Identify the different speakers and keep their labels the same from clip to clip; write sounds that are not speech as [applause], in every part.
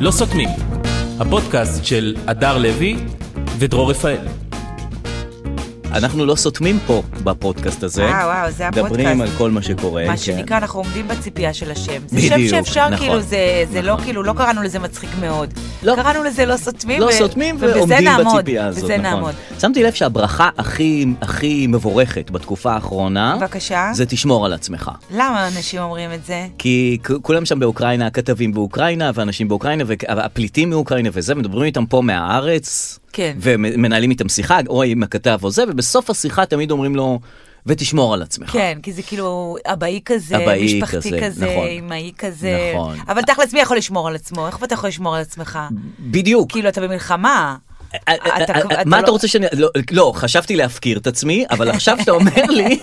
Speaker 1: לא סותמים, הפודקאסט של הדר לוי ודרור רפאל.
Speaker 2: אנחנו לא סותמים פה בפודקאסט הזה.
Speaker 3: וואו, וואו, זה הפודקאסט.
Speaker 2: מדברים על כל מה שקורה.
Speaker 3: מה
Speaker 2: כן.
Speaker 3: שנקרא, אנחנו עומדים בציפייה של השם. זה שם
Speaker 2: בדיוק,
Speaker 3: שאפשר,
Speaker 2: נכון,
Speaker 3: כאילו, זה, זה לא,
Speaker 2: נכון.
Speaker 3: כאילו, לא קראנו לזה מצחיק מאוד.
Speaker 2: לא.
Speaker 3: קראנו לזה לא סותמים.
Speaker 2: לא
Speaker 3: ו-
Speaker 2: סותמים
Speaker 3: ובזה
Speaker 2: ועומדים
Speaker 3: נעמוד,
Speaker 2: בציפייה הזאת,
Speaker 3: בזה
Speaker 2: נכון.
Speaker 3: נעמוד.
Speaker 2: שמתי לב שהברכה הכי, הכי מבורכת בתקופה האחרונה,
Speaker 3: בבקשה.
Speaker 2: זה תשמור על עצמך.
Speaker 3: למה אנשים אומרים את זה?
Speaker 2: כי כ- כולם שם באוקראינה, הכתבים באוקראינה, ואנשים באוקראינה, והפליטים מאוקראינה וזה, מדברים איתם פה מהארץ,
Speaker 3: כן.
Speaker 2: ומנהלים איתם שיחה, או עם הכתב או זה, ובסוף השיחה תמיד אומרים לו, ותשמור על עצמך.
Speaker 3: כן, כי זה כאילו אבאי כזה,
Speaker 2: אבאי
Speaker 3: משפחתי
Speaker 2: כזה,
Speaker 3: כזה,
Speaker 2: נכון.
Speaker 3: אמאי כזה.
Speaker 2: נכון.
Speaker 3: אבל תכלס, מי יכול לשמור על עצמו? איך אתה יכול לשמור על עצמך?
Speaker 2: בדיוק.
Speaker 3: כאילו, אתה במלחמה. אתה-
Speaker 2: אה, מה אתה
Speaker 3: לא-
Speaker 2: רוצה שאני... לא- לא, חשבתי להפקיר את עצמי, אבל עכשיו שאתה אומר
Speaker 3: [laughs]
Speaker 2: לי,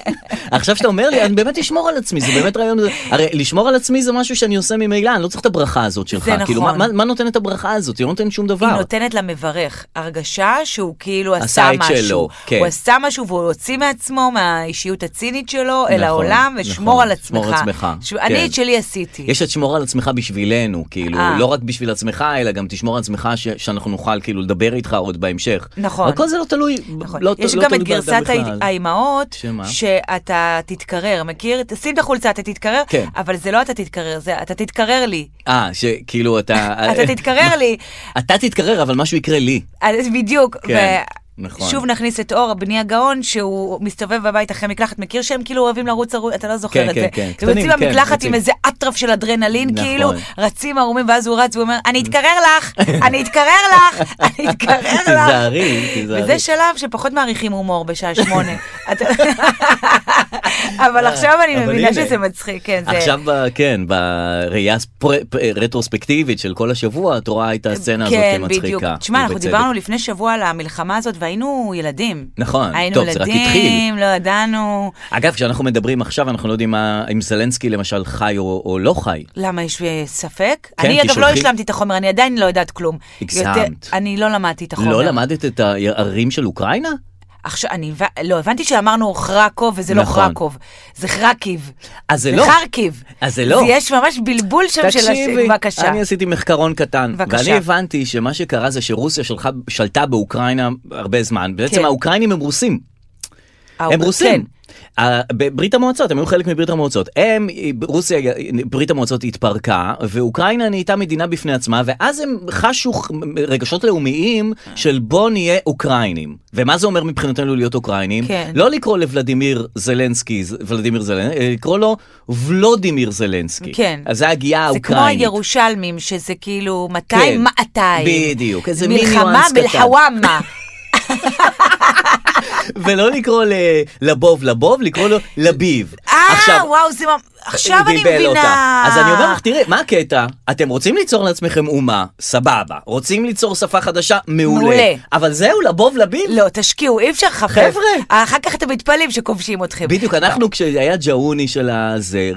Speaker 2: עכשיו שאתה אומר לי, אני באמת אשמור על עצמי, זה באמת רעיון... הרי לשמור על עצמי זה משהו שאני עושה ממילא, אני לא צריך את הברכה הזאת שלך.
Speaker 3: זה
Speaker 2: כאילו,
Speaker 3: נכון.
Speaker 2: מה- מה- מה נותנת הברכה הזאת? היא לא נותנת שום דבר.
Speaker 3: היא נותנת למברך הרגשה שהוא כאילו עשה
Speaker 2: עשה את
Speaker 3: משהו.
Speaker 2: שלו, כן.
Speaker 3: הוא עשה משהו והוא הוציא מעצמו, מהאישיות הצינית שלו, אל
Speaker 2: נכון,
Speaker 3: העולם,
Speaker 2: נכון.
Speaker 3: ושמור על עצמך.
Speaker 2: שמור על עצמך,
Speaker 3: ש- אני
Speaker 2: כן.
Speaker 3: את שלי עשיתי.
Speaker 2: יש את שמור על עצמך בשבילנו, כאילו,
Speaker 3: אה.
Speaker 2: לא רק בשביל עצמך, אלא גם תשמור על עצמך ש- שאנחנו נוכל כאילו לדבר איתך עוד בהמשך.
Speaker 3: נכון.
Speaker 2: אבל כל זה לא תלוי,
Speaker 3: נכון.
Speaker 2: לא
Speaker 3: יש
Speaker 2: לא
Speaker 3: גם
Speaker 2: תלוי
Speaker 3: את
Speaker 2: באדם
Speaker 3: גרסת
Speaker 2: בכלל.
Speaker 3: האי- האימהות,
Speaker 2: שמה?
Speaker 3: שאתה תתקרר, מכיר? תשים את החולצה, אתה תתקרר,
Speaker 2: כן.
Speaker 3: אבל זה לא אתה תתקרר, זה אתה תתקרר לי.
Speaker 2: אה, שכאילו אתה...
Speaker 3: [laughs] אתה
Speaker 2: אה.
Speaker 3: תתקרר לי,
Speaker 2: אתה תתקרר, אבל משהו יקרה לי.
Speaker 3: אז בדיוק.
Speaker 2: כן,
Speaker 3: ו-
Speaker 2: נכון.
Speaker 3: שוב נכניס את אור, הבני הגאון, שהוא מסתובב בבית אחרי מקלחת, מכיר שהם כאילו אוהבים לרוץ, ערו- אתה לא זוכר
Speaker 2: כן,
Speaker 3: את
Speaker 2: כן,
Speaker 3: זה.
Speaker 2: כן,
Speaker 3: הם
Speaker 2: קטנים,
Speaker 3: יוצאים
Speaker 2: כן,
Speaker 3: במקלחת
Speaker 2: יוצאים.
Speaker 3: עם איזה אטרף של אדרנלין,
Speaker 2: נכון.
Speaker 3: כאילו, רצים ערומים, ואז הוא רץ ואומר, אני אתקרר לך, אני אתקרר לך, [laughs] אני אתקרר לך.
Speaker 2: תיזהרי, תיזהרי.
Speaker 3: וזה שלב שפחות מעריכים הומור בשעה שמונה. [laughs] אתה- אבל עכשיו אני
Speaker 2: אה, אבל
Speaker 3: מבינה
Speaker 2: הנה.
Speaker 3: שזה מצחיק, כן, זה...
Speaker 2: עכשיו, ב- כן, בראייה פר- פ- רטרוספקטיבית של כל השבוע, את רואה את הסצנה הזאת
Speaker 3: כן,
Speaker 2: כמצחיקה.
Speaker 3: בדיוק. תשמע, אנחנו
Speaker 2: ובצדק.
Speaker 3: דיברנו לפני שבוע על המלחמה הזאת והיינו ילדים.
Speaker 2: נכון,
Speaker 3: היינו
Speaker 2: טוב, זה רק
Speaker 3: ילדים,
Speaker 2: התחיל.
Speaker 3: לא ידענו.
Speaker 2: אגב, כשאנחנו מדברים עכשיו, אנחנו לא יודעים מה- אם זלנסקי למשל חי או או לא חי.
Speaker 3: למה, יש אה, ספק?
Speaker 2: כן,
Speaker 3: אני
Speaker 2: כי
Speaker 3: אגב לא
Speaker 2: שולחים-
Speaker 3: השלמתי את החומר, אני עדיין לא יודעת כלום.
Speaker 2: הגזמת.
Speaker 3: יותר- אני לא למדתי את החומר.
Speaker 2: לא למדת את הערים של אוקראינה?
Speaker 3: עכשיו, אני הבנ- לא, הבנתי שאמרנו חרקוב וזה לא
Speaker 2: נכון.
Speaker 3: חרקוב. זה חרקיב.
Speaker 2: אז זה לא.
Speaker 3: חרקיב.
Speaker 2: אז זה לא.
Speaker 3: יש ממש בלבול שם של... הש-
Speaker 2: תקשיבי,
Speaker 3: בבקשה.
Speaker 2: אני עשיתי מחקרון קטן,
Speaker 3: בבקשה.
Speaker 2: ואני הבנתי שמה שקרה זה שרוסיה שלחה, שלטה באוקראינה הרבה זמן, בעצם
Speaker 3: כן.
Speaker 2: האוקראינים הם רוסים,
Speaker 3: אה,
Speaker 2: הם רוסים.
Speaker 3: כן.
Speaker 2: אה, בברית המועצות, הם היו חלק מברית המועצות. הם, אה, רוסיה, ברית המועצות התפרקה, ואוקראינה נהייתה מדינה בפני עצמה, ואז הם חשו ח- רגשות לאומיים של בוא נהיה אוקראינים. ומה זה אומר מבחינתנו להיות אוקראינים?
Speaker 3: כן.
Speaker 2: לא לקרוא לוולדימיר זלנסקי, ז- ולדימיר זלנסקי, אה, לקרוא לו ולודימיר זלנסקי.
Speaker 3: כן.
Speaker 2: אז זה הגיעה
Speaker 3: זה כמו
Speaker 2: האוקראינית.
Speaker 3: הירושלמים, שזה כאילו מתי
Speaker 2: כן.
Speaker 3: מאתיים.
Speaker 2: בדיוק, איזה מין
Speaker 3: מלחמה
Speaker 2: ניואנס קטן.
Speaker 3: בלחוואמה.
Speaker 2: ולא לקרוא ל- לבוב לבוב, לקרוא לו לביב.
Speaker 3: אה, וואו, זה ממש... עכשיו אני
Speaker 2: בלבל
Speaker 3: מבינה.
Speaker 2: אותה. אז אני אומר לך, תראי, מה הקטע? אתם רוצים ליצור לעצמכם אומה, סבבה. רוצים ליצור שפה חדשה, מעולה.
Speaker 3: מעולה.
Speaker 2: אבל זהו, לבוב לביב.
Speaker 3: לא, תשקיעו, אי אפשר לחפף.
Speaker 2: חבר'ה.
Speaker 3: אחר כך אתם מתפלאים שכובשים אתכם.
Speaker 2: בדיוק, אנחנו כשהיה ג'אוני של הזה,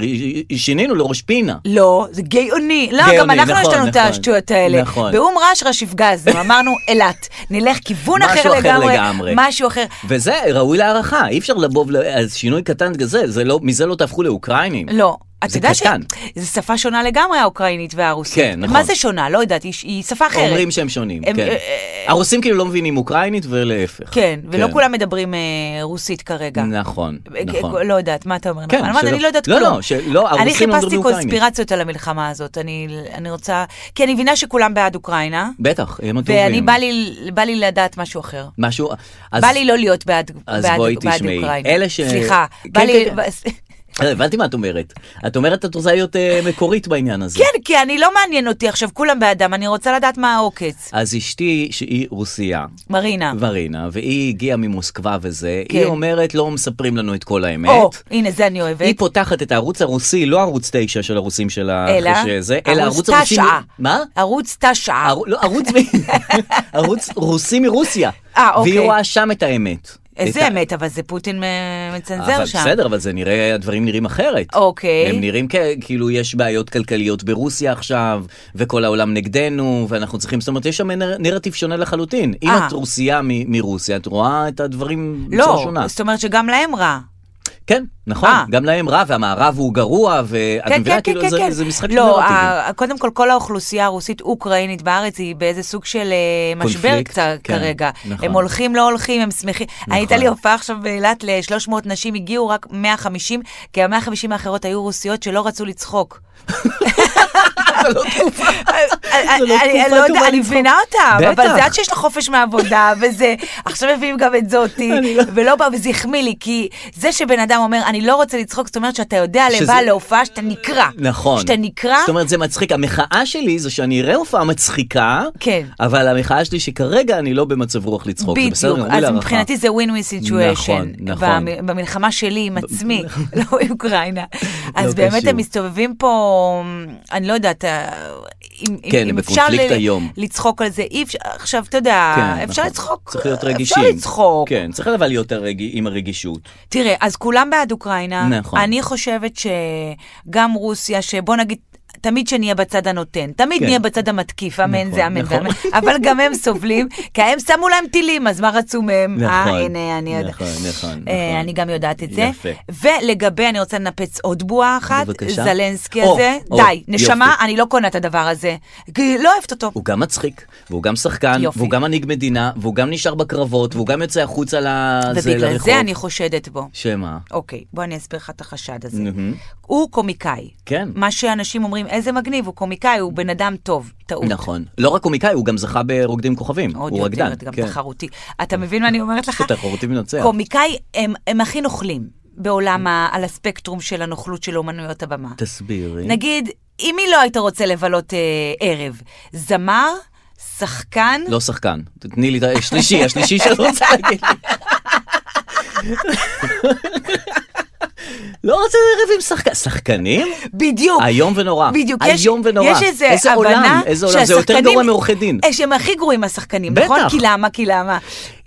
Speaker 2: שינינו לראש פינה.
Speaker 3: לא, זה גאוני. לא,
Speaker 2: גאוני,
Speaker 3: גם אנחנו יש
Speaker 2: נכון,
Speaker 3: לנו את
Speaker 2: נכון.
Speaker 3: השטויות האלה.
Speaker 2: נכון.
Speaker 3: באום
Speaker 2: [laughs]
Speaker 3: רשרש הפגזנו, אמרנו אילת. נלך כיוון
Speaker 2: משהו אחר
Speaker 3: אחר לגמרי.
Speaker 2: לגמרי.
Speaker 3: משהו אחר.
Speaker 2: וזה ראוי להערכה, אי אפשר לבוב, ל- אז שינוי קטן כזה, זה לא, מזה לא תהפכו לאוקראינים.
Speaker 3: לא. אתה
Speaker 2: זה
Speaker 3: יודע
Speaker 2: קטן.
Speaker 3: שזו שפה שונה לגמרי, האוקראינית והרוסית.
Speaker 2: כן, נכון.
Speaker 3: מה זה שונה? לא יודעת, היא- היא שפה אחרת.
Speaker 2: אומרים שהם שונים,
Speaker 3: הם-
Speaker 2: כן.
Speaker 3: אה,
Speaker 2: הרוסים כאילו לא מבינים אוקראינית ולהפך.
Speaker 3: כן, ולא כולם מדברים אה, רוסית כרגע.
Speaker 2: נכון, נכון.
Speaker 3: לא יודעת, מה אתה אומר?
Speaker 2: כן,
Speaker 3: נכון? אמרת,
Speaker 2: שלא-
Speaker 3: אני לא יודעת
Speaker 2: לא,
Speaker 3: כלום.
Speaker 2: לא, שלא,
Speaker 3: אני
Speaker 2: הרוסים לא
Speaker 3: חיפשתי
Speaker 2: מדברים אוקראינית.
Speaker 3: קונספירציות על המלחמה הזאת, אני, אני רוצה... כי אני מבינה שכולם בעד אוקראינה,
Speaker 2: בטח, הם הטובים.
Speaker 3: ואני בא לי, בא לי לדעת משהו אחר.
Speaker 2: משהו, אז...
Speaker 3: בא לי לא להיות בעד,
Speaker 2: אז
Speaker 3: בעד,
Speaker 2: בואי
Speaker 3: בעד
Speaker 2: תשמעי.
Speaker 3: אוקראינה.
Speaker 2: אלה ש-
Speaker 3: סליחה,
Speaker 2: כן,
Speaker 3: בא
Speaker 2: כן,
Speaker 3: לי...
Speaker 2: כן. אה, הבנתי מה את אומרת. את אומרת את רוצה להיות אה, מקורית בעניין הזה.
Speaker 3: [laughs] כן, כי אני לא מעניין אותי עכשיו, כולם בעדם, אני רוצה לדעת מה העוקץ.
Speaker 2: אז אשתי, שהיא רוסייה,
Speaker 3: מרינה.
Speaker 2: ורינה, והיא הגיעה ממוסקבה וזה,
Speaker 3: אה. כן.
Speaker 2: היא אומרת, לא מספרים לנו את כל האמת.
Speaker 3: או, הנה, זה אני אוהבת.
Speaker 2: היא פותחת את הערוץ הרוסי, לא ערוץ 9 של הרוסים של
Speaker 3: אלא?
Speaker 2: החשזה, אלא
Speaker 3: ערוץ אה.
Speaker 2: ערוץ הרוסי...
Speaker 3: 9.
Speaker 2: מה?
Speaker 3: ערוץ תשעה.
Speaker 2: ער- לא, ערוץ מ- [laughs] ערוץ רוסי מרוסיה.
Speaker 3: אה, אוקיי.
Speaker 2: והיא רואה שם את האמת.
Speaker 3: איזה
Speaker 2: את ה-
Speaker 3: אמת, אבל זה פוטין אה, מצנזר
Speaker 2: אבל
Speaker 3: שם.
Speaker 2: בסדר, אבל זה נראה, הדברים נראים אחרת.
Speaker 3: אוקיי.
Speaker 2: הם נראים כ- כאילו יש בעיות כלכליות ברוסיה עכשיו, וכל העולם נגדנו, ואנחנו צריכים, זאת אומרת, יש שם נר- נרטיב שונה לחלוטין. אם
Speaker 3: אה.
Speaker 2: את רוסייה מ- מרוסיה, את רואה את הדברים בצורה
Speaker 3: לא,
Speaker 2: שונה.
Speaker 3: זאת אומרת שגם להם רע.
Speaker 2: כן, נכון,
Speaker 3: אה.
Speaker 2: גם להם רע והמערב הוא גרוע, ואת
Speaker 3: כן,
Speaker 2: מבינה,
Speaker 3: כן,
Speaker 2: כאילו
Speaker 3: כן,
Speaker 2: זה-
Speaker 3: כן.
Speaker 2: זה משחק של
Speaker 3: לא,
Speaker 2: נרטיבים.
Speaker 3: ה- קודם כל, כל האוכלוסייה הרוסית-אוקראינית בארץ היא באיזה סוג של אה, משבר
Speaker 2: קונפליקט,
Speaker 3: קצר
Speaker 2: כן,
Speaker 3: כרגע.
Speaker 2: נכון.
Speaker 3: הם הולכים, לא הולכים, הם שמחים. אני הייתה לי הופעה עכשיו באילת ל-300 נשים, הגיעו רק 150, כי ה-150 האחרות היו רוסיות שלא רצו לצחוק.
Speaker 2: [laughs] זה לא תקופה.
Speaker 3: אני-
Speaker 2: זה לא
Speaker 3: אני-
Speaker 2: תקופה
Speaker 3: אני לא יודעת,
Speaker 2: טובה
Speaker 3: אני
Speaker 2: לצחוק.
Speaker 3: מבינה אותם, אבל
Speaker 2: בטח.
Speaker 3: זה עד שיש לך חופש מהעבודה, [laughs] וזה, עכשיו מביאים גם את זאתי,
Speaker 2: לא-
Speaker 3: ולא בא, וזה החמיא לי, כי זה שבן אדם אומר, אני לא רוצה לצחוק, זאת אומרת שאתה יודע
Speaker 2: שזה-
Speaker 3: לבעל להופעה שאתה נקרע.
Speaker 2: נכון.
Speaker 3: שאתה נקרע,
Speaker 2: זאת אומרת, זה מצחיק. המחאה שלי זה שאני אראה הופעה מצחיקה,
Speaker 3: כן.
Speaker 2: אבל המחאה שלי שכרגע אני לא במצב רוח לצחוק. זה בסדר,
Speaker 3: בדיוק,
Speaker 2: גמור
Speaker 3: אז
Speaker 2: להערכה.
Speaker 3: מבחינתי זה ווין ווין
Speaker 2: נכון,
Speaker 3: סיטואשן,
Speaker 2: נכון.
Speaker 3: במלחמה שלי עם
Speaker 2: [laughs]
Speaker 3: עצמי, לא עם אוקראינה. אז באמת
Speaker 2: לא קשור.
Speaker 3: הם מסתובבים פה, אני לא יודעת, אה, אם אם-
Speaker 2: כן, הם
Speaker 3: אם אפשר
Speaker 2: בקונפליקט
Speaker 3: ל-
Speaker 2: היום.
Speaker 3: לצחוק על זה, אי אפשר, עכשיו, אתה יודע,
Speaker 2: כן,
Speaker 3: אפשר
Speaker 2: נכון.
Speaker 3: לצחוק,
Speaker 2: צריך להיות רגישים.
Speaker 3: אפשר לצחוק.
Speaker 2: כן, צריך אבל להיות הרג... עם הרגישות.
Speaker 3: תראה, אז כולם בעד אוקראינה.
Speaker 2: נכון.
Speaker 3: אני חושבת שגם רוסיה, שבוא נגיד... תמיד שנהיה בצד הנותן, תמיד
Speaker 2: כן.
Speaker 3: נהיה בצד המתקיף, אמן
Speaker 2: נכון,
Speaker 3: זה אמן זה
Speaker 2: נכון.
Speaker 3: אמן, אבל גם הם סובלים, כי הם שמו להם טילים, אז מה רצו מהם?
Speaker 2: נכון,
Speaker 3: אה, הנה, אני יודעת.
Speaker 2: נכון, נכון,
Speaker 3: אה,
Speaker 2: נכון.
Speaker 3: אני גם יודעת את זה.
Speaker 2: יפה.
Speaker 3: ולגבי, אני רוצה לנפץ עוד בועה אחת,
Speaker 2: בבקשה.
Speaker 3: זלנסקי
Speaker 2: או,
Speaker 3: הזה,
Speaker 2: או,
Speaker 3: די, נשמה,
Speaker 2: יופי.
Speaker 3: אני לא קונה את הדבר הזה. כי לא אוהבת אותו.
Speaker 2: הוא גם מצחיק, והוא גם שחקן,
Speaker 3: יופי.
Speaker 2: והוא גם מנהיג מדינה, והוא גם נשאר בקרבות, והוא גם יוצא החוצה לזה,
Speaker 3: ובגלל
Speaker 2: לרחוב.
Speaker 3: זה אני חושדת בו.
Speaker 2: שמה?
Speaker 3: אוקיי, בוא אני אסביר לך את החשד הזה.
Speaker 2: מהמם.
Speaker 3: הוא קומיקאי.
Speaker 2: Mm-hmm. כן.
Speaker 3: מה שאנשים אומרים, איזה מגניב, הוא קומיקאי, הוא בן אדם טוב. טעות.
Speaker 2: נכון. לא רק קומיקאי, הוא גם זכה ברוקדים עם כוכבים.
Speaker 3: עוד
Speaker 2: הוא
Speaker 3: יותר,
Speaker 2: רקדן.
Speaker 3: אתה גם
Speaker 2: כן.
Speaker 3: תחרותי. אתה מבין מה אני אומרת לך?
Speaker 2: [laughs] תחרותי מנצח.
Speaker 3: קומיקאי, הם- הם הכי נוכלים בעולם, ה- על הספקטרום של הנוכלות של אומנויות הבמה.
Speaker 2: תסבירי.
Speaker 3: נגיד, עם מי לא היית רוצה לבלות אה, ערב? זמר? שחקן?
Speaker 2: לא שחקן. תתני לי את השלישי, השלישי שאת רוצה להגיד לי.
Speaker 3: [laughs]
Speaker 2: לא רוצה ערב עם שחקנים. שחקנים?
Speaker 3: בדיוק.
Speaker 2: איום ונורא.
Speaker 3: בדיוק.
Speaker 2: איום
Speaker 3: יש,
Speaker 2: ונורא.
Speaker 3: יש איזה,
Speaker 2: איזה
Speaker 3: הבנה
Speaker 2: עולם, איזה עולם. זה יותר
Speaker 3: שהשחקנים-
Speaker 2: גרוע מעורכי דין.
Speaker 3: אה, שהם הכי גרועים השחקנים,
Speaker 2: בטח.
Speaker 3: נכון? כי למה? כי למה?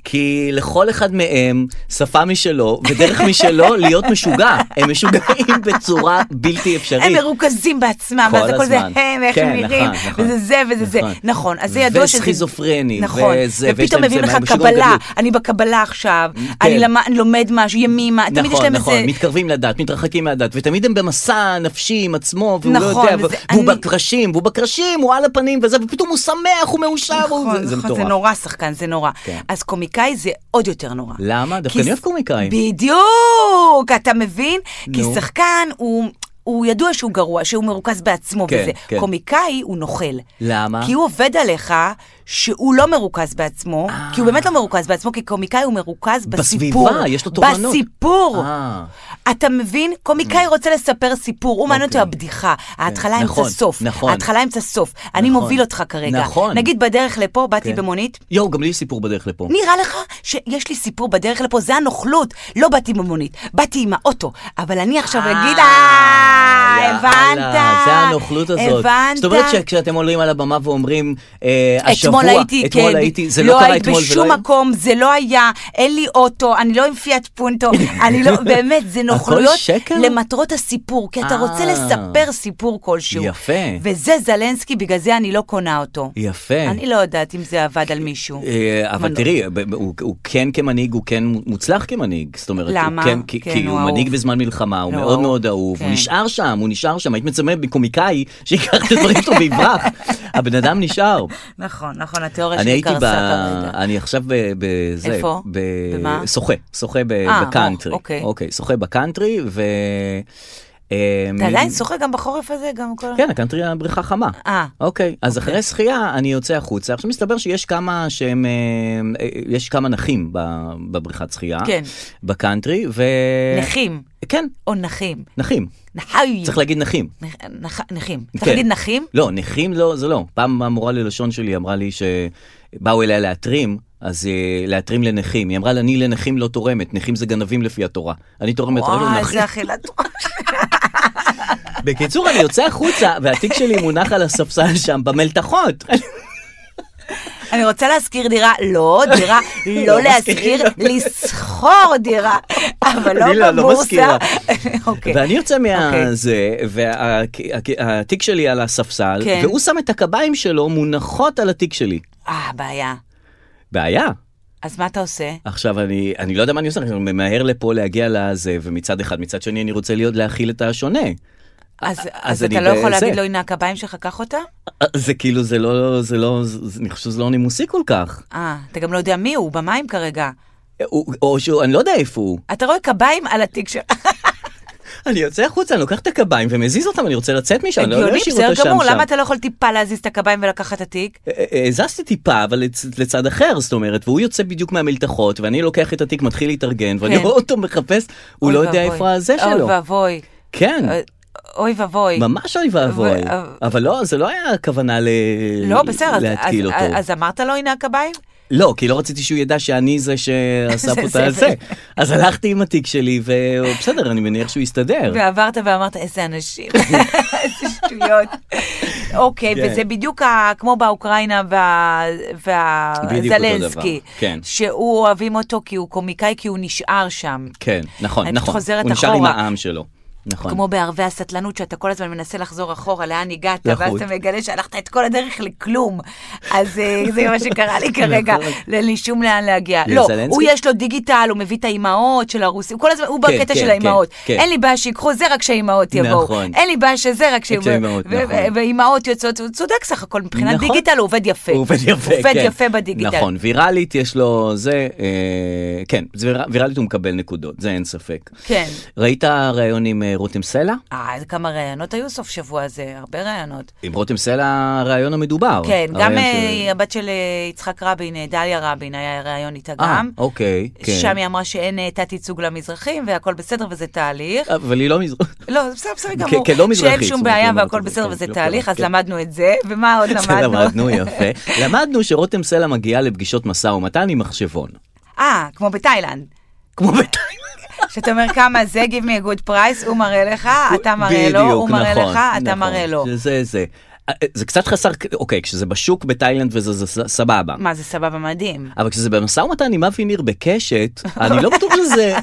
Speaker 2: כי לכל אחד מהם שפה משלו ודרך משלו להיות משוגע. הם משוגעים [laughs] בצורה בלתי אפשרית.
Speaker 3: הם מרוכזים בעצמם,
Speaker 2: כל
Speaker 3: ואז הכל זה
Speaker 2: הזמן.
Speaker 3: הם, איך
Speaker 2: כן,
Speaker 3: הם נראים,
Speaker 2: נכון, נכון.
Speaker 3: וזה זה וזה זה.
Speaker 2: נכון.
Speaker 3: נכון, אז זה ידוע שזה...
Speaker 2: וסכיזופרני,
Speaker 3: נכון,
Speaker 2: וזה, ויש
Speaker 3: ופתאום
Speaker 2: להם
Speaker 3: מביאים
Speaker 2: זה,
Speaker 3: לך
Speaker 2: והם בשיגעון
Speaker 3: קבלה,
Speaker 2: גדלות.
Speaker 3: אני בקבלה עכשיו, אני למד- אני לומד משהו, ימימה, תמיד יש
Speaker 2: כן. נכון,
Speaker 3: להם
Speaker 2: נכון,
Speaker 3: איזה...
Speaker 2: מתקרבים לדת, מתרחקים מהדת, ותמיד הם במסע נפשי עם עצמו, והוא
Speaker 3: נכון,
Speaker 2: לא יודע,
Speaker 3: וזה-
Speaker 2: והוא
Speaker 3: אני-
Speaker 2: בקרשים, והוא בקרשים, הוא על הפנים וזה, ופתאום הוא שמח, הוא מאושר, הוא...
Speaker 3: נכון,
Speaker 2: זה
Speaker 3: נכון,
Speaker 2: מטורף.
Speaker 3: זה נורא שחקן, זה נורא.
Speaker 2: כן.
Speaker 3: אז קומיקאי זה עוד יותר נורא.
Speaker 2: למה? דווקא
Speaker 3: כי
Speaker 2: אני אוהב
Speaker 3: ש-
Speaker 2: קומיקאים.
Speaker 3: בדיוק, אתה מבין? כי
Speaker 2: נו.
Speaker 3: שחקן הוא... הוא ידוע שהוא גרוע, שהוא מרוכז בעצמו
Speaker 2: כן,
Speaker 3: וזה.
Speaker 2: כן.
Speaker 3: קומיקאי הוא נוכל.
Speaker 2: למה?
Speaker 3: כי הוא עובד עליך שהוא לא מרוכז בעצמו, כי הוא באמת לא מרוכז בעצמו, כי קומיקאי הוא מרוכז
Speaker 2: אה. בסביבה,
Speaker 3: בסיפור.
Speaker 2: יש לו תובנות.
Speaker 3: בסיפור.
Speaker 2: אה.
Speaker 3: אתה מבין? קומיקאי רוצה לספר סיפור, הוא מעניין אותו הבדיחה, ההתחלה אמצע
Speaker 2: Mm. אוקיי. נכון,
Speaker 3: סוף.
Speaker 2: נכון.
Speaker 3: ההתחלה אמצע סוף. אני
Speaker 2: נכון.
Speaker 3: מוביל אותך כרגע.
Speaker 2: נכון. כן.
Speaker 3: נגיד בדרך לפה, באתי במונית,
Speaker 2: יואו, גם לי יש סיפור בדרך לפה.
Speaker 3: נראה לך שיש לי סיפור בדרך לפה, זה הנוכלות. לא באתי עם המונית, באתי עם האוטו. אבל אני עכשיו אגיד, אה,
Speaker 2: אה, יאללה,
Speaker 3: הבנת.
Speaker 2: זה הנוכלות הזאת.
Speaker 3: הבנת.
Speaker 2: זאת אומרת שכשאתם עולים על הבמה ואומרים, אה, השבוע,
Speaker 3: אתמול הייתי,
Speaker 2: אתמול
Speaker 3: כן,
Speaker 2: הייתי, זה לא קרה
Speaker 3: היית
Speaker 2: אתמול ולא
Speaker 3: בשום
Speaker 2: היום.
Speaker 3: מקום, זה לא היה, אין לי אוטו, אני לא עם פיאט
Speaker 2: [laughs]
Speaker 3: פונטו, אני לא, באמת, זה נוכלויות
Speaker 2: שקר?
Speaker 3: למטרות הסיפור, כי אתה רוצה
Speaker 2: אה.
Speaker 3: לספר סיפור כלשהו.
Speaker 2: יפה.
Speaker 3: וזה זלנסקי, בגלל זה אני לא קונה אותו.
Speaker 2: יפה.
Speaker 3: אני לא יודעת אם זה עבד על מישהו.
Speaker 2: אה,
Speaker 3: אבל
Speaker 2: אבל
Speaker 3: לא.
Speaker 2: תראי, ב- ב- הוא הוא כן כמנהיג, הוא כן מוצלח כמנהיג. זאת אומרת, הוא
Speaker 3: למה?
Speaker 2: כן, כי-
Speaker 3: כן,
Speaker 2: כי
Speaker 3: הוא
Speaker 2: הוא
Speaker 3: אהוב.
Speaker 2: מנהיג בזמן מלחמה, הוא
Speaker 3: לא,
Speaker 2: מאוד
Speaker 3: הוא-
Speaker 2: מאוד אהוב, הוא
Speaker 3: כן.
Speaker 2: נשאר שם, הוא נשאר שם. היית מצמא בקומיקאי שיקח את הדברים שלו
Speaker 3: [laughs]
Speaker 2: ויברח. הבן אדם נשאר.
Speaker 3: נכון, נכון, התיאוריה
Speaker 2: אני
Speaker 3: שלי
Speaker 2: הייתי ב...
Speaker 3: קרסה כרגע.
Speaker 2: אני עכשיו ב- בזה.
Speaker 3: איפה?
Speaker 2: ב-
Speaker 3: במה?
Speaker 2: שוחה, שוחה ב-
Speaker 3: אה,
Speaker 2: בקאנטרי.
Speaker 3: אוקיי.
Speaker 2: אוקיי, שוחה בקאנטרי, ו... אמ,
Speaker 3: אתה עדיין שוחה גם בחורף הזה? גם כל...
Speaker 2: כן, הקאנטרי הבריכה חמה.
Speaker 3: אה.
Speaker 2: אוקיי, אז אחרי שחייה אני יוצא החוצה. עכשיו מסתבר שיש כמה שהם, אה, אה, יש כמה נכים ב- בבריכת שחייה.
Speaker 3: כן.
Speaker 2: בקאנטרי, ו...
Speaker 3: נכים,
Speaker 2: כן,
Speaker 3: או נחים.
Speaker 2: נכים.
Speaker 3: נחיי.
Speaker 2: צריך להגיד נכים.
Speaker 3: נח- נח- נכים. צריך
Speaker 2: כן.
Speaker 3: להגיד נחים?
Speaker 2: לא, נכים לא, זה לא. פעם המורה ללשון שלי אמרה לי שבאו אליה להתרים, אז אה, להתרים לנכים. היא אמרה לי, אני לנכים לא תורמת, נכים זה גנבים לפי התורה. אני תורמת רק
Speaker 3: וואי,
Speaker 2: לנכים.
Speaker 3: איזה אכילת
Speaker 2: בקיצור, אני יוצא החוצה, והתיק שלי מונח על הספסל שם, במלתחות.
Speaker 3: אוקיי. אני רוצה להשכיר דירה, לא
Speaker 2: [laughs]
Speaker 3: דירה, לא
Speaker 2: לא משכירים,
Speaker 3: להשכיר, לשכור דירה, אבל
Speaker 2: אני
Speaker 3: לא
Speaker 2: לא- לא
Speaker 3: בבורסה.
Speaker 2: משכירה.
Speaker 3: [laughs] אוקיי.
Speaker 2: ואני יוצא
Speaker 3: אוקיי.
Speaker 2: מהזה, והתיק שלי על הספסל,
Speaker 3: כן.
Speaker 2: והוא שם את הקביים שלו מונחות על התיק שלי.
Speaker 3: אה, בעיה.
Speaker 2: בעיה.
Speaker 3: אז מה אתה עושה?
Speaker 2: עכשיו אני, אני לא יודע מה אני עושה, אני ממהר לפה להגיע לזה, ומצד אחד, מצד שני אני רוצה להיות להכיל את השונה.
Speaker 3: אז, אז,
Speaker 2: אני
Speaker 3: אתה לא יכול
Speaker 2: בזה.
Speaker 3: להגיד לו, הנה הקביים שלך, קח אותה?
Speaker 2: זה כאילו, זה לא, זה לא, זה, אני חושב שזה לא נימוסי כל כך.
Speaker 3: אה, אתה גם לא יודע מי הוא, הוא במים כרגע.
Speaker 2: הוא- או שהוא, אני לא יודע איפה הוא.
Speaker 3: אתה רואה קביים על התיק שלך.
Speaker 2: אני יוצא החוצה, אני לוקח את הקביים ומזיז אותם, אני רוצה לצאת משם, אני [laughs] לא
Speaker 3: הגיוני,
Speaker 2: אשאיר
Speaker 3: בסדר
Speaker 2: אותו שם
Speaker 3: גמור,
Speaker 2: שם.
Speaker 3: למה אתה לא יכול טיפה להזיז את הקביים ולקחת את התיק?
Speaker 2: אה, אה, הזזתי טיפה, אבל לצ- לצד אחר, זאת אומרת, והוא יוצא בדיוק מהמלתחות, ואני לוקח את התיק, מתחיל להתארגן, ואני
Speaker 3: כן.
Speaker 2: רואה אותו מחפש, הוא
Speaker 3: אוי
Speaker 2: לא יודע
Speaker 3: ואבוי.
Speaker 2: איפה הזה שלו.
Speaker 3: אוי ואבוי.
Speaker 2: כן,
Speaker 3: אה, אוי ואבוי.
Speaker 2: ממש אוי ואבוי.
Speaker 3: אבל- אבל-
Speaker 2: אבל לא, זה לא היה הכוונה ל-
Speaker 3: לא, בסדר, אז-
Speaker 2: להתקיל
Speaker 3: אז-
Speaker 2: אותו.
Speaker 3: אז- אז אמרת לו, הנה הקביים?
Speaker 2: לא, כי לא רציתי שהוא ידע שאני זה שעשה
Speaker 3: [laughs] זה-
Speaker 2: פה את
Speaker 3: זה-
Speaker 2: הזה. אז הלכתי עם התיק שלי, ובסדר, אני מניח שהוא יסתדר.
Speaker 3: ועברת ואמרת,
Speaker 2: [laughs]
Speaker 3: איזה אנשים, איזה שטויות. אוקיי,
Speaker 2: כן.
Speaker 3: וזה בדיוק ה- כמו באוקראינה
Speaker 2: בדיוק אותו
Speaker 3: והזלנסקי,
Speaker 2: דבר, כן.
Speaker 3: שהוא אוהבים אותו כי הוא קומיקאי, כי הוא נשאר שם.
Speaker 2: כן, נכון,
Speaker 3: אני
Speaker 2: נכון.
Speaker 3: חוזרת
Speaker 2: הוא נשאר עם
Speaker 3: אחורה.
Speaker 2: העם שלו. נכון.
Speaker 3: כמו בערבי הסטלנות, שאתה כל הזמן מנסה לחזור אחורה, לאן הגעת, ואז
Speaker 2: לחוט.
Speaker 3: אתה מגלה שהלכת את כל הדרך לכלום. אז אה, זה מה
Speaker 2: [laughs]
Speaker 3: שקרה לי כרגע, אין לי שום לאן להגיע. לא,
Speaker 2: לזלנסקי?
Speaker 3: הוא יש לו דיגיטל, הוא מביא את האימהות של הרוסים, כל הזמן, הוא
Speaker 2: כן,
Speaker 3: בקטע
Speaker 2: כן,
Speaker 3: של
Speaker 2: כן,
Speaker 3: האימהות.
Speaker 2: כן.
Speaker 3: אין לי בעיה שיקחו זה, רק שהאימהות יבואו.
Speaker 2: נכון.
Speaker 3: אין לי בעיה שזה, רק
Speaker 2: שהאימהות,
Speaker 3: שהאימהות.
Speaker 2: נכון.
Speaker 3: ואימהות יוצאות, הוא צודק סך הכל, מבחינת
Speaker 2: נכון.
Speaker 3: דיגיטל הוא עובד יפה.
Speaker 2: הוא עובד יפה,
Speaker 3: עובד
Speaker 2: כן.
Speaker 3: יפה בדיגיטל.
Speaker 2: נכון, ויראלית יש לו זה, אה, כן, זה ויר- ויראלית הוא מקבל נקודות, זה אין ספק.
Speaker 3: כן.
Speaker 2: ראית ראיון עם אה, רותם סלע?
Speaker 3: אה, אז כמה ראיונות היו סוף שבוע הזה, הרבה ראיונות.
Speaker 2: עם רותם סלע הראיון המדובר.
Speaker 3: כן, גם
Speaker 2: הראיון
Speaker 3: אה,
Speaker 2: ש-
Speaker 3: הבת של אה, יצחק רבין, אה, דליה רבין, היה ראיון איתה
Speaker 2: אה,
Speaker 3: גם.
Speaker 2: אוקיי, כן.
Speaker 3: שם היא אמרה שאין אה, תת-ייצוג למזרחים והכל בסדר וזה תהליך.
Speaker 2: אבל היא לא מזרחית.
Speaker 3: לא, זה בסדר, בסדר
Speaker 2: כן,
Speaker 3: גמור.
Speaker 2: כן, לא מזרחית,
Speaker 3: שאין
Speaker 2: זאת
Speaker 3: שום
Speaker 2: אומרת,
Speaker 3: בעיה
Speaker 2: לא
Speaker 3: והכל
Speaker 2: אמרת,
Speaker 3: בסדר
Speaker 2: כן,
Speaker 3: וזה
Speaker 2: לא
Speaker 3: תהליך,
Speaker 2: קרה,
Speaker 3: אז
Speaker 2: כן.
Speaker 3: למדנו את זה, ומה
Speaker 2: [laughs]
Speaker 3: עוד
Speaker 2: זה
Speaker 3: למדנו?
Speaker 2: למדנו יפה. למדנו שרותם סלע מגיעה לפגישות משא ומתן עם מחשבון.
Speaker 3: [laughs] אה, כמו בתאילנד.
Speaker 2: כמו בטח.
Speaker 3: שאתה אומר כמה זה, give me a good price, הוא מראה לך, אתה מראה לו, הוא מראה
Speaker 2: נכון,
Speaker 3: לך, אתה
Speaker 2: נכון.
Speaker 3: מראה לו.
Speaker 2: זה זה. אה, זה קצת חסר, אוקיי, כשזה בשוק בתאילנד וזה זה ס- סבבה.
Speaker 3: מה, זה סבבה מדהים.
Speaker 2: אבל כשזה במשא ומתן עם אבי ניר בקשת, אני לא בטוח שזה,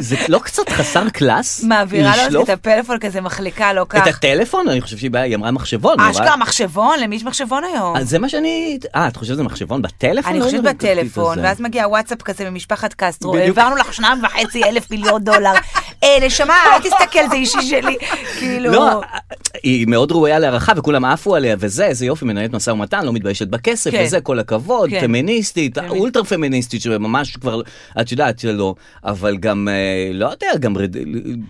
Speaker 2: זה לא קצת חסר קלאס?
Speaker 3: מעבירה לו
Speaker 2: לשלוף
Speaker 3: את הפלאפון כזה, מחליקה לו
Speaker 2: את
Speaker 3: כך.
Speaker 2: הטלפון? אני חושב שהיא באה- היא אמרה מחשבון. היא אמרה-
Speaker 3: אשכרה מחשבון, למי יש מחשבון היום?
Speaker 2: אז זה מה שאני... אה, את חושבת שזה מחשבון בטלפון?
Speaker 3: אני
Speaker 2: לא
Speaker 3: חושבת
Speaker 2: יודעת,
Speaker 3: בטלפון,
Speaker 2: זה.
Speaker 3: ואז מגיע וואטסאפ כזה ממשפחת קסטרו,
Speaker 2: בדיוק.
Speaker 3: העברנו לך שניים וחצי אלף מיליון דולר. [laughs] אה, נשמה, אל תסתכל, זה אישי שלי.
Speaker 2: [laughs]
Speaker 3: כאילו,
Speaker 2: לא, היא מאוד ראויה להערכה וכולם עפו עליה וזה, איזה יופי, מנהלת משא ומתן, לא מתביישת בכסף
Speaker 3: כן.
Speaker 2: וזה, כל הכבוד,
Speaker 3: כן.
Speaker 2: פמיניסטית,
Speaker 3: פמיניסט.
Speaker 2: אולטרה פמיניסטית, שממש כבר, את יודעת שלא, אבל גם, אה, לא יודע, גם רד-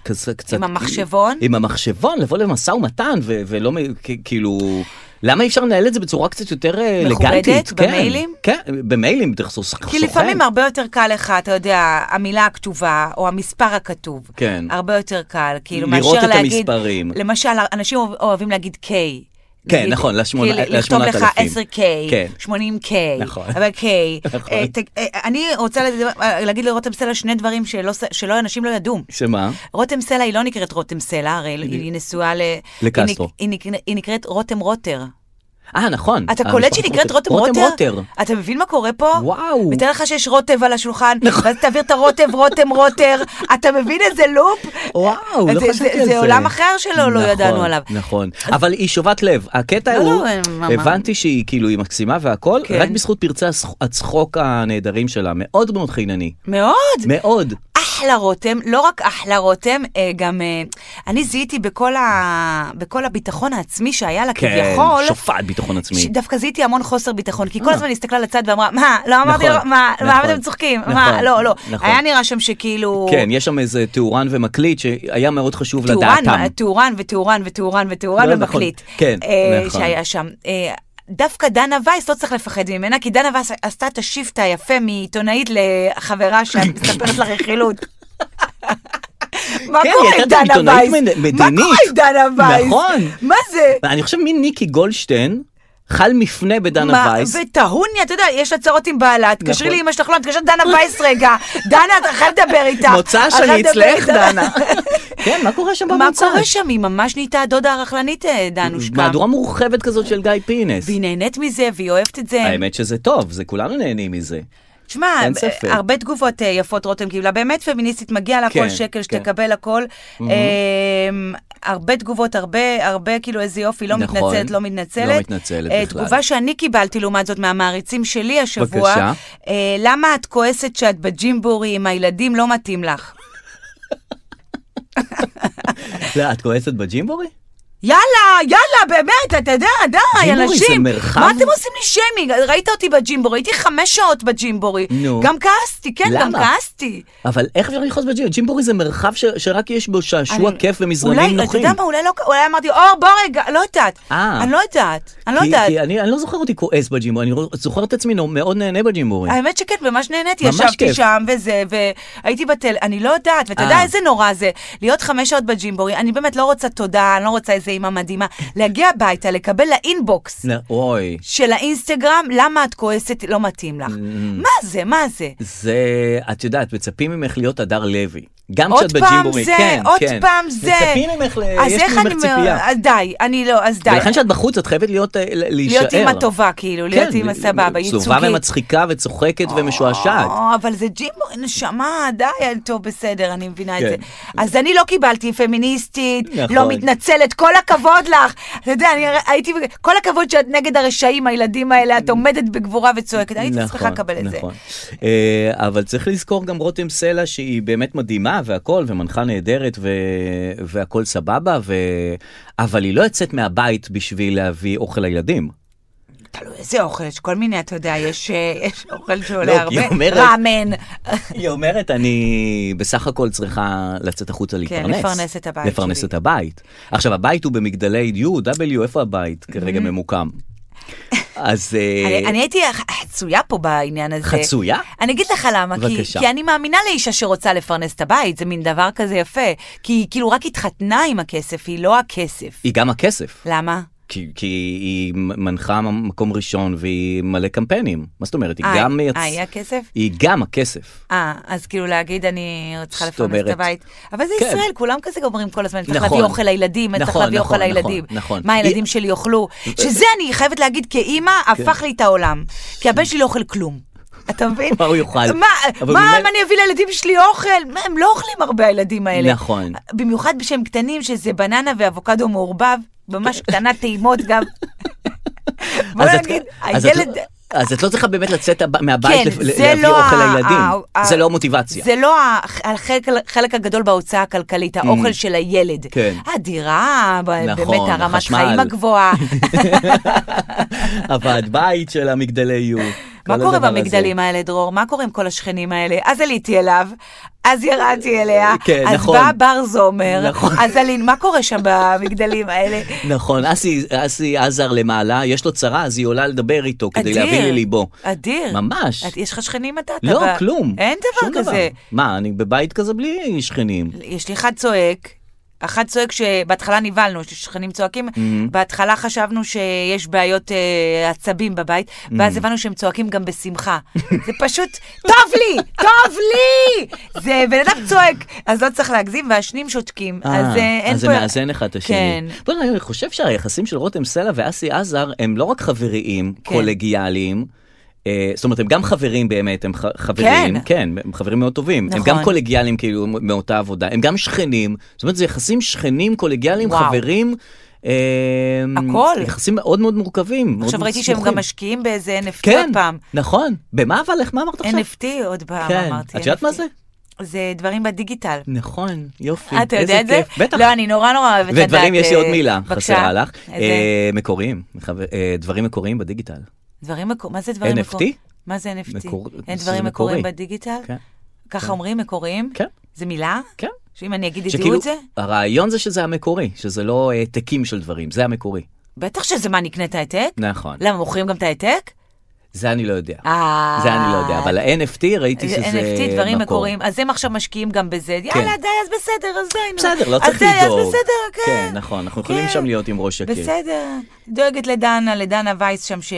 Speaker 2: כזה קצת...
Speaker 3: עם המחשבון?
Speaker 2: עם המחשבון, לבוא למשא ומתן ו- ולא, מ- כ- כאילו... למה אי אפשר לנהל את זה בצורה קצת יותר אה,
Speaker 3: מכובדת?
Speaker 2: אלגנטית? כן,
Speaker 3: במיילים?
Speaker 2: כן, במיילים, דרך סוכן.
Speaker 3: כי לפעמים הרבה יותר קל לך, אתה יודע, המילה הכתובה, או המספר הכתוב.
Speaker 2: כן.
Speaker 3: הרבה יותר קל, כאילו, מאשר
Speaker 2: לראות
Speaker 3: להגיד...
Speaker 2: את המספרים.
Speaker 3: למשל, אנשים אוהב- אוהבים להגיד K.
Speaker 2: כן,
Speaker 3: נגיד,
Speaker 2: נכון, לשמונה-
Speaker 3: כאילו,
Speaker 2: לשמונת
Speaker 3: לכתוב לך
Speaker 2: אלפים.
Speaker 3: 10K,
Speaker 2: כן.
Speaker 3: 80K,
Speaker 2: נכון.
Speaker 3: אבל
Speaker 2: [laughs]
Speaker 3: K.
Speaker 2: נכון.
Speaker 3: אה, ת- אה, אני רוצה לדבר- אה, להגיד לרותם סלע שני דברים שלא ס- שלא אנשים לא ידעו.
Speaker 2: שמה?
Speaker 3: רותם סלע היא לא נקראת רותם סלע, הרי היא נשואה ל...
Speaker 2: לקסטרו.
Speaker 3: היא נק- היא נק- היא נקראת רותם רוטר.
Speaker 2: אה, נכון.
Speaker 3: אתה קולט שהיא נקראת רותם רוטר?
Speaker 2: רוטר.
Speaker 3: אתה מבין מה קורה פה?
Speaker 2: וואו. נכון.
Speaker 3: מתאר לך שיש רוטב על השולחן, ואז תעביר את הרוטב, רותם רוטר. אתה מבין איזה לופ?
Speaker 2: וואו, לא
Speaker 3: זה-
Speaker 2: חשבתי
Speaker 3: זה-
Speaker 2: על זה.
Speaker 3: זה עולם אחר שלא לא
Speaker 2: נכון,
Speaker 3: ידענו עליו.
Speaker 2: נכון, אבל היא שובת לב. הקטע
Speaker 3: לא,
Speaker 2: הוא,
Speaker 3: לא, הם-
Speaker 2: הבנתי שהיא כאילו, היא מקסימה והכל,
Speaker 3: כן.
Speaker 2: רק בזכות פרצי הצח- הצחוק הנהדרים שלה, מאוד מאוד חינני.
Speaker 3: מאוד.
Speaker 2: מאוד.
Speaker 3: אחלה רותם, לא רק אחלה רותם, אה, גם אה, אני זיהיתי בכל ה- בכל הביטחון העצמי שהיה לה
Speaker 2: כן,
Speaker 3: כביכול.
Speaker 2: שופעת ביטחון עצמי.
Speaker 3: דווקא זיהיתי המון חוסר ביטחון, כי כל
Speaker 2: אה.
Speaker 3: הזמן היא הסתכלה לצד ואמרה, מה, לא אמרתי,
Speaker 2: נכון,
Speaker 3: לו- מה, מה
Speaker 2: נכון,
Speaker 3: אתם צוחקים?
Speaker 2: נכון,
Speaker 3: מה, לא, לא.
Speaker 2: נכון.
Speaker 3: היה נראה שם שכאילו...
Speaker 2: כן, יש שם איזה תאורן ומקליט שהיה מאוד חשוב
Speaker 3: טורן,
Speaker 2: לדעתם.
Speaker 3: טורן וטורן וטורן
Speaker 2: לא,
Speaker 3: וטורן
Speaker 2: נכון.
Speaker 3: ומקליט.
Speaker 2: כן,
Speaker 3: אה,
Speaker 2: נכון.
Speaker 3: שהיה שם. אה, דווקא דנה וייס לא צריך לפחד ממנה, כי דנה וייס עשתה את השיפט היפה מעיתונאית
Speaker 2: [laughs]
Speaker 3: לחברה שמספרת לך רכילות. מה
Speaker 2: כן,
Speaker 3: קורה
Speaker 2: היא
Speaker 3: עם
Speaker 2: הייתה
Speaker 3: דנה
Speaker 2: עיתונאית
Speaker 3: וייס?
Speaker 2: מד-
Speaker 3: מה קורה עם
Speaker 2: מדינית.
Speaker 3: דנה וייס?
Speaker 2: נכון.
Speaker 3: מה זה?
Speaker 2: אני חושב מין ניקי גולדשטיין, חל מפנה בדנה
Speaker 3: מה,
Speaker 2: וייס.
Speaker 3: וטהוני, אתה יודע, יש לה צרות עם בעלה, תקשרי
Speaker 2: נכון.
Speaker 3: לאמא שלך, לא, תקשרי לדנה וייס
Speaker 2: [laughs]
Speaker 3: רגע. דנה, אתה חייב לדבר איתה.
Speaker 2: מוצא שלי אצלך, דנה. כן, מה קורה שם
Speaker 3: [laughs] מה
Speaker 2: במוצא?
Speaker 3: קורה שם? היא ממש נהייתה הדודה הרכלנית, אה, דנושקה.
Speaker 2: מהדורה מורחבת כזאת של גיא פינס.
Speaker 3: והיא נהנית מזה, והיא אוהבת את זה.
Speaker 2: האמת שזה טוב, זה כולנו נהנים מזה. [laughs]
Speaker 3: תשמע,
Speaker 2: אין ספק.
Speaker 3: הרבה תגובות אה, יפות רותם קיבלה, באמת פמיניסטית, מגיע לה
Speaker 2: כן,
Speaker 3: כל שקל,
Speaker 2: כן.
Speaker 3: שתקבל הכל. אמ, הרבה תגובות, הרבה, הרבה כאילו איזה יופי, לא
Speaker 2: נכון.
Speaker 3: מתנצלת, לא מתנצלת.
Speaker 2: לא מתנצלת
Speaker 3: אה,
Speaker 2: בכלל.
Speaker 3: תגובה שאני קיבלתי לעומת זאת מהמעריצים שלי השבוע.
Speaker 2: בבקשה.
Speaker 3: אה, למה את כועסת שאת בג'ימבורי עם הילדים, לא מתאים לך.
Speaker 2: לא, את כועסת בג'ימבורי?
Speaker 3: יאללה, יאללה, באמת, אתה יודע, די,
Speaker 2: ג'ימבורי
Speaker 3: אנשים.
Speaker 2: זה מרחב?
Speaker 3: מה אתם עושים לי שיימינג? ראית אותי בג'ימבורי, הייתי חמש שעות בג'ימבורי.
Speaker 2: נו.
Speaker 3: גם כעסתי, כן, גם
Speaker 2: למה?
Speaker 3: כעסתי.
Speaker 2: אבל איך אפשר לכעוס בג'ימבורי? ג'ימבורי זה מרחב ש- שרק יש בו שעשוע
Speaker 3: אני-
Speaker 2: כיף ומזרנים
Speaker 3: אולי, אתה
Speaker 2: נוחים.
Speaker 3: יודע מה, אולי לא, אולי אמרתי, אור, בוא רגע, לא יודעת.
Speaker 2: אה.
Speaker 3: אני לא יודעת, אני לא
Speaker 2: כי-
Speaker 3: יודעת.
Speaker 2: כי אני אני לא זוכר אותי כועס בג'ימבורי, אני רוא- זוכר את עצמי נו- מאוד נהנה בג'ימבורי.
Speaker 3: האמת שכן, ממש נהניתי,
Speaker 2: ממש
Speaker 3: ישבתי
Speaker 2: כיף.
Speaker 3: שם וזה, והייתי בטל, אני לא יודעת, ואתה יודע
Speaker 2: אה.
Speaker 3: איזה נורא זה, להיות חמש שעות בג'ימבורי, אני באמת לא רוצה תודה, אני לא רוצה איזה אימא מדהימה, להגיע הביתה, לקבל לאינבוקס
Speaker 2: נ- אוי.
Speaker 3: של האינסטגרם, למה את כועסת, לא מתאים לך. מה זה, מה זה?
Speaker 2: Mm-hmm. זה, את יודעת, מצפים ממך להיות הדר לוי. גם
Speaker 3: עוד
Speaker 2: כשאת
Speaker 3: פעם
Speaker 2: בג'ימבורי,
Speaker 3: זה,
Speaker 2: כן,
Speaker 3: עוד
Speaker 2: כן.
Speaker 3: פעם זה.
Speaker 2: מצפים ממך, ל-
Speaker 3: אז
Speaker 2: יש
Speaker 3: איך
Speaker 2: ממך
Speaker 3: אני מ-
Speaker 2: ציפייה.
Speaker 3: אז די, אני לא, אז די.
Speaker 2: ולכן כשאת בחוץ, את חייבת להיות, אה, ל- להישאר.
Speaker 3: להיות אימא טובה, כאילו,
Speaker 2: כן,
Speaker 3: להיות אימא סבבה, ייצוגית.
Speaker 2: טובה ומצחיקה וצוחקת ומשועשעת.
Speaker 3: או, אבל זה ג'ימבורי, נשמה, די, טוב, בסדר, אני מבינה את
Speaker 2: כן.
Speaker 3: זה. אז אני לא קיבלתי פמיניסטית,
Speaker 2: נכון.
Speaker 3: לא מתנצלת, כל הכבוד לך. אתה יודע, אני הייתי, כל הכבוד שאת נגד הרשעים, הילדים האלה, את עומדת בגבורה וצועקת, הייתי צריכה
Speaker 2: נכון,
Speaker 3: לקבל את זה.
Speaker 2: נכון. אה, אבל צריך לזכור גם רותם סלע שהיא באמת מדהימה והכל ומנחה נהדרת ו... והכל סבבה ו... אבל היא לא יוצאת מהבית בשביל להביא אוכל לילדים.
Speaker 3: תלוי איזה אוכל, יש כל מיני, אתה יודע, יש אה, יש אוכל
Speaker 2: לא, כי
Speaker 3: שעולה הרבה,
Speaker 2: היא אומרת-
Speaker 3: ראמן.
Speaker 2: היא אומרת, אני בסך הכל צריכה לצאת החוצה להתפרנס.
Speaker 3: כן, לפרנס את הבית
Speaker 2: לפרנס
Speaker 3: שלי.
Speaker 2: את הבית. עכשיו, הבית הוא במגדלי U, W, איפה הבית כרגע ממוקם? אז... אה,
Speaker 3: Mm-hmm. אני אני הייתי ח- חצויה פה בעניין הזה.
Speaker 2: חצויה?
Speaker 3: אני אגיד לך למה, כי,
Speaker 2: בבקשה.
Speaker 3: כי אני מאמינה לאישה שרוצה לפרנס את הבית, זה מין דבר כזה יפה. כי היא כאילו רק התחתנה עם הכסף, היא לא הכסף.
Speaker 2: היא גם הכסף,
Speaker 3: למה?
Speaker 2: כי, כי היא מנחה מקום ראשון והיא מלא קמפיינים. מה זאת אומרת? היא
Speaker 3: אה,
Speaker 2: גם מייצ...
Speaker 3: אה, היא הכסף?
Speaker 2: היא גם הכסף.
Speaker 3: אה, אז כאילו להגיד אני צריכה
Speaker 2: זאת
Speaker 3: לפרנס את
Speaker 2: אומרת-
Speaker 3: הבית. אבל זה
Speaker 2: כן.
Speaker 3: ישראל, כולם כזה אומרים כל הזמן, צריך
Speaker 2: נכון.
Speaker 3: להביא אוכל לילדים, צריך
Speaker 2: נכון,
Speaker 3: להביא
Speaker 2: נכון,
Speaker 3: אוכל
Speaker 2: נכון,
Speaker 3: לילדים.
Speaker 2: נכון.
Speaker 3: מה הילדים
Speaker 2: היא- כן.
Speaker 3: שלי יאכלו? שזה אני חייבת להגיד כאימא, הפך לי את העולם. כי הבן שלי לא אוכל כלום. אתה מבין?
Speaker 2: מה הוא יאכל?
Speaker 3: מה,
Speaker 2: אבל
Speaker 3: מה
Speaker 2: ממילא-
Speaker 3: אם אני אביא לילדים שלי אוכל? מה, הם לא אוכלים הרבה הילדים האלה.
Speaker 2: נכון.
Speaker 3: במיוחד כשהם קטנים, שזה בננה ואבוקדו מעורבב, ממש קטנה טעימות
Speaker 2: [laughs]
Speaker 3: גם. בוא
Speaker 2: אז את-
Speaker 3: נגיד,
Speaker 2: אז את לא-
Speaker 3: הילד...
Speaker 2: אז את לא צריכה באמת לצאת הב- מהבית
Speaker 3: כן,
Speaker 2: לפ-
Speaker 3: זה
Speaker 2: להביא
Speaker 3: לא
Speaker 2: אוכל
Speaker 3: ה-
Speaker 2: לילדים.
Speaker 3: ה-
Speaker 2: זה
Speaker 3: ה-
Speaker 2: לא המוטיבציה. [laughs]
Speaker 3: זה לא ה- החלק, החלק הגדול בהוצאה הכלכלית, האוכל של הילד.
Speaker 2: Mm. כן.
Speaker 3: הדירה, ב-
Speaker 2: נכון,
Speaker 3: באמת הרמת
Speaker 2: החשמל. לא [laughs]
Speaker 3: חיים הגבוהה.
Speaker 2: הוועד בית של המגדלי יהיו.
Speaker 3: מה
Speaker 2: כל
Speaker 3: קורה
Speaker 2: הדבר הזה.
Speaker 3: במגדלים האלה, דרור? מה קורה עם כל השכנים האלה? אז עליתי אליו, אז ירדתי אליה,
Speaker 2: כן,
Speaker 3: אז
Speaker 2: נכון.
Speaker 3: בא בר זומר,
Speaker 2: נכון.
Speaker 3: אז עלינו, מה קורה שם במגדלים האלה?
Speaker 2: נכון, אסי, אסי עזר למעלה, יש לו צרה, אז היא עולה לדבר איתו כדי
Speaker 3: אדיר,
Speaker 2: להביא לליבו.
Speaker 3: אדיר.
Speaker 2: ממש.
Speaker 3: את- יש לך שכנים אתה? אתה
Speaker 2: לא,
Speaker 3: ב-
Speaker 2: כלום.
Speaker 3: אין
Speaker 2: שום
Speaker 3: דבר כזה.
Speaker 2: מה, אני בבית כזה בלי שכנים.
Speaker 3: יש לי אחד צועק, אחד צועק שבהתחלה נבהלנו, יש לי שכנים צועקים, בהתחלה חשבנו שיש בעיות אה, עצבים בבית, ואז הבנו שהם צועקים גם בשמחה. זה פשוט, טוב לי, טוב לי! זה בן אדם צועק, אז לא צריך להגזים, והשניים שותקים,
Speaker 2: אה,
Speaker 3: אז אה, אין פה...
Speaker 2: אז זה מאזן אחד את השני.
Speaker 3: כן.
Speaker 2: בוא, אני חושב שהיחסים של רותם סלע ואסי עזר הם לא רק חבריים,
Speaker 3: כן.
Speaker 2: קולגיאליים, אה, זאת אומרת, הם גם חברים באמת, הם ח- חברים,
Speaker 3: כן.
Speaker 2: כן, הם חברים מאוד טובים. הם
Speaker 3: נכון.
Speaker 2: גם קולגיאליים כאילו מ- מאותה עבודה, הם גם שכנים, זאת אומרת, זה יחסים שכנים, קולגיאליים,
Speaker 3: וואו.
Speaker 2: חברים. אה,
Speaker 3: הכל.
Speaker 2: יחסים מאוד מאוד מורכבים. מאוד
Speaker 3: עכשיו
Speaker 2: מאוד
Speaker 3: ראיתי שהם
Speaker 2: סבוכים.
Speaker 3: גם משקיעים באיזה NFT
Speaker 2: כן,
Speaker 3: עוד פעם.
Speaker 2: נכון. במה אבל? איך, מה אמרת עכשיו?
Speaker 3: NFT עוד פעם,
Speaker 2: כן.
Speaker 3: אמרתי.
Speaker 2: את יודעת מה
Speaker 3: NFT.
Speaker 2: זה?
Speaker 3: זה דברים בדיגיטל.
Speaker 2: נכון, יופי.
Speaker 3: אה, אתה
Speaker 2: איזה
Speaker 3: יודע את זה?
Speaker 2: כיף, בטח.
Speaker 3: לא, אני נורא נורא אוהבת לדעת.
Speaker 2: ודברים, יש לי
Speaker 3: אה,
Speaker 2: עוד מילה
Speaker 3: בבקשה.
Speaker 2: חסרה לך.
Speaker 3: איזה?
Speaker 2: אה, מקוריים, מחבר- אה, דברים מקוריים בדיגיטל.
Speaker 3: דברים מקור... מה זה דברים
Speaker 2: NFT?
Speaker 3: מקוריים? מה זה NFT?
Speaker 2: מקור-
Speaker 3: אין
Speaker 2: זה
Speaker 3: דברים מקוריים
Speaker 2: מקורי.
Speaker 3: בדיגיטל?
Speaker 2: כן.
Speaker 3: ככה אומרים מקוריים?
Speaker 2: כן.
Speaker 3: זה מילה?
Speaker 2: כן.
Speaker 3: שאם אני אגיד ידעו
Speaker 2: שכאילו,
Speaker 3: את זה?
Speaker 2: הרעיון זה שזה המקורי, שזה לא העתקים של דברים, זה המקורי.
Speaker 3: בטח שזה מה, נקנה את ההעתק?
Speaker 2: נכון.
Speaker 3: למה, מוכרים גם את ההעתק?
Speaker 2: זה אני לא יודע.
Speaker 3: לא. אה.
Speaker 2: זה אני לא יודע, אבל ה-NFT ראיתי שזה
Speaker 3: NFT,
Speaker 2: מקור.
Speaker 3: דברים
Speaker 2: כן.
Speaker 3: מקוריים, אז הם עכשיו משקיעים גם בזה, יאללה, די, אז בסדר, אז די, נו.
Speaker 2: בסדר, לא
Speaker 3: אה, אז
Speaker 2: צריך
Speaker 3: די,
Speaker 2: לדאוג.
Speaker 3: אז בסדר, כן.
Speaker 2: כן, נכון, אנחנו יכולים
Speaker 3: כן.
Speaker 2: שם להיות עם ראש שקט.
Speaker 3: בסדר, דואגת לדנה, לדנה וייס שם, ש...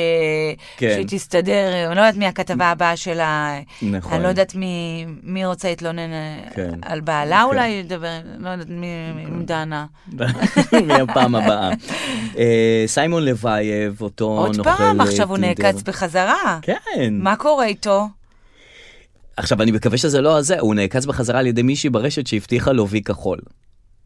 Speaker 2: כן.
Speaker 3: שתסתדר, אני לא יודעת מי הכתבה הבאה שלה,
Speaker 2: נכון.
Speaker 3: אני לא יודעת מי, מי רוצה להתלונן אה,
Speaker 2: כן.
Speaker 3: על בעלה אולי, לדבר, לא יודעת מי, עם דנה.
Speaker 2: [laughs] מהפעם הבאה. אה, סיימון לבייב, אותו נוכל
Speaker 3: עוד פעם,
Speaker 2: אה,
Speaker 3: עכשיו הוא
Speaker 2: טינדר.
Speaker 3: נעקץ בחזרה.
Speaker 2: כן.
Speaker 3: מה קורה איתו?
Speaker 2: עכשיו, אני מקווה שזה לא הזה, הוא נעקץ בחזרה על ידי מישהי ברשת שהבטיחה לו וי כחול.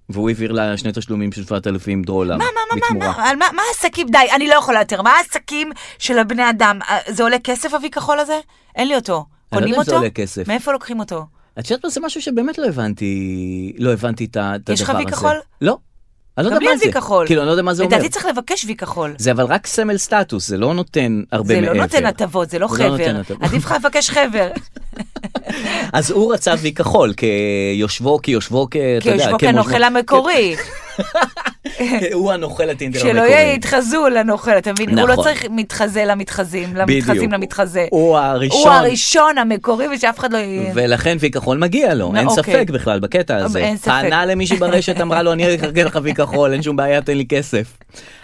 Speaker 2: והוא העביר לה שני תשלומים של 7,000 דולר
Speaker 3: מה, מה, מה, מה,
Speaker 2: בתמורה.
Speaker 3: מה, על מה, מה העסקים? די, אני לא יכולה יותר. מה העסקים של הבני אדם? אה, זה עולה כסף, אבי כחול הזה? אין לי אותו.
Speaker 2: אני לא
Speaker 3: קונים
Speaker 2: יודע אם זה
Speaker 3: אותו?
Speaker 2: עולה כסף.
Speaker 3: מאיפה לוקחים אותו?
Speaker 2: את יודעת מה זה משהו שבאמת לא הבנתי, לא הבנתי את ה- את הדבר
Speaker 3: יש
Speaker 2: הזה.
Speaker 3: לך וי כחול?
Speaker 2: לא. אני לא
Speaker 3: גם
Speaker 2: יודע
Speaker 3: לי
Speaker 2: מה
Speaker 3: אין
Speaker 2: זה.
Speaker 3: וי כחול.
Speaker 2: כאילו, אני לא יודע מה זה אומר.
Speaker 3: לדעתי צריך לבקש וי כחול.
Speaker 2: זה אבל רק סמל סטטוס, זה לא נותן הרבה
Speaker 3: זה
Speaker 2: מעבר.
Speaker 3: לא נותן הטבות, זה לא
Speaker 2: זה לא נותן
Speaker 3: חבר.
Speaker 2: הטבות.
Speaker 3: עדיף לך
Speaker 2: [laughs]
Speaker 3: לבקש חבר.
Speaker 2: אז הוא רצה וי כחול, כיושבו, כיושבו, כ... אתה יודע,
Speaker 3: כי
Speaker 2: כן, לא-
Speaker 3: יושבו
Speaker 2: כמושבו-
Speaker 3: כאן נוכל המקורי.
Speaker 2: כן, [laughs] הוא הנוכל הטינדר
Speaker 3: שלא
Speaker 2: המקורי.
Speaker 3: יהיה יתחזו לנוכל, אתה מבין? הוא לא
Speaker 2: נכון.
Speaker 3: צריך מתחזה למתחזים, למתחזים
Speaker 2: בדיוק.
Speaker 3: למתחזה.
Speaker 2: הוא הראשון.
Speaker 3: הוא הראשון המקורי ושאף אחד לא יהיה...
Speaker 2: ולכן וי כחול מגיע לו,
Speaker 3: נו,
Speaker 2: אין
Speaker 3: אוקיי.
Speaker 2: ספק בכלל בקטע הזה.
Speaker 3: אין ספק.
Speaker 2: פנה למישהי ברשת, אמרה לו, אני ארגן לך וי כחול, אין שום בעיה, תן לי כסף.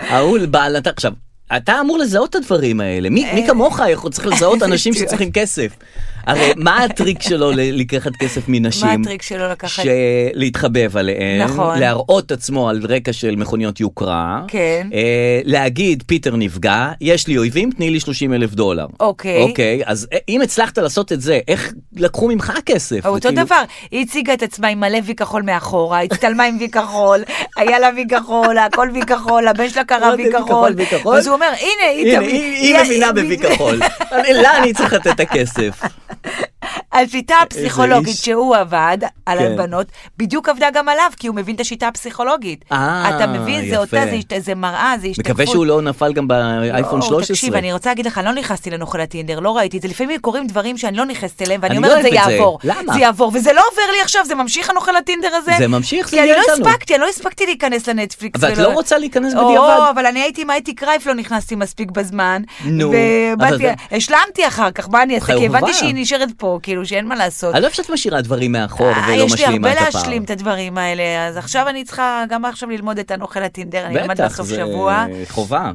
Speaker 2: ההוא בעל... הת- עכשיו, אתה אמור לזהות את הדברים האלה. מי מי כמוך יכול- צריך
Speaker 3: [laughs]
Speaker 2: לזהות אנשים
Speaker 3: אה. בדיוק.
Speaker 2: שצריכים כסף. הרי מה הטריק שלו ל- לקחת כסף מנשים?
Speaker 3: מה הטריק שלו לקחת?
Speaker 2: להתחבב עליהן,
Speaker 3: נכון.
Speaker 2: להראות עצמו על רקע של מכוניות יוקרה,
Speaker 3: כן.
Speaker 2: אה, להגיד פיטר נפגע, יש לי אויבים, תני לי 30 אלף דולר.
Speaker 3: אוקיי.
Speaker 2: אוקיי, אז אה, אם הצלחת לעשות את זה, איך לקחו ממך כסף?
Speaker 3: אותו דבר, היא הציגה את עצמה עם מלא וי כחול מאחורה, הצטלמה עם וי כחול, היה לה וי כחול, הכל וי כחול, הבן שלה קרא
Speaker 2: אמרתי,
Speaker 3: וי
Speaker 2: "וי
Speaker 3: כחול.
Speaker 2: כחול, וי כחול".
Speaker 3: אז הוא אומר, הנה, היא
Speaker 2: הנה,
Speaker 3: תמיד-
Speaker 2: היא היא מבינה בבי כחול. אני- לה אני צריך לתת את
Speaker 3: [laughs]
Speaker 2: הכסף.
Speaker 3: השיטה הפסיכולוגית
Speaker 2: איש.
Speaker 3: שהוא עבד על
Speaker 2: כן.
Speaker 3: הבנות, בדיוק עבדה גם עליו, כי הוא מבין את השיטה הפסיכולוגית.
Speaker 2: אה,
Speaker 3: אתה מבין, זה
Speaker 2: יפה.
Speaker 3: אותה, זה השת- זה מראה, זה השתקפות.
Speaker 2: מקווה שהוא לא נפל גם באייפון
Speaker 3: לא,
Speaker 2: 13.
Speaker 3: תקשיב, אני רוצה להגיד לך, אני לא נכנסתי לנוכל הטינדר, לא ראיתי את זה. לפעמים קורים דברים שאני לא נכנסת אליהם, ואני
Speaker 2: אני
Speaker 3: אומרת,
Speaker 2: לא
Speaker 3: זה
Speaker 2: אוהב את זה.
Speaker 3: יעבור.
Speaker 2: למה?
Speaker 3: זה יעבור, וזה לא עובר לי עכשיו, זה ממשיך הנוכל הטינדר הזה.
Speaker 2: זה ממשיך, זה
Speaker 3: כי אני
Speaker 2: נהיה
Speaker 3: לא
Speaker 2: איתנו.
Speaker 3: הספקתי, אני לא הספקתי להיכנס לנטפליקס.
Speaker 2: אבל את
Speaker 3: ולא-
Speaker 2: לא רוצה להיכנס
Speaker 3: או,
Speaker 2: בדיעבד.
Speaker 3: אבל אני הייתי עם הייטי קרייף, לא נכנסתי מספיק בזמן.
Speaker 2: נו, אבל
Speaker 3: ובאתי,
Speaker 2: זה-
Speaker 3: השלמתי אחר כך, מה אני אעשה? כי
Speaker 2: חייב חובה.
Speaker 3: הבנתי שהיא נשארת פה, כאילו, שאין מה לעשות.
Speaker 2: אני לא חושבת שאת משאירה דברים מאחור
Speaker 3: אה,
Speaker 2: ולא
Speaker 3: יש לי
Speaker 2: לא משלימה
Speaker 3: הרבה
Speaker 2: את הפער.
Speaker 3: להשלים את הדברים האלה, אז עכשיו אני צריכה גם עכשיו ללמוד את הנוכל הטינדר, אני אלמד
Speaker 2: בטח,
Speaker 3: בסוף
Speaker 2: זה
Speaker 3: שבוע.
Speaker 2: חובה.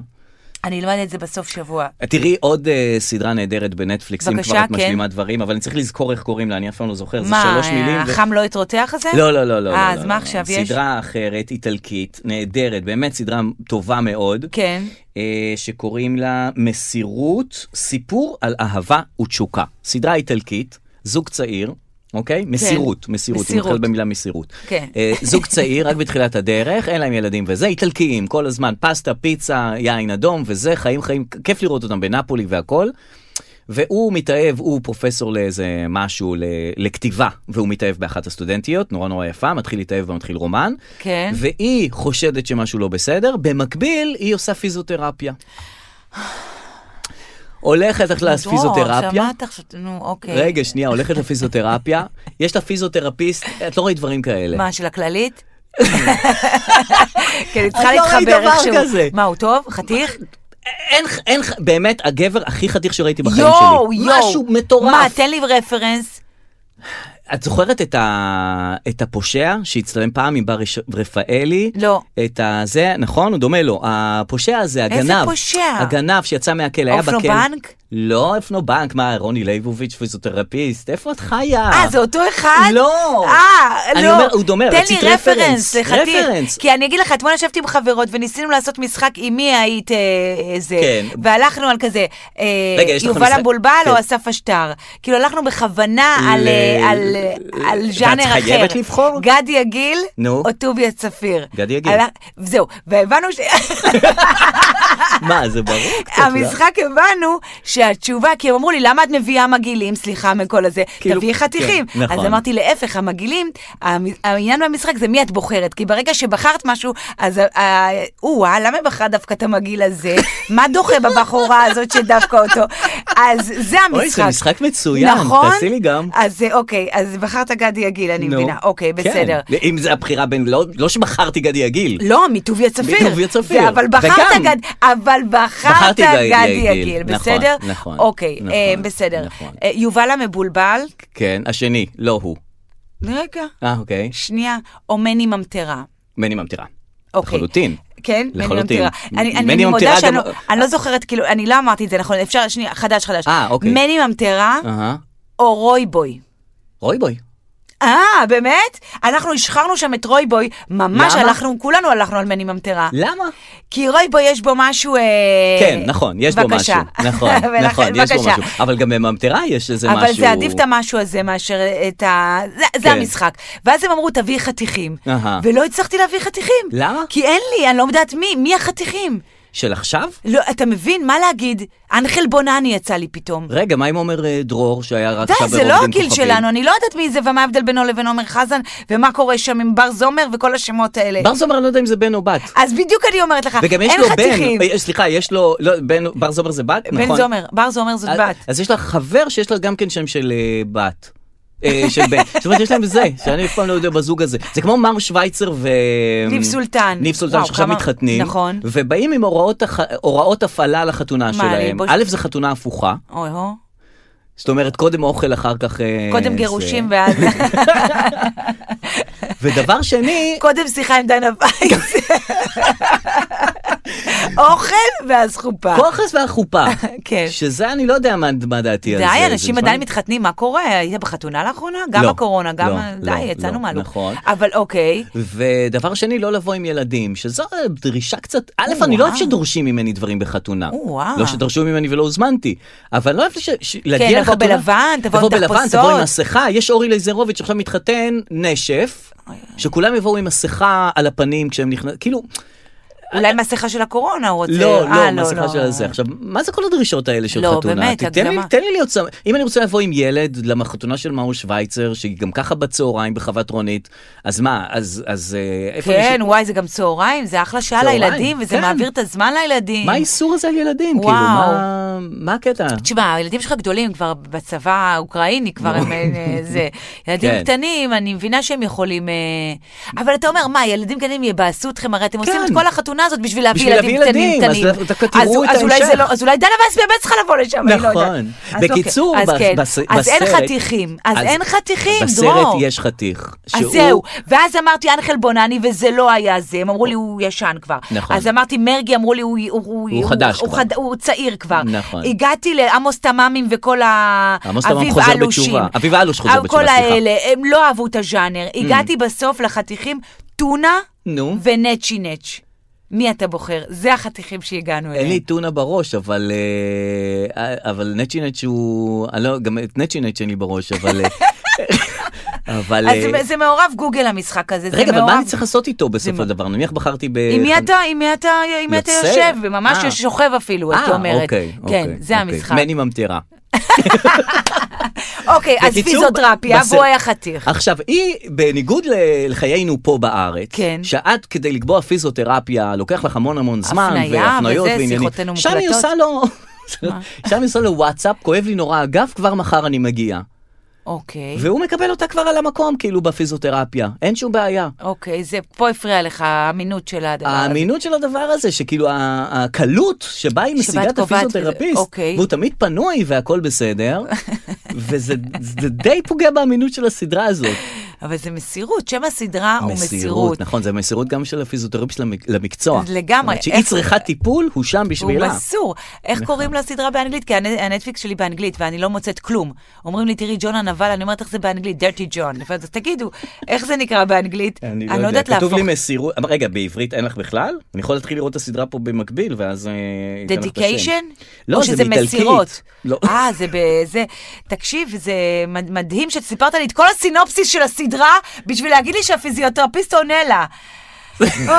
Speaker 3: אני אלמד את זה בסוף שבוע.
Speaker 2: תראי עוד אה, סדרה נהדרת בנטפליקס, אם כבר
Speaker 3: בבקשה,
Speaker 2: את
Speaker 3: כן.
Speaker 2: משלימה דברים, אבל אני צריך לזכור איך קוראים לה, אני אף פעם לא זוכר, זה
Speaker 3: מה,
Speaker 2: שלוש מילים. ו-
Speaker 3: החם לא התרותח הזה?
Speaker 2: לא, לא, לא, לא.
Speaker 3: אה,
Speaker 2: לא,
Speaker 3: אז
Speaker 2: לא,
Speaker 3: מה
Speaker 2: לא.
Speaker 3: עכשיו יש?
Speaker 2: סדרה אחרת, איטלקית, נהדרת, באמת סדרה טובה מאוד,
Speaker 3: כן.
Speaker 2: אה, שקוראים לה מסירות, סיפור על אהבה ותשוקה. סדרה איטלקית, זוג צעיר. אוקיי? מסירות, מסירות, היא
Speaker 3: כן. מסירות.
Speaker 2: מתחילה במילה מסירות.
Speaker 3: כן.
Speaker 2: אה, זוג צעיר, רק בתחילת הדרך, אין להם ילדים וזה, איטלקיים, כל הזמן, פסטה, פיצה, יין אדום וזה, חיים חיים, כיף לראות אותם בנפולי והכל. והוא מתאהב, הוא פרופסור לאיזה משהו, ל- לכתיבה, והוא מתאהב באחת הסטודנטיות, נורא נורא יפה, מתחיל להתאהב ומתחיל רומן.
Speaker 3: כן.
Speaker 2: והיא חושדת שמשהו לא בסדר, במקביל היא עושה פיזיותרפיה. הולכת אחלה
Speaker 3: דרור,
Speaker 2: לפיזיותרפיה.
Speaker 3: לא, שמעת עכשיו, נו, אוקיי.
Speaker 2: לא, רגע, שנייה, הולכת לפיזיותרפיה, יש לה פיזיותרפיסט, את לא רואה דברים כאלה.
Speaker 3: מה, של הכללית?
Speaker 2: [laughs]
Speaker 3: כן, היא צריכה
Speaker 2: את לא ראית
Speaker 3: להתחבר
Speaker 2: דבר
Speaker 3: איכשהו.
Speaker 2: כזה.
Speaker 3: מה, הוא טוב? חתיך?
Speaker 2: אין, אין, באמת, הגבר הכי חתיך שראיתי בחיים
Speaker 3: יואו,
Speaker 2: שלי.
Speaker 3: יואו.
Speaker 2: משהו מטורף.
Speaker 3: מה, תן לי רפרנס.
Speaker 2: את זוכרת את, ה... את הפושע שהצטלם פעם עם בר רש- רפאלי?
Speaker 3: לא.
Speaker 2: את הזה, נכון? הוא דומה לו. הפושע הזה,
Speaker 3: איזה
Speaker 2: הגנב.
Speaker 3: פושע?
Speaker 2: הגנב שיצא מהכלא, היה בכלא.
Speaker 3: אופנובנק?
Speaker 2: לא אופנובנק, מה, רוני ליבוביץ' פיזיותרפיסט? איפה את חיה?
Speaker 3: אה, זה אותו אחד?
Speaker 2: לא.
Speaker 3: אה, לא.
Speaker 2: אני אומר, הוא דומה,
Speaker 3: תן לי
Speaker 2: רצית
Speaker 3: רפרנס,
Speaker 2: רפרנס,
Speaker 3: לחתיך.
Speaker 2: רפרנס.
Speaker 3: כי אני אגיד לך, אתמול ישבתי עם חברות וניסינו לעשות משחק עם מי היית אה, אה, זה.
Speaker 2: כן.
Speaker 3: והלכנו על כזה, אה,
Speaker 2: רגע, יש לכם
Speaker 3: יובל
Speaker 2: משחק?
Speaker 3: המבולבל או
Speaker 2: כן.
Speaker 3: אסף אשתר. כאילו, הלכנו בכוונה על,
Speaker 2: ל-
Speaker 3: אה, על, אה,
Speaker 2: ל-
Speaker 3: על
Speaker 2: ואת
Speaker 3: ז'אנר אחר.
Speaker 2: חייבת לבחור?
Speaker 3: גדי עגיל
Speaker 2: נו.
Speaker 3: או טוביה צפיר.
Speaker 2: גדי עגיל.
Speaker 3: הלך- זהו, והבנו ש... [laughs]
Speaker 2: מה, זה ברור קצת, לא?
Speaker 3: המשחק הבנו שהתשובה, כי הם אמרו לי, למה את מביאה מגעילים, סליחה מכל הזה,
Speaker 2: כאילו,
Speaker 3: תביאי חתיכים.
Speaker 2: כן, נכון.
Speaker 3: אז אמרתי, להפך, המגעילים, המ- העניין במשחק זה מי את בוחרת, כי ברגע שבחרת משהו, אז ה- ה- או-אה, למה בחרת דווקא את המגעיל הזה? מה דוחה בבחורה הזאת שדווקא אותו? אז זה המשחק.
Speaker 2: אוי, זה משחק מצוין,
Speaker 3: נכון?
Speaker 2: תעשי לי גם.
Speaker 3: אז אה, אוקיי, אז בחרת גדי עגיל, אני
Speaker 2: נו.
Speaker 3: מבינה. אוקיי, בסדר.
Speaker 2: כן, אם זה הבחירה בין, לא, לא שבחרתי גדי עגיל.
Speaker 3: לא, מטוביה צפיר.
Speaker 2: מטוביה צפיר.
Speaker 3: זה, אבל בחרת
Speaker 2: וגם-
Speaker 3: גד... אבל בחרת
Speaker 2: בחרתי גדי
Speaker 3: גדי
Speaker 2: עגיל.
Speaker 3: עגיל,
Speaker 2: נכון,
Speaker 3: בסדר?
Speaker 2: נכון,
Speaker 3: אוקיי,
Speaker 2: נכון,
Speaker 3: אה, בסדר.
Speaker 2: נכון.
Speaker 3: אה, יובל המבולבל,
Speaker 2: כן, השני, לא הוא.
Speaker 3: רגע,
Speaker 2: אה, אוקיי.
Speaker 3: שנייה, או מני ממטרה.
Speaker 2: מני ממטירה.
Speaker 3: אוקיי.
Speaker 2: לחלוטין.
Speaker 3: כן? מני
Speaker 2: לחלוטין.
Speaker 3: ממטרה. אני- אני-
Speaker 2: מני
Speaker 3: אני מודה
Speaker 2: ממטרה
Speaker 3: שאני
Speaker 2: גם-
Speaker 3: לא- אני לא זוכרת, כאילו, אני לא אמרתי את זה נכון, אפשר, שנייה, חדש, חדש.
Speaker 2: אה, אוקיי.
Speaker 3: מני ממטרה
Speaker 2: אהה.
Speaker 3: או רויבוי.
Speaker 2: רוי בוי.
Speaker 3: אה, באמת? אנחנו השחרנו שם את רויבוי, ממש
Speaker 2: למה?
Speaker 3: הלכנו, כולנו הלכנו על מני ממטרה.
Speaker 2: למה?
Speaker 3: כי רוי בו יש בו משהו... אה,
Speaker 2: כן, נכון, יש בו
Speaker 3: בבקשה.
Speaker 2: משהו. נכון,
Speaker 3: [laughs] ולכן,
Speaker 2: נכון, יש בו
Speaker 3: בבקשה.
Speaker 2: משהו. אבל גם בממטרה יש איזה משהו...
Speaker 3: אבל זה עדיף את המשהו הזה מאשר את ה... זה, זה
Speaker 2: כן.
Speaker 3: המשחק. ואז הם אמרו, תביאי חתיכים.
Speaker 2: אהה.
Speaker 3: ולא הצלחתי להביא חתיכים.
Speaker 2: למה?
Speaker 3: כי אין לי, אני לא יודעת מי, מי החתיכים?
Speaker 2: של עכשיו?
Speaker 3: לא, אתה מבין, מה להגיד? אנחל בונני יצא לי פתאום.
Speaker 2: רגע, מה אם אומר אה, דרור שהיה רק עכשיו
Speaker 3: די,
Speaker 2: ברוב
Speaker 3: זה
Speaker 2: בין
Speaker 3: לא הגיל
Speaker 2: כוכבים?
Speaker 3: שלנו, אני לא יודעת מי זה ומה ההבדל בינו לבין עומר חזן, ומה קורה שם עם בר זומר וכל השמות האלה.
Speaker 2: בר זומר, אני לא יודע אם זה בן או בת.
Speaker 3: אז בדיוק אני אומרת לך,
Speaker 2: וגם יש
Speaker 3: אה, אין
Speaker 2: לו
Speaker 3: חתיכים.
Speaker 2: בן, אה, סליחה, יש לו, לא, בן, בר זומר זה בת?
Speaker 3: בן
Speaker 2: נכון.
Speaker 3: זומר, בר זומר זאת
Speaker 2: אז-
Speaker 3: בת.
Speaker 2: אז יש לה חבר שיש לה גם כן שם של אה, בת. אה, של בן. זאת אומרת, יש להם זה, שאני אף פעם לא יודע בזוג הזה. זה כמו מר שווייצר ו...
Speaker 3: ניב סולטן.
Speaker 2: ניב סולטן
Speaker 3: וואו,
Speaker 2: שעכשיו
Speaker 3: כמה-
Speaker 2: מתחתנים.
Speaker 3: נכון.
Speaker 2: ובאים עם הוראות הח- הוראות הפעלה לחתונה שלהם.
Speaker 3: ללבוש-
Speaker 2: א', זה חתונה הפוכה.
Speaker 3: אוי, הו.
Speaker 2: זאת אומרת, קודם אוכל, אחר כך... אה,
Speaker 3: קודם
Speaker 2: זה.
Speaker 3: גירושים ואז...
Speaker 2: ודבר
Speaker 3: [laughs]
Speaker 2: שני,
Speaker 3: [laughs] קודם שיחה עם דנה וייס.
Speaker 2: [laughs]
Speaker 3: אוכל ואז חופה.
Speaker 2: כוחס והחופה.
Speaker 3: [laughs] כן.
Speaker 2: שזה אני לא יודע מה מה דעתי על זה.
Speaker 3: די,
Speaker 2: זה
Speaker 3: אנשים
Speaker 2: נשמע
Speaker 3: עדיין
Speaker 2: לי-
Speaker 3: מתחתנים, מה קורה? היית בחתונה לאחרונה? גם
Speaker 2: לא,
Speaker 3: הקורונה, גם...
Speaker 2: לא,
Speaker 3: ה-
Speaker 2: לא,
Speaker 3: די,
Speaker 2: לא,
Speaker 3: יצאנו מהלוק.
Speaker 2: נכון.
Speaker 3: אבל אוקיי.
Speaker 2: ודבר שני, לא לבוא עם ילדים, שזו דרישה קצת, א', אני לא אוהב
Speaker 3: וואו.
Speaker 2: שדורשים ממני דברים בחתונה.
Speaker 3: וואו.
Speaker 2: לא שדרשו ממני ולא הוזמנתי, אבל לא אוהב ש- ש- להגיע
Speaker 3: כן, לבוא
Speaker 2: לחתונה.
Speaker 3: בלבן, תבוא עם
Speaker 2: בלבן,
Speaker 3: תחפושות.
Speaker 2: תבוא עם מסכה, יש אורי לייזרוביץ' שעכשיו מתחתן, נשף, שכולם יבואו עם מסכה על הפנים כשהם נכנסים, כאילו,
Speaker 3: אולי מסכה של הקורונה הוא רוצה.
Speaker 2: לא, לא,
Speaker 3: אה,
Speaker 2: מסכה של זה. עכשיו, מה זה כל הדרישות האלה של
Speaker 3: לא,
Speaker 2: חתונה?
Speaker 3: באמת,
Speaker 2: תיתן לי-
Speaker 3: הגזמה.
Speaker 2: תן לי להיות שם. אם אני רוצה לבוא עם ילד לחתונה של מאור שווייצר, שהיא גם ככה בצהריים בחוות רונית, אז מה, אז אז, אה, איפה אני
Speaker 3: כן,
Speaker 2: ש-
Speaker 3: וואי, זה גם צהריים, זה אחלה שעה
Speaker 2: צהריים,
Speaker 3: לילדים, וזה
Speaker 2: כן.
Speaker 3: מעביר את הזמן לילדים.
Speaker 2: מה האיסור הזה על ילדים? כאילו,
Speaker 3: וואו.
Speaker 2: מה- מה הקטע?
Speaker 3: תשמע, הילדים שלך גדולים כבר בצבא האוקראיני, כבר
Speaker 2: [laughs]
Speaker 3: הם אה, זה. ילדים
Speaker 2: כן.
Speaker 3: קטנים, אני מבינה שהם יכולים... אה, אבל אתה אומר, מה, ילדים קטנים יבאסו אתכם? הרי אתם עושים
Speaker 2: כן.
Speaker 3: את כל החתונה הזאת בשביל להביא
Speaker 2: בשביל
Speaker 3: ילדים
Speaker 2: להביא
Speaker 3: קטנים
Speaker 2: ילדים, אז
Speaker 3: קטנים.
Speaker 2: דווקא תראו
Speaker 3: אז-
Speaker 2: את
Speaker 3: אז אולי
Speaker 2: ההמשך.
Speaker 3: זה לא- אז אולי דנה וייס באמת צריכה לבוא לשם, אני לא יודעת.
Speaker 2: נכון.
Speaker 3: אז אוקיי.
Speaker 2: בקיצור,
Speaker 3: אז
Speaker 2: בס-
Speaker 3: כן.
Speaker 2: בס-
Speaker 3: אז אין
Speaker 2: בסרט-
Speaker 3: חתיכים, אז אין חתיכים,
Speaker 2: בסרט
Speaker 3: דרור.
Speaker 2: יש חתיך.
Speaker 3: אז
Speaker 2: שהוא-
Speaker 3: זהו, ואז אמרתי אנחל בונני, וזה לא היה זה, הם אמרו לי הוא ישן כבר.
Speaker 2: נכון.
Speaker 3: אז אמרתי מרגי, אמרו לי הוא, הוא, הוא,
Speaker 2: חדש
Speaker 3: הוא,
Speaker 2: כבר."
Speaker 3: חד, הוא צעיר כבר.
Speaker 2: נכון.
Speaker 3: הגעתי לעמוס תממים וכל ה...
Speaker 2: עמוס תמם
Speaker 3: אביב
Speaker 2: חוזר
Speaker 3: אלושים. אה,
Speaker 2: בתשובה. אביב אלוש חוזר בתשובה,
Speaker 3: כל
Speaker 2: סליחה. Mm.
Speaker 3: האלה, הם לא אהבו את הז'אנר. הגעתי בסוף לחתיכים טונה
Speaker 2: נו.
Speaker 3: ונצ'י נצ'. מי אתה בוחר? זה החתיכים שהגענו אליהם.
Speaker 2: אין לי טונה בראש, אבל אה, אבל נצ'י נצ' הוא... אני לא, גם את נצ'י נצ' אין לי בראש, אבל...
Speaker 3: [laughs]
Speaker 2: אה, אבל...
Speaker 3: אז
Speaker 2: אה,
Speaker 3: זה, זה מעורב גוגל המשחק הזה, זה
Speaker 2: רגע, אבל
Speaker 3: מעורב...
Speaker 2: מה אני צריך לעשות איתו בסוף
Speaker 3: זה-
Speaker 2: הדבר? נניח בחרתי ב...
Speaker 3: עם מי אתה, עם מי אתה, עם מי אתה
Speaker 2: אה, יוצא?
Speaker 3: יושב, וממש
Speaker 2: אה.
Speaker 3: שוכב אפילו, הייתי
Speaker 2: אה,
Speaker 3: אומרת.
Speaker 2: אוקיי,
Speaker 3: כן,
Speaker 2: אוקיי,
Speaker 3: זה
Speaker 2: אוקיי.
Speaker 3: המשחק.
Speaker 2: מני ממטירה.
Speaker 3: אוקיי, אז
Speaker 2: בקיצור,
Speaker 3: פיזיותרפיה,
Speaker 2: בסדר.
Speaker 3: והוא היה חתיך.
Speaker 2: עכשיו, היא, בניגוד ל- לחיינו פה בארץ,
Speaker 3: כן.
Speaker 2: שאת, כדי לקבוע פיזיותרפיה, לוקח לך המון המון זמן,
Speaker 3: הפניה
Speaker 2: והפניות
Speaker 3: וזה,
Speaker 2: ועניינים.
Speaker 3: שיחותינו
Speaker 2: שם היא
Speaker 3: מוקלטות.
Speaker 2: עושה לו... שם היא עושה לו וואטסאפ, כואב לי נורא הגב, כבר מחר אני מגיע.
Speaker 3: אוקיי,
Speaker 2: והוא מקבל אותה כבר על המקום, כאילו, בפיזיותרפיה. אין שום בעיה.
Speaker 3: אוקיי, זה פה הפריע לך האמינות של הדבר הזה.
Speaker 2: האמינות של הדבר הזה, שכאילו ה- הקלות שבה היא
Speaker 3: שבה
Speaker 2: משיגה
Speaker 3: את
Speaker 2: את
Speaker 3: קובעת,
Speaker 2: הפיזיותרפיסט,
Speaker 3: אוקיי.
Speaker 2: והוא תמיד פנוי והכל
Speaker 3: [laughs]
Speaker 2: בסדר, וזה זה די פוגע באמינות של הסדרה הזאת.
Speaker 3: אבל זה מסירות, שם הסדרה הוא מסירות.
Speaker 2: נכון, זה מסירות גם של הפיזיותרפיסט למק- למקצוע.
Speaker 3: לגמרי,
Speaker 2: זאת אומרת שהיא
Speaker 3: איך-
Speaker 2: צריכה טיפול, הוא שם
Speaker 3: הוא
Speaker 2: בשבילה.
Speaker 3: מסור. איך
Speaker 2: נכון.
Speaker 3: קוראים לסדרה באנגלית? כי הנ- הנטפליקס שלי באנגלית ואני לא מוצאת כלום. אומרים לי, תראי, ג'ון הנבל, אני אומרת איך זה באנגלית, דרטי ג'ון. אז תגידו, איך זה נקרא באנגלית?
Speaker 2: לא
Speaker 3: לא
Speaker 2: כתוב לי מסירות, אבל רגע, בעברית אין לך בכלל? אני יכול להתחיל לראות את הסדרה פה במקביל, ואז... אה, אתן לך את השם.
Speaker 3: דדיקיישן?
Speaker 2: לא,
Speaker 3: או
Speaker 2: זה
Speaker 3: שזה
Speaker 2: באיטלקית.
Speaker 3: מסירות?
Speaker 2: לא.
Speaker 3: אה, זה בזה. תקשיב, זה מד- מדהים שסיפרת לי את כל הסינופסיס של הסדרה בשביל להגיד לי שהפיזיותרפיסט עונה
Speaker 2: [laughs]
Speaker 3: לה.
Speaker 2: לא,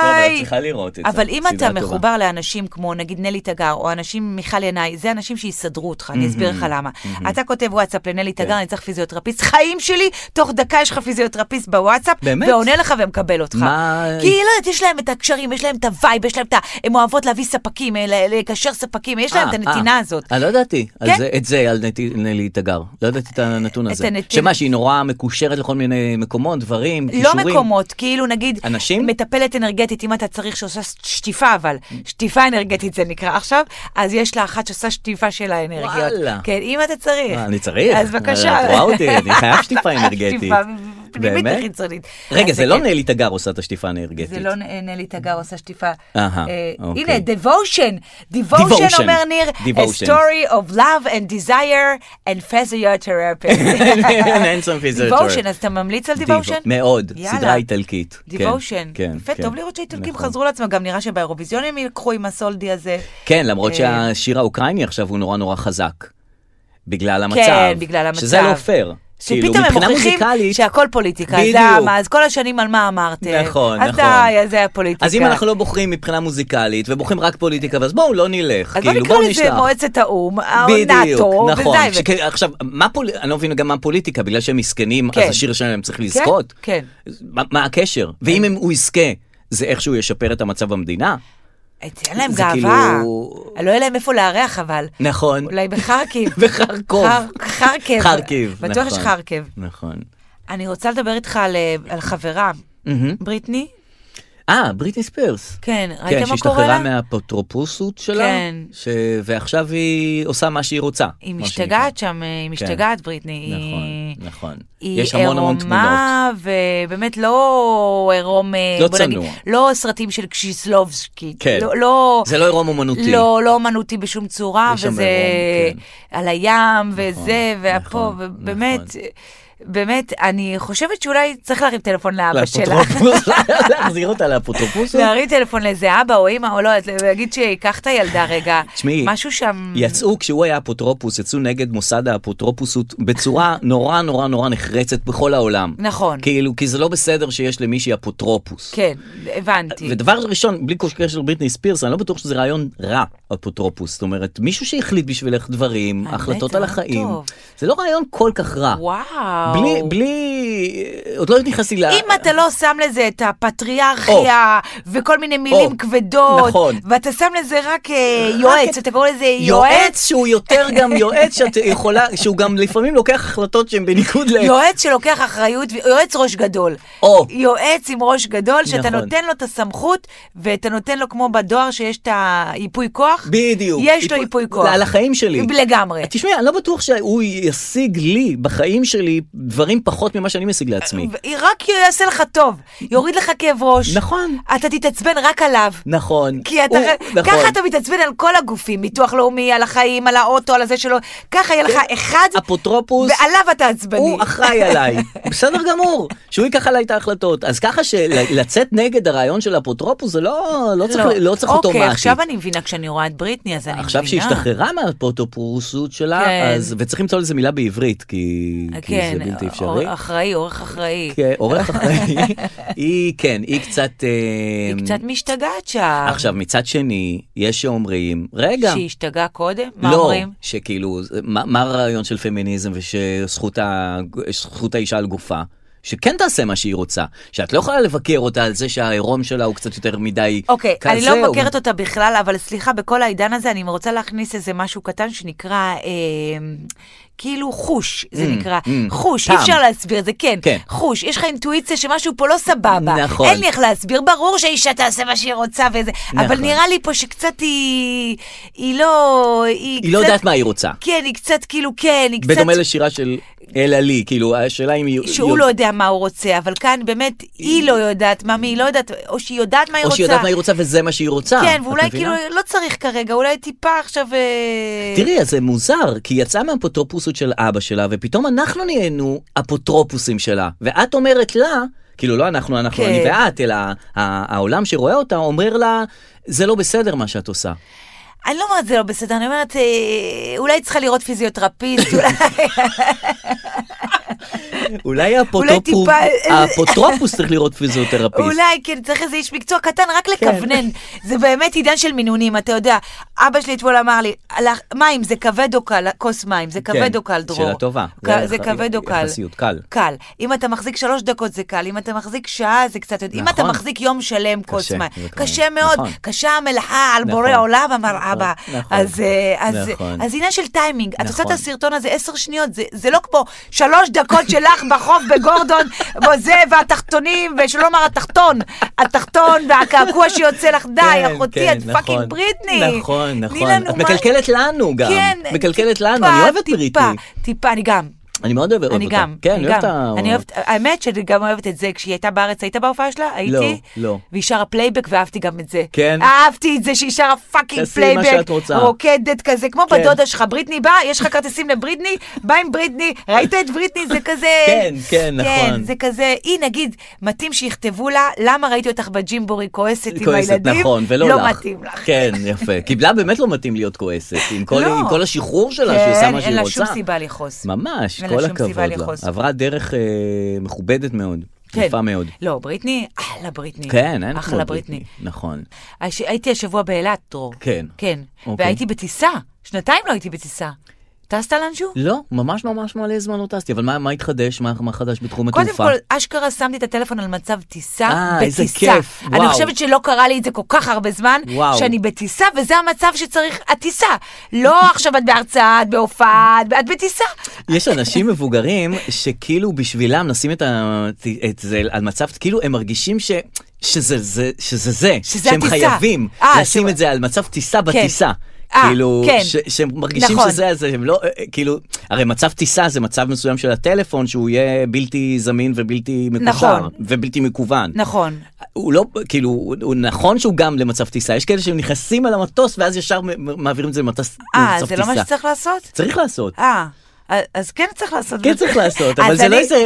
Speaker 2: אבל את
Speaker 3: וואי.
Speaker 2: צריכה לראות את זה.
Speaker 3: אבל אם אתה
Speaker 2: סדרה טובה.
Speaker 3: מחובר לאנשים כמו נגיד נלי תגר, או אנשים מיכל ינאי, זה אנשים שיסדרו אותך, אני אסביר לך למה. אתה כותב וואטסאפ לנלי
Speaker 2: כן.
Speaker 3: תגר, אני צריך פיזיותרפיסט, חיים שלי, תוך דקה יש לך פיזיותרפיסט בוואטסאפ,
Speaker 2: באמת?
Speaker 3: ועונה לך ומקבל אותך.
Speaker 2: מה-
Speaker 3: כי היא לא יודעת, יש להם את הקשרים, יש להם את הווייב, יש להם את ה... הם אוהבות להביא ספקים, אה, ל- לקשר ספקים, יש להם את
Speaker 2: אה,
Speaker 3: הנתינה
Speaker 2: אה.
Speaker 3: הזאת.
Speaker 2: אה, לא ידעתי. על
Speaker 3: כן.
Speaker 2: זה- את זה, על נתי- נלי תגר. לא ידעתי את הנתון
Speaker 3: את
Speaker 2: הזה.
Speaker 3: הנתינה.
Speaker 2: שמה, שהיא נורא מקושרת לכל מיני מקומות, דברים,
Speaker 3: לא
Speaker 2: כישורים.
Speaker 3: מקומות, כאילו נגיד,
Speaker 2: אנשים?
Speaker 3: מטפלת אנרגטית, אם אתה צריך שעושה שטיפה אבל, שטיפה אנרגטית זה נקרא עכשיו, אז יש לה אחת שעושה שטיפה של האנרגיות.
Speaker 2: וואלה.
Speaker 3: כן, אם אתה צריך.
Speaker 2: אה, אני צריך.
Speaker 3: אז בבקשה.
Speaker 2: את רואה אותי, אני חייב שטיפה אנרגטית.
Speaker 3: שטיפה, פנימית
Speaker 2: באמת?
Speaker 3: וחיצונית.
Speaker 2: רגע,
Speaker 3: אז
Speaker 2: זה לא
Speaker 3: כן.
Speaker 2: נלי תגר עושה את השטיפה הנרגטית.
Speaker 3: [laughs] זה לא נ- נלי תגר עושה שטיפה.
Speaker 2: אהה,
Speaker 3: אה,
Speaker 2: אוקיי.
Speaker 3: הנה, devotion,
Speaker 2: Devotion.
Speaker 3: devotion אומר ניר,
Speaker 2: Devotion.
Speaker 3: a story of love and desire and physiotherapy.
Speaker 2: [laughs] And some physiotherapy.
Speaker 3: [laughs] devotion, אז אתה ממליץ על
Speaker 2: דיבו-
Speaker 3: devotion?
Speaker 2: מאוד,
Speaker 3: יאללה.
Speaker 2: סדרה איטלקית. כן,
Speaker 3: דיבושן.
Speaker 2: כן,
Speaker 3: יפה,
Speaker 2: כן.
Speaker 3: טוב לראות שהאיטלקים
Speaker 2: נכון.
Speaker 3: חזרו לעצמם, גם נראה שבאירוויזיון הם ילקחו עם הסולדי הזה.
Speaker 2: כן, למרות
Speaker 3: אה,
Speaker 2: שהשיר האוקראיני עכשיו הוא נורא נורא חזק. בגלל המצב.
Speaker 3: כן, בגלל
Speaker 2: שזה
Speaker 3: המצב.
Speaker 2: לא פייר. כאילו,
Speaker 3: שפתאום הם
Speaker 2: מבחינה
Speaker 3: מוכיחים
Speaker 2: מוזיקלית...
Speaker 3: שהכל פוליטיקה,
Speaker 2: בדיוק.
Speaker 3: זה המה, אז כל השנים על מה אמרתם.
Speaker 2: נכון,
Speaker 3: אז
Speaker 2: נכון.
Speaker 3: די, אז זה הפוליטיקה.
Speaker 2: אז אם אנחנו לא בוחרים מבחינה מוזיקלית, ובוחרים רק פוליטיקה, אז בואו לא נלך.
Speaker 3: אז בוא
Speaker 2: כאילו,
Speaker 3: נקרא
Speaker 2: בואו
Speaker 3: לזה
Speaker 2: נשלח.
Speaker 3: מועצת האו"ם, אה, נאטו,
Speaker 2: בדיוק, נכון.
Speaker 3: ודי, ו-
Speaker 2: שכן, עכשיו, מה פול... אני לא מבין גם מה פוליטיקה, בגלל שהם מסכנים,
Speaker 3: כן.
Speaker 2: אז השיר שלהם צריך
Speaker 3: כן,
Speaker 2: לזכות?
Speaker 3: כן.
Speaker 2: מה, מה הקשר? ואם הם, הוא יזכה, זה איכשהו ישפר את המצב במדינה?
Speaker 3: אה, תהיה להם
Speaker 2: זה
Speaker 3: גאווה.
Speaker 2: כאילו-
Speaker 3: לא יהיה להם איפה לארח אבל.
Speaker 2: נכון.
Speaker 3: אולי בחרקיב.
Speaker 2: [laughs] וחרקוב.
Speaker 3: חר- חרקב.
Speaker 2: חרקיב, נכון.
Speaker 3: בטוח יש חרקב.
Speaker 2: נכון.
Speaker 3: אני רוצה לדבר איתך על, אה, על חברה,
Speaker 2: מהמם.
Speaker 3: בריטני.
Speaker 2: אה, בריטני ספירס.
Speaker 3: כן, ראית
Speaker 2: כן,
Speaker 3: מה קורה
Speaker 2: שהשתחררה
Speaker 3: לה?
Speaker 2: מהאפוטרופסות שלה,
Speaker 3: כן.
Speaker 2: ש... ועכשיו היא עושה מה שהיא רוצה.
Speaker 3: היא
Speaker 2: מה
Speaker 3: משתגעת שם, אה, היא משתגעת, בריטני.
Speaker 2: שנקרא.
Speaker 3: היא-
Speaker 2: נכון, נכון.
Speaker 3: היא
Speaker 2: יש המון המון תמונות.
Speaker 3: עירומה, ובאמת לא עירום, אה,
Speaker 2: לא
Speaker 3: בוא נגיד,
Speaker 2: צנוע.
Speaker 3: לא סרטים של קשיסלובסקי.
Speaker 2: כן.
Speaker 3: לא- לא...
Speaker 2: זה לא עירום אומנותי.
Speaker 3: לא, לא אומנותי בשום צורה,
Speaker 2: יש שם
Speaker 3: וזה
Speaker 2: עירום, כן.
Speaker 3: על הים, וזה, והפה,
Speaker 2: נכון,
Speaker 3: ובאמת,
Speaker 2: נכון.
Speaker 3: באמת, אני חושבת שאולי צריך להרים טלפון לאבא שלה.
Speaker 2: לאפוטרופוס, [laughs] להחזיר אותה לאפוטרופוס?
Speaker 3: [laughs] להרים טלפון לאיזה אבא או אימא או לא, אז להגיד שייקח את הילדה רגע.
Speaker 2: תשמעי,
Speaker 3: משהו שם...
Speaker 2: יצאו כשהוא היה אפוטרופוס, יצאו נגד מוסד האפוטרופוסות בצורה נורא נורא נורא נחרצת בכל העולם.
Speaker 3: נכון.
Speaker 2: כאילו, כי זה לא בסדר שיש למישהי אפוטרופוס.
Speaker 3: כן, הבנתי.
Speaker 2: ודבר ראשון, בלי כל קשר לבריטני ספירס, אני לא בטוח שזה רעיון רע, אפוטרופוס. זאת אומרת, מישהו שהחליט בשבילך דברים,
Speaker 3: האמת,
Speaker 2: החלטות
Speaker 3: זה
Speaker 2: על
Speaker 3: רעיון
Speaker 2: החיים,
Speaker 3: טוב.
Speaker 2: זה לא רעיון כל כך רע.
Speaker 3: וואו.
Speaker 2: בלי, בלי, עוד לא נכנסתי ל...
Speaker 3: אם אתה לא שם לזה את הפטריארכיה, וכל מיני
Speaker 2: או,
Speaker 3: מילים כבדות,
Speaker 2: נכון.
Speaker 3: ואתה שם לזה רק אה,
Speaker 2: רק את-
Speaker 3: יועץ, אתה קורא לזה יועץ,
Speaker 2: יועץ שהוא
Speaker 3: [laughs]
Speaker 2: יותר גם יועץ שאת יכולה, שהוא גם לפעמים לוקח החלטות שהן בניגוד ל...
Speaker 3: יועץ שלוקח אחריות, ו- יועץ ראש גדול.
Speaker 2: או.
Speaker 3: יועץ עם ראש גדול, שאתה
Speaker 2: נכון.
Speaker 3: נותן לו את הסמכות, ואתה נותן לו כמו בדואר שיש את היפוי כוח.
Speaker 2: בדיוק.
Speaker 3: יש לו ייפוי כוח.
Speaker 2: על החיים שלי.
Speaker 3: לגמרי.
Speaker 2: תשמעי, אני לא בטוח שהוא ישיג לי בחיים שלי דברים פחות ממה שאני משיג לעצמי.
Speaker 3: ו- רק יעשה לך טוב, יוריד לך כאב ראש.
Speaker 2: נכון.
Speaker 3: אתה תתעצבן רק עליו.
Speaker 2: נכון.
Speaker 3: כי אתה,
Speaker 2: הוא- נכון.
Speaker 3: ככה אתה מתעצבן על כל הגופים, ביטוח לאומי, על החיים, על האוטו, על הזה שלו, ככה יהיה לך אחד,
Speaker 2: אפוטרופוס,
Speaker 3: ועליו אתה עצבני.
Speaker 2: כן. הוא אחראי
Speaker 3: [laughs]
Speaker 2: עליי. בסדר גמור, שהוא ייקח עליי את ההחלטות. אז ככה שלצאת נגד הרעיון של אפוטרופוס זה לא לא צריך לא צריך אוטומטי.
Speaker 3: אוקיי, עכשיו אני מבינה, כשאני רואה את בריטני, אז אני מבינה.
Speaker 2: עכשיו שהיא השתחררה מהפוטופורסות שלה,
Speaker 3: כן.
Speaker 2: אז, וצריך למצוא לזה מילה בעברית, כי, כי
Speaker 3: כן,
Speaker 2: זה בלתי
Speaker 3: אור-
Speaker 2: אפשרי.
Speaker 3: אחראי, עורך אחראי.
Speaker 2: כן,
Speaker 3: [laughs]
Speaker 2: עורך אחראי. היא, כן, היא קצת... אה,
Speaker 3: היא קצת משתגעת שם.
Speaker 2: עכשיו, מצד שני, יש שאומרים, רגע,
Speaker 3: שהיא השתגעה קודם? מה
Speaker 2: לא,
Speaker 3: אומרים?
Speaker 2: שכאילו, זה- מה, מה הרעיון של פמיניזם ושזכות ה, זכות האישה על גופה? שכן תעשה מה שהיא רוצה, שאת לא יכולה לבקר אותה על זה שהעירום שלה הוא קצת יותר מדי
Speaker 3: אוקיי,
Speaker 2: כזה,
Speaker 3: אני לא
Speaker 2: או-
Speaker 3: מבקרת אותה בכלל, אבל סליחה, בכל העידן הזה אני רוצה להכניס איזה משהו קטן שנקרא... אה, כאילו חוש, זה נקרא, חוש, אי
Speaker 2: Mm, טעם.
Speaker 3: אפשר להסביר את זה, כן,
Speaker 2: כן.
Speaker 3: חוש, יש לך אינטואיציה שמשהו פה לא סבבה,
Speaker 2: נכון.
Speaker 3: אין לי איך להסביר, ברור שהאישה תעשה מה שהיא רוצה וזה, אבל
Speaker 2: נכון.
Speaker 3: נראה לי פה שקצת היא, היא לא, היא
Speaker 2: היא לא
Speaker 3: קצת-
Speaker 2: יודעת מה היא רוצה.
Speaker 3: כן, היא קצת כאילו, כן, היא קצת...
Speaker 2: בדומה לשירה של אלה לי, כאילו השאלה אם היא...
Speaker 3: שהוא
Speaker 2: היא-
Speaker 3: לא יודע מה הוא רוצה, אבל כאן באמת היא לא יודעת מה, מי היא לא יודעת, או שהיא יודעת מה היא
Speaker 2: או
Speaker 3: רוצה.
Speaker 2: שהיא יודעת מה היא רוצה וזה מה שהיא רוצה.
Speaker 3: כן,
Speaker 2: את
Speaker 3: ואולי
Speaker 2: מבינה?
Speaker 3: כאילו לא צריך כרגע, אולי טיפה עכשיו... אה,
Speaker 2: תראי, אז זה מוזר, כי היא יצאה מהאפוטרופסות של אבא שלה, ופתאום אנחנו נהיינו אפוטרופוסים שלה. ואת אומרת לה, כאילו לא אנחנו, אנחנו,
Speaker 3: כן.
Speaker 2: אני ואת, אלא ה- העולם שרואה אותה אומר לה, זה לא בסדר מה שאת עושה.
Speaker 3: אני לא אומרת זה לא בסדר, אני אומרת, אה, אולי צריכה לראות
Speaker 2: [laughs]
Speaker 3: פיזיותרפיסט, אולי...
Speaker 2: אולי האפוטרופוס,
Speaker 3: טיפה-
Speaker 2: האפוטרופוס
Speaker 3: [laughs]
Speaker 2: צריך לראות פיזיותרפיסט.
Speaker 3: אולי, כן, צריך איזה איש מקצוע קטן, רק
Speaker 2: כן.
Speaker 3: לכוונן. זה באמת עידן של מינונים, אתה יודע. אבא שלי אתמול אמר לי, "הלך- מים, זה כבד או קל, כוס מים, זה כבד
Speaker 2: כן,
Speaker 3: או קל, דרור.
Speaker 2: שאלה טובה.
Speaker 3: ק-
Speaker 2: זה
Speaker 3: זה
Speaker 2: יח-
Speaker 3: כבד או קל.
Speaker 2: יחסיות, קל.
Speaker 3: קל. אם אתה מחזיק שלוש דקות זה קל, אם אתה מחזיק שעה זה קצת... יותר- אם אתה
Speaker 2: נכון.
Speaker 3: מחזיק יום שלם כוס
Speaker 2: קשה,
Speaker 3: מים.
Speaker 2: זה כבר-
Speaker 3: קשה מאוד,
Speaker 2: נכון.
Speaker 3: קשה המלאכה על
Speaker 2: נכון.
Speaker 3: בורא עולם, אמר
Speaker 2: נכון,
Speaker 3: אבא.
Speaker 2: נכון.
Speaker 3: אז אה, אז-
Speaker 2: נכון.
Speaker 3: אז עניין של טיימינג. את עושה את
Speaker 2: נכון.
Speaker 3: הסרטון הזה עשר שניות, זה- זה לא כמו שלוש דקות שלך בחוף בגורדון, [laughs] וזה, והתחתונים, ושלא לומר התחתון, התחתון, והקעקוע שיוצא לך, די,
Speaker 2: כן,
Speaker 3: אחותי,
Speaker 2: כן,
Speaker 3: את פאקינג
Speaker 2: נכון.
Speaker 3: בריטני.
Speaker 2: נכון,
Speaker 3: תני
Speaker 2: נכון.
Speaker 3: לנו
Speaker 2: את
Speaker 3: מה-
Speaker 2: מקלקלת לנו גם.
Speaker 3: כן,
Speaker 2: מקלקלת לנו,
Speaker 3: טיפה,
Speaker 2: אני אוהבת
Speaker 3: טיפה,
Speaker 2: בריטני.
Speaker 3: טיפה, אני גם.
Speaker 2: אני מאוד אוהב אותה.
Speaker 3: אני גם,
Speaker 2: כן,
Speaker 3: אני
Speaker 2: אוהב
Speaker 3: גם.
Speaker 2: את ה...
Speaker 3: אני אוהבת, האמת שאני גם אוהבת את זה, כשהיא הייתה בארץ, היית בהופעה שלה? הייתי.
Speaker 2: לא.
Speaker 3: והיא שרה פלייבק ואהבתי גם את זה.
Speaker 2: כן.
Speaker 3: אהבתי את זה שהיא שרה פאקינג
Speaker 2: תעשי מה
Speaker 3: פלייבק.
Speaker 2: שאת רוצה.
Speaker 3: רוקדת כזה, כמו
Speaker 2: כן.
Speaker 3: בדודה שלך, בריטני באה, יש לך כרטיסים לבריטני, בא עם בריטני, ראית את בריטני? זה כזה...
Speaker 2: [laughs] כן, כן, נכון.
Speaker 3: כן, זה כזה, היא נגיד, מתאים שיכתבו לה, למה ראיתי אותך בג'ימבורי כועסת עם
Speaker 2: כועסת,
Speaker 3: הילדים?
Speaker 2: נכון, ולא לך.
Speaker 3: לא מתאים לך.
Speaker 2: כן,
Speaker 3: [laughs]
Speaker 2: יפה. קיבלה באמת לא מתאים להיות כועסת, עם כל,
Speaker 3: לא.
Speaker 2: עם כל השחרור שלה,
Speaker 3: כן,
Speaker 2: שהיא עושה מה שהיא רוצה.
Speaker 3: אין לה שום סיבה לכעוס.
Speaker 2: ממש,
Speaker 3: אין לה
Speaker 2: כל
Speaker 3: שום
Speaker 2: הכבוד
Speaker 3: סיבה
Speaker 2: לה.
Speaker 3: לכעוס.
Speaker 2: עברה דרך אה, מכובדת מאוד, יפה מאוד.
Speaker 3: לא, בריטני, אחלה בריטני.
Speaker 2: כן, אין כמו
Speaker 3: אחלה בריטני.
Speaker 2: נכון.
Speaker 3: הש... הייתי השבוע באילת, דרור.
Speaker 2: כן.
Speaker 3: כן.
Speaker 2: אוקיי.
Speaker 3: אוקיי. והייתי בטיסה. שנתיים לא הייתי בטיסה. טסת לאנשהו?
Speaker 2: לא, ממש ממש מלא זמן לא טסתי, אבל מה, מה התחדש? מה, מה חדש בתחום
Speaker 3: קודם
Speaker 2: התעופה?
Speaker 3: כל, אשכרה שמתי את הטלפון על מצב טיסה
Speaker 2: אה,
Speaker 3: בטיסה.
Speaker 2: איזה כיף, וואו.
Speaker 3: אני חושבת שלא קרה לי את זה כל כך הרבה זמן,
Speaker 2: וואו.
Speaker 3: שאני בטיסה, וזה המצב שצריך, הטיסה. לא [laughs] עכשיו את בהרצאה, את בהופעה, את- את בטיסה.
Speaker 2: יש אנשים מבוגרים שכאילו בשבילם נשים את, ה... את זה על מצב, כאילו הם מרגישים ש... שזה זה, שזה זה,
Speaker 3: שזה
Speaker 2: שהם
Speaker 3: הטיסה.
Speaker 2: חייבים
Speaker 3: אה,
Speaker 2: לשים
Speaker 3: ש-
Speaker 2: את זה על מצב טיסה בטיסה.
Speaker 3: אה,
Speaker 2: כאילו,
Speaker 3: כן.
Speaker 2: ש, שהם מרגישים
Speaker 3: נכון.
Speaker 2: שזה הזה, שהם לא, אה, כאילו, הרי מצב טיסה זה מצב מסוים של הטלפון שהוא יהיה בלתי זמין ובלתי מקושר,
Speaker 3: נכון.
Speaker 2: ובלתי מקוון.
Speaker 3: נכון.
Speaker 2: הוא לא, כאילו, הוא, הוא נכון שהוא גם למצב טיסה, יש כאלה שהם נכנסים על המטוס ואז ישר מ- מ- מעבירים את זה למטס-
Speaker 3: אה,
Speaker 2: למצב
Speaker 3: זה לא מה
Speaker 2: טיסה.
Speaker 3: שצריך לעשות?
Speaker 2: צריך לעשות.
Speaker 3: אה, אז כן צריך לעשות. [laughs]
Speaker 2: כן צריך לעשות, אבל
Speaker 3: אז
Speaker 2: זה לא
Speaker 3: אני-
Speaker 2: איזה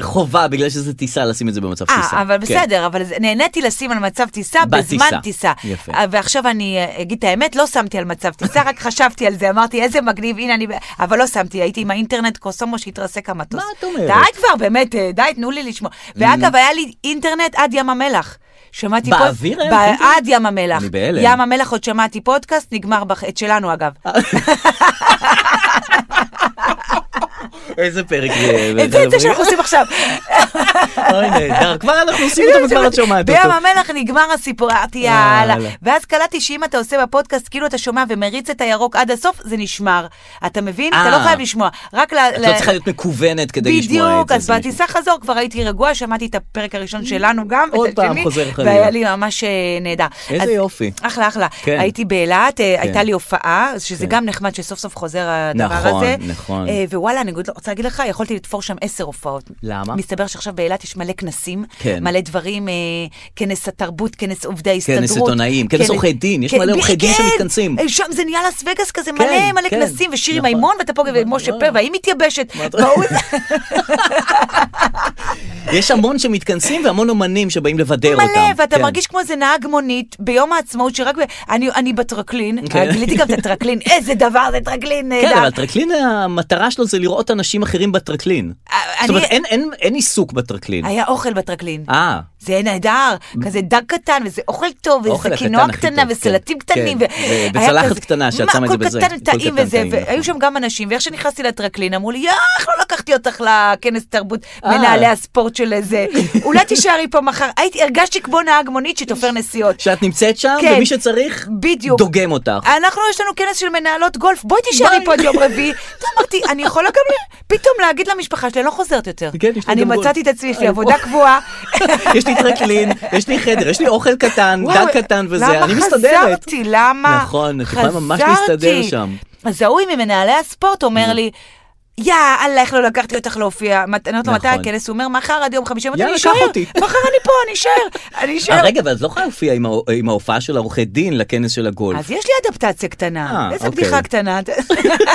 Speaker 2: חובה בגלל שזה טיסה לשים את זה במצב טיסה.
Speaker 3: אה, אבל
Speaker 2: כן.
Speaker 3: בסדר, אבל זה- נהניתי לשים על מצב טיסה
Speaker 2: בטיסה.
Speaker 3: בזמן טיסה.
Speaker 2: יפה.
Speaker 3: אה, ועכשיו אני אה, אגיד את האמת, לא שמתי על מצב טיסה, רק חשבתי על זה, אמרתי איזה מגניב, הנה אני... ב-" אבל לא שמתי, הייתי עם האינטרנט קוסומו שהתרסק המטוס.
Speaker 2: מה את אומרת? Mm.
Speaker 3: די כבר, באמת, אה, די, תנו לי לשמוע. ואגב, היה לי אינטרנט עד ים המלח. שמעתי פוד-
Speaker 2: באוויר היה
Speaker 3: ב-
Speaker 2: לך אינטרנט?
Speaker 3: עד ים המלח.
Speaker 2: אני בהלם. אה,
Speaker 3: ים המלח עוד שמעתי פודקאסט, נגמר בח... את שלנו אגב.
Speaker 2: איזה פרק
Speaker 3: [laughs]
Speaker 2: זה.
Speaker 3: את זה את זה שאנחנו עושים עכשיו.
Speaker 2: [laughs] אוי נהדר, כבר אנחנו
Speaker 3: [laughs]
Speaker 2: עושים אותו וכבר את שומעת אותו. אה, לא,
Speaker 3: בים המלח נגמר הסיפור, אמרתי יאללה.
Speaker 2: יאללה.
Speaker 3: ואז קלטתי שאם אתה עושה בפודקאסט, כאילו אתה שומע ומריץ את הירוק עד הסוף, זה נשמר. אתה מבין? אתה לא
Speaker 2: אה.
Speaker 3: חייב לשמוע. רק ל...
Speaker 2: את
Speaker 3: ל-
Speaker 2: לא צריכה להיות מכוונת כדי לשמוע את זה.
Speaker 3: בדיוק, אז
Speaker 2: זה מישהו.
Speaker 3: בטיסה חזור כבר הייתי רגועה, שמעתי את הפרק הראשון שלנו גם,
Speaker 2: עוד
Speaker 3: את
Speaker 2: פעם
Speaker 3: השני,
Speaker 2: חוזר חלילה.
Speaker 3: והיה לי ממש אה, נהדר.
Speaker 2: איזה
Speaker 3: אז-
Speaker 2: יופי.
Speaker 3: אחלה, אחלה.
Speaker 2: כן.
Speaker 3: הייתי באילת, אה, הייתה לי הופעה, אז שזה
Speaker 2: כן.
Speaker 3: גם נחמד שסוף סוף חוזר הדבר
Speaker 2: נכון,
Speaker 3: הזה.
Speaker 2: נכון.
Speaker 3: אה, ווואלה, אני רוצה להגיד לך, יכולתי לתפור שם עשר הופעות.
Speaker 2: למה?
Speaker 3: מסתבר שעכשיו באילת יש מלא כנסים,
Speaker 2: כן.
Speaker 3: מלא דברים, אה, כנס התרבות, כנס עובדי ההסתדרות.
Speaker 2: כנס עיתונאים, כנס עורכי דין, יש
Speaker 3: כן,
Speaker 2: מלא
Speaker 3: ב-
Speaker 2: עורכי דין
Speaker 3: כן,
Speaker 2: שמתכנסים.
Speaker 3: אה, שם זה נהיה לס וגאס כזה,
Speaker 2: כן,
Speaker 3: מלא מלא
Speaker 2: כן.
Speaker 3: כנסים, ושירי
Speaker 2: נכון.
Speaker 3: מימון, ואתה פה, ומשה
Speaker 2: נכון.
Speaker 3: פר, והיא מתייבשת.
Speaker 2: את-
Speaker 3: וההוא-
Speaker 2: יש המון שמתכנסים והמון אומנים שבאים לבדר אותם.
Speaker 3: מלא, ואתה
Speaker 2: כן.
Speaker 3: מרגיש כמו איזה נהג מונית ביום העצמאות, שרק... ב- אני אני בטרקלין,
Speaker 2: כן.
Speaker 3: גיליתי גם
Speaker 2: [laughs]
Speaker 3: את הטרקלין, איזה דבר זה טרקלין
Speaker 2: כן,
Speaker 3: נהדר.
Speaker 2: אבל הטרקלין, המטרה שלו זה לראות אנשים אחרים בטרקלין.
Speaker 3: אה,
Speaker 2: זאת אומרת,
Speaker 3: אני-
Speaker 2: אין- אין- אין עיסוק בטרקלין.
Speaker 3: היה אוכל בטרקלין.
Speaker 2: אה,
Speaker 3: זה היה נהדר, כזה דג קטן, וזה אוכל טוב,
Speaker 2: האוכל
Speaker 3: וזה
Speaker 2: הקטן
Speaker 3: קינוע
Speaker 2: הכי
Speaker 3: קטנה,
Speaker 2: טוב,
Speaker 3: וסלטים
Speaker 2: כן,
Speaker 3: קטנים.
Speaker 2: כן,
Speaker 3: ו- היה
Speaker 2: ובצלחת
Speaker 3: כזה-
Speaker 2: קטנה שאת
Speaker 3: מה,
Speaker 2: שמה את זה בזה,
Speaker 3: כל קטן
Speaker 2: הכל
Speaker 3: טעים
Speaker 2: קטן
Speaker 3: וזה,
Speaker 2: טעים, נכון.
Speaker 3: והיו שם גם אנשים, ואיך שנכנסתי לטרקלין, אמרו לי, יאח, לא לקחתי אותך לכנס תרבות
Speaker 2: אה.
Speaker 3: מנהלי הספורט
Speaker 2: [laughs]
Speaker 3: של איזה, אולי תישארי פה מחר. הייתי, הרגשתי כמו נהג
Speaker 2: [laughs]
Speaker 3: מונית שתופר נסיעות.
Speaker 2: שאת נמצאת שם,
Speaker 3: כן.
Speaker 2: ומי שצריך,
Speaker 3: בדיוק.
Speaker 2: דוגם אותך.
Speaker 3: אנחנו, יש לנו כנס של מנהלות גולף, בואי תישארי
Speaker 2: ביי.
Speaker 3: פה עד יום רביעי. אתה אמרתי, אני יכולה גם ל- פתאום להגיד למשפחה שלי, אני לא חוזרת יותר.
Speaker 2: כן, יש לי
Speaker 3: אני
Speaker 2: גם גולף.
Speaker 3: מצאתי את עצמי, יש לי
Speaker 2: אה,
Speaker 3: עבודה קבועה.
Speaker 2: [laughs] יש לי טרקלין, יש לי חדר, יש לי אוכל קטן,
Speaker 3: וואו,
Speaker 2: דג קטן וזה, אני
Speaker 3: למה
Speaker 2: מסתדרת.
Speaker 3: חזרתי? למה?
Speaker 2: נכון, את יכולה ממש
Speaker 3: חזרתי.
Speaker 2: להסתדר שם.
Speaker 3: אז ההוא ממנהלי הספורט אומר לי, יא, אללה, איך לא לקחתי אותך להופיע. מת- אני אומרת לו, מתי
Speaker 2: נכון.
Speaker 3: הכנס? הוא אומר, מחר עד יום חמישי. אמרתי,
Speaker 2: יאללה,
Speaker 3: אני
Speaker 2: קח
Speaker 3: אשאר.
Speaker 2: אותי.
Speaker 3: מחר אני פה, אני אשאר. אני
Speaker 2: אה,
Speaker 3: אשאר.
Speaker 2: רגע, אבל את לא יכולה להופיע עם ה- עם ההופעה של עורכי דין לכנס של הגולף.
Speaker 3: אז יש לי אדפטציה קטנה.
Speaker 2: אה,
Speaker 3: איזה
Speaker 2: אוקיי.
Speaker 3: בדיחה קטנה.
Speaker 2: [laughs]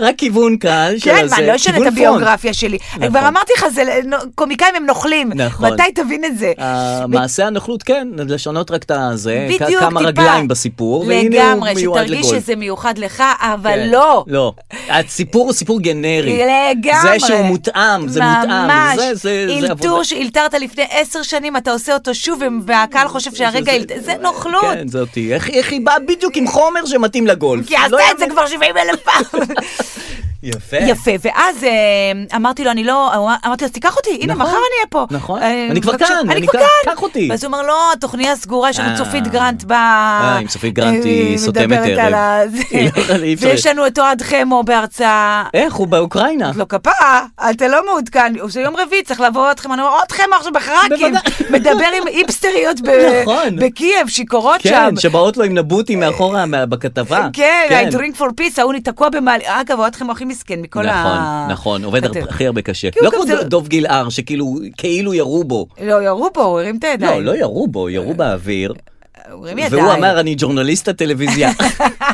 Speaker 2: רק כיוון קהל של
Speaker 3: כן,
Speaker 2: הזה,
Speaker 3: מה, אני לא אשנה את
Speaker 2: כיוון
Speaker 3: הביוגרפיה שלי.
Speaker 2: נכון.
Speaker 3: כבר אמרתי לך, זה- נו, קומיקאים הם נוכלים.
Speaker 2: נכון.
Speaker 3: מתי תבין את זה?
Speaker 2: פונט. מעשה הנוכלות, כן, לשנות רק את הזה, אה, כ-
Speaker 3: בדיוק,
Speaker 2: כמה
Speaker 3: טיפה.
Speaker 2: רגליים בסיפור, והנה הוא
Speaker 3: לגמרי,
Speaker 2: מיועד
Speaker 3: שתרגיש
Speaker 2: לגולף.
Speaker 3: שזה מיוחד לך, אבל
Speaker 2: כן.
Speaker 3: לא.
Speaker 2: לא. הסיפור הוא סיפור גנרי.
Speaker 3: לגמרי.
Speaker 2: זה שהוא מותאם, זה מותאם.
Speaker 3: ממש.
Speaker 2: זה- זה- זה עבודה.
Speaker 3: אלתור שאילתרת לפני עשר שנים, אתה עושה אותו שוב, והקהל חושב שהרגע... אילת- זה נוכלות.
Speaker 2: כן, זאתי. איך איך היא באה בדיוק עם חומר שמתאים לגולף?
Speaker 3: כי עשתה
Speaker 2: לא
Speaker 3: את זה כבר 70 אלף פעם.
Speaker 2: [laughs] יפה.
Speaker 3: יפה, ואז אה, אמרתי לו, אני לא, אמרתי לו, אז תיקח אותי, הנה,
Speaker 2: נכון.
Speaker 3: מחר אני אהיה פה.
Speaker 2: נכון.
Speaker 3: אה,
Speaker 2: אני כבר
Speaker 3: בבקשה,
Speaker 2: כאן, אני
Speaker 3: אני כבר
Speaker 2: כאן,
Speaker 3: כאן.
Speaker 2: קח אותי.
Speaker 3: ואז הוא אומר, לא, התוכניה סגורה, יש לנו
Speaker 2: אה.
Speaker 3: צופית גרנט ב...
Speaker 2: עם צופית גרנט היא
Speaker 3: אה,
Speaker 2: סותמת
Speaker 3: מדברת
Speaker 2: ערב.
Speaker 3: על ה- זה.
Speaker 2: [laughs] היא לא יכולה, אי אפשר. אה.
Speaker 3: ויש לנו את אוהד חמו בהרצאה.
Speaker 2: איך, הוא באוקראינה.
Speaker 3: לא כפרה, אתה לא מעודכן, זה יום רביעי, צריך לעבור אתכם, אני אומר, אתכם עכשיו בחרקים,
Speaker 2: בוודאי.
Speaker 3: [laughs] מדבר עם איפסטריות ב-
Speaker 2: נכון.
Speaker 3: בקייב, שיכורות
Speaker 2: כן,
Speaker 3: שם.
Speaker 2: שבאות לו עם נבוטי מאחורה מה- בכתבה.
Speaker 3: [laughs]
Speaker 2: כן.
Speaker 3: כן, I drink for peace, ההוא תקוע במעלית, אגב, אוהד חמו הכי מסכן מכל
Speaker 2: נכון,
Speaker 3: ה...
Speaker 2: נכון, עובד
Speaker 3: אתם-
Speaker 2: הר- הכי הרבה קשה.
Speaker 3: כי הוא
Speaker 2: לא
Speaker 3: גם
Speaker 2: כמו
Speaker 3: זה לא-
Speaker 2: דוב גילהר, שכאילו, כאילו ירו בו.
Speaker 3: לא, ירו בו, הוא הרים את הידיים.
Speaker 2: לא, לא ירו בו,
Speaker 3: אה.
Speaker 2: ירו באוויר.
Speaker 3: הוא הרים ידיים.
Speaker 2: והוא אמר, אני ג'ורנליסט הטלוויזיה. [laughs]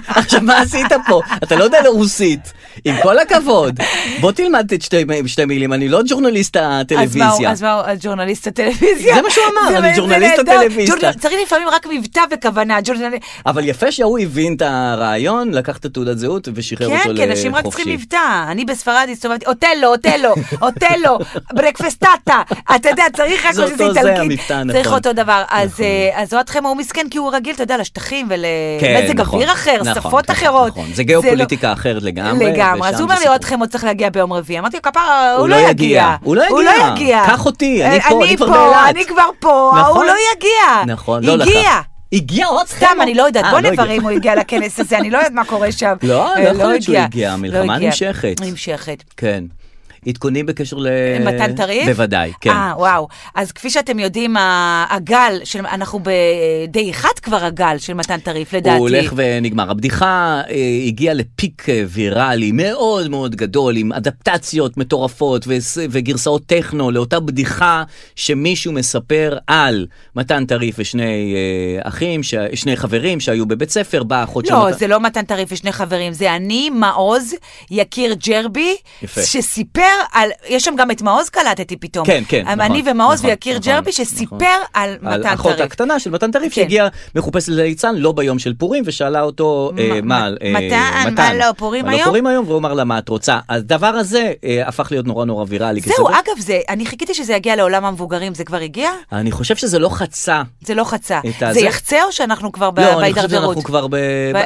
Speaker 2: עכשיו, מה עשית פה? אתה לא יודע לרוסית. עם כל הכבוד, בוא תלמד את שתי מ- שתי מילים, אני לא ג'ורנליסט
Speaker 3: אז מה הוא-
Speaker 2: הטלוויזיה.
Speaker 3: אז מה הוא, אז ג'ורנליסט הטלוויזיה?
Speaker 2: זה מה שהוא אמר,
Speaker 3: זה
Speaker 2: אני
Speaker 3: באמת
Speaker 2: ג'ורנליסט
Speaker 3: נהדר.
Speaker 2: הטלוויזיה.
Speaker 3: ג'ורנל- צריך לפעמים רק מבטא וכוונה, ג'ורנליסט.
Speaker 2: אבל יפה שההוא הבין את הרעיון, לקח את התעודת זהות ושחרר אותו
Speaker 3: כן,
Speaker 2: לחופשי.
Speaker 3: כן, אנשים רק צריכים מבטא. אני בספרד הסתובבתי, אוטלו, אוטלו, אוטלו, ברקפסטטה. אתה יודע, צריך רק
Speaker 2: זה
Speaker 3: משהו שזה
Speaker 2: אותו זה,
Speaker 3: איטלקית.
Speaker 2: המבטא, נכון.
Speaker 3: צריך אותו דבר. אז אה, אז אוהד חמו הוא מסכן כי הוא רגיל, אתה יודע, לשטחים
Speaker 2: כן,
Speaker 3: ולמזג
Speaker 2: נכון,
Speaker 3: אוויר אחר,
Speaker 2: נכון,
Speaker 3: שפות
Speaker 2: נכון,
Speaker 3: אחרות.
Speaker 2: נכון. זה
Speaker 3: לא-
Speaker 2: גיאופוליטיקה אחרת לגמרי,
Speaker 3: לגמרי.
Speaker 2: ושם
Speaker 3: אז הוא
Speaker 2: זה
Speaker 3: אומר לי,
Speaker 2: סיפור.
Speaker 3: אוהד חמו צריך להגיע ביום רביעי. אמרתי לו, כפרה,
Speaker 2: הוא
Speaker 3: הוא
Speaker 2: לא
Speaker 3: לא
Speaker 2: יגיע.
Speaker 3: יגיע.
Speaker 2: הוא לא יגיע. קח אותי, אני
Speaker 3: אה,
Speaker 2: פה, אני כבר באילת.
Speaker 3: אני כבר פה,
Speaker 2: נכון.
Speaker 3: ההוא לא יגיע.
Speaker 2: נכון, לא לקח.
Speaker 3: הגיע.
Speaker 2: הגיע עוד חמו.
Speaker 3: סתם, אני לא יודעת,
Speaker 2: אה,
Speaker 3: בוא
Speaker 2: הגיע.
Speaker 3: נברר אם הוא הגיע לכנס הזה, אני לא יודעת מה קורה שם.
Speaker 2: לא, לא
Speaker 3: אה,
Speaker 2: יכול להיות שהוא הגיע,
Speaker 3: לא
Speaker 2: המלחמה
Speaker 3: הגיע.
Speaker 2: נמשכת.
Speaker 3: נמשכת.
Speaker 2: כן. עדכונים בקשר ל...
Speaker 3: מתן טריף?
Speaker 2: בוודאי, כן.
Speaker 3: אה, וואו. אז כפי שאתם יודעים, ה- הגל, של- אנחנו בדעיכת כבר הגל של מתן טריף, לדעתי.
Speaker 2: הוא הולך ונגמר. הבדיחה אה, הגיעה לפיק אה, ויראלי מאוד מאוד גדול, עם אדפטציות מטורפות וס- וגרסאות טכנו לאותה בדיחה שמישהו מספר על מתן טריף ושני אה, אחים, ש... שני חברים שהיו בבית ספר, באה אחות של
Speaker 3: לא,
Speaker 2: מתן...
Speaker 3: זה לא מתן טריף ושני חברים, זה אני, מעוז, יקיר ג'רבי,
Speaker 2: יפה.
Speaker 3: שסיפר על, יש שם גם את מעוז קלטתי פתאום.
Speaker 2: כן, כן,
Speaker 3: אבל
Speaker 2: נכון,
Speaker 3: אני ומעוז
Speaker 2: נכון,
Speaker 3: ויקיר
Speaker 2: נכון,
Speaker 3: ג'רבי, שסיפר על
Speaker 2: על
Speaker 3: מתן
Speaker 2: אחות
Speaker 3: טריף.
Speaker 2: הקטנה של מתן טריף
Speaker 3: כן.
Speaker 2: שהגיעה מחופשת לליצן לא ביום של פורים ושאלה אותו אה,
Speaker 3: מ-
Speaker 2: מה
Speaker 3: מ-
Speaker 2: אה,
Speaker 3: מתן, מה לא, פורים
Speaker 2: מה לא
Speaker 3: היום?
Speaker 2: פורים היום והוא אמר לה מה את רוצה. הדבר הזה אה, הפך להיות נורא נורא ויראלי. כי
Speaker 3: זהו,
Speaker 2: זה-
Speaker 3: אגב, זה, אני חיכיתי שזה יגיע לעולם המבוגרים, זה כבר הגיע?
Speaker 2: אני חושב שזה לא חצה.
Speaker 3: זה לא חצה.
Speaker 2: את הזה?
Speaker 3: זה יחצה או שאנחנו כבר ב-
Speaker 2: לא, אני חושב
Speaker 3: בהידרדרות?
Speaker 2: שאנחנו כבר ב...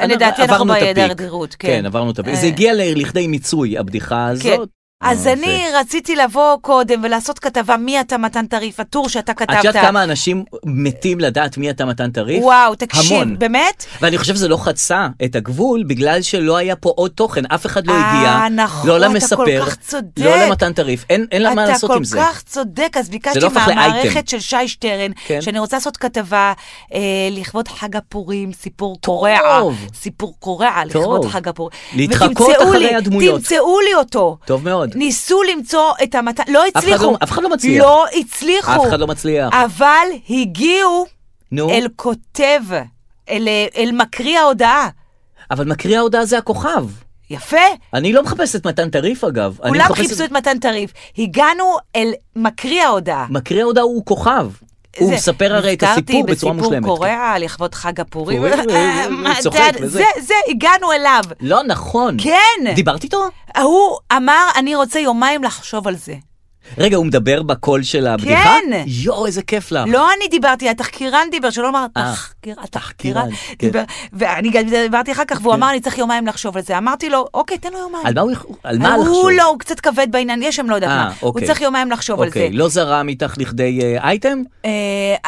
Speaker 3: לדעתי אנחנו
Speaker 2: עברנו את הפיק.
Speaker 3: בהידרדרות, כן.
Speaker 2: כן, עברנו את הפיק.
Speaker 3: אה.
Speaker 2: זה הגיע ל- לכדי מיצוי, הבדיחה
Speaker 3: כן.
Speaker 2: הזאת.
Speaker 3: אז
Speaker 2: אה,
Speaker 3: אני רציתי לבוא קודם ולעשות כתבה מי אתה מתן טריף, הטור שאתה
Speaker 2: את יודעת
Speaker 3: כתבת.
Speaker 2: כמה אנשים מתים לדעת מי אתה מתן טריף?
Speaker 3: וואו, תקשיב,
Speaker 2: המון.
Speaker 3: באמת?
Speaker 2: ואני חושב שזה לא חצה את הגבול בגלל שלא היה פה עוד תוכן, אף אחד לא
Speaker 3: אה,
Speaker 2: הגיע.
Speaker 3: נכון,
Speaker 2: לא
Speaker 3: אתה
Speaker 2: למספר,
Speaker 3: כל כך צודק.
Speaker 2: לא למתן טריף, אין אין לה מה לעשות עם זה.
Speaker 3: אתה כל כך צודק, אז ביקשתי
Speaker 2: לא הפך לאייטם.
Speaker 3: מהמערכת של שי שטרן,
Speaker 2: כן.
Speaker 3: שאני רוצה לעשות כתבה אה, לכבוד חג הפורים, סיפור קורע, סיפור קורע לכבוד חג הפורים.
Speaker 2: להתחקות
Speaker 3: ותמצאו
Speaker 2: אחרי
Speaker 3: לי-
Speaker 2: הדמויות.
Speaker 3: תמצאו לי אותו.
Speaker 2: טוב מאוד.
Speaker 3: ניסו למצוא את המתן, לא
Speaker 2: אחד
Speaker 3: הצליחו.
Speaker 2: לא- אף אחד לא מצליח.
Speaker 3: לא הצליחו.
Speaker 2: אף אחד לא מצליח.
Speaker 3: אבל הגיעו
Speaker 2: נו,
Speaker 3: אה, אל כותב, אל, אל מקריא ההודעה.
Speaker 2: אבל מקריא ההודעה זה הכוכב.
Speaker 3: יפה.
Speaker 2: אני לא מחפש את מתן טריף אגב. אני
Speaker 3: כולם
Speaker 2: מחפש
Speaker 3: חיפשו את מתן טריף. הגענו אל מקריא ההודעה.
Speaker 2: מקריא ההודעה הוא כוכב. הוא
Speaker 3: זה,
Speaker 2: מספר הרי את
Speaker 3: נזכרתי
Speaker 2: הסיפור בצורה מושלמת.
Speaker 3: בסיפור קורע לכבוד חג הפורים.
Speaker 2: פורים, הוא-
Speaker 3: אה,
Speaker 2: הוא
Speaker 3: [laughs] מה,
Speaker 2: צוחק
Speaker 3: זה-
Speaker 2: וזה.
Speaker 3: זה, זה, הגענו אליו.
Speaker 2: לא נכון.
Speaker 3: כן.
Speaker 2: דיברת איתו?
Speaker 3: הוא אמר, אני רוצה יומיים לחשוב על זה.
Speaker 2: רגע, הוא מדבר בקול של הבדיחה?
Speaker 3: כן.
Speaker 2: יואו, איזה כיף לך.
Speaker 3: לא אני דיברתי, התחקירן דיבר, שלא אמר,
Speaker 2: אה,
Speaker 3: תחקיר,
Speaker 2: תחקירן,
Speaker 3: התחקירן
Speaker 2: כן.
Speaker 3: דיבר. ואני גם דיברתי אחר כך, והוא אמר, אני צריך יומיים לחשוב על זה. אמרתי לו, אוקיי, תן לו יומיים.
Speaker 2: על מה הוא יכול- על מה לחשוב?
Speaker 3: הוא לא, הוא קצת כבד בעניין, יש שם לא יודעת
Speaker 2: אה,
Speaker 3: מה. הוא
Speaker 2: אוקיי.
Speaker 3: צריך יומיים לחשוב על זה.
Speaker 2: אוקיי, לא זרם איתך לכדי אה, אייטם?
Speaker 3: אה,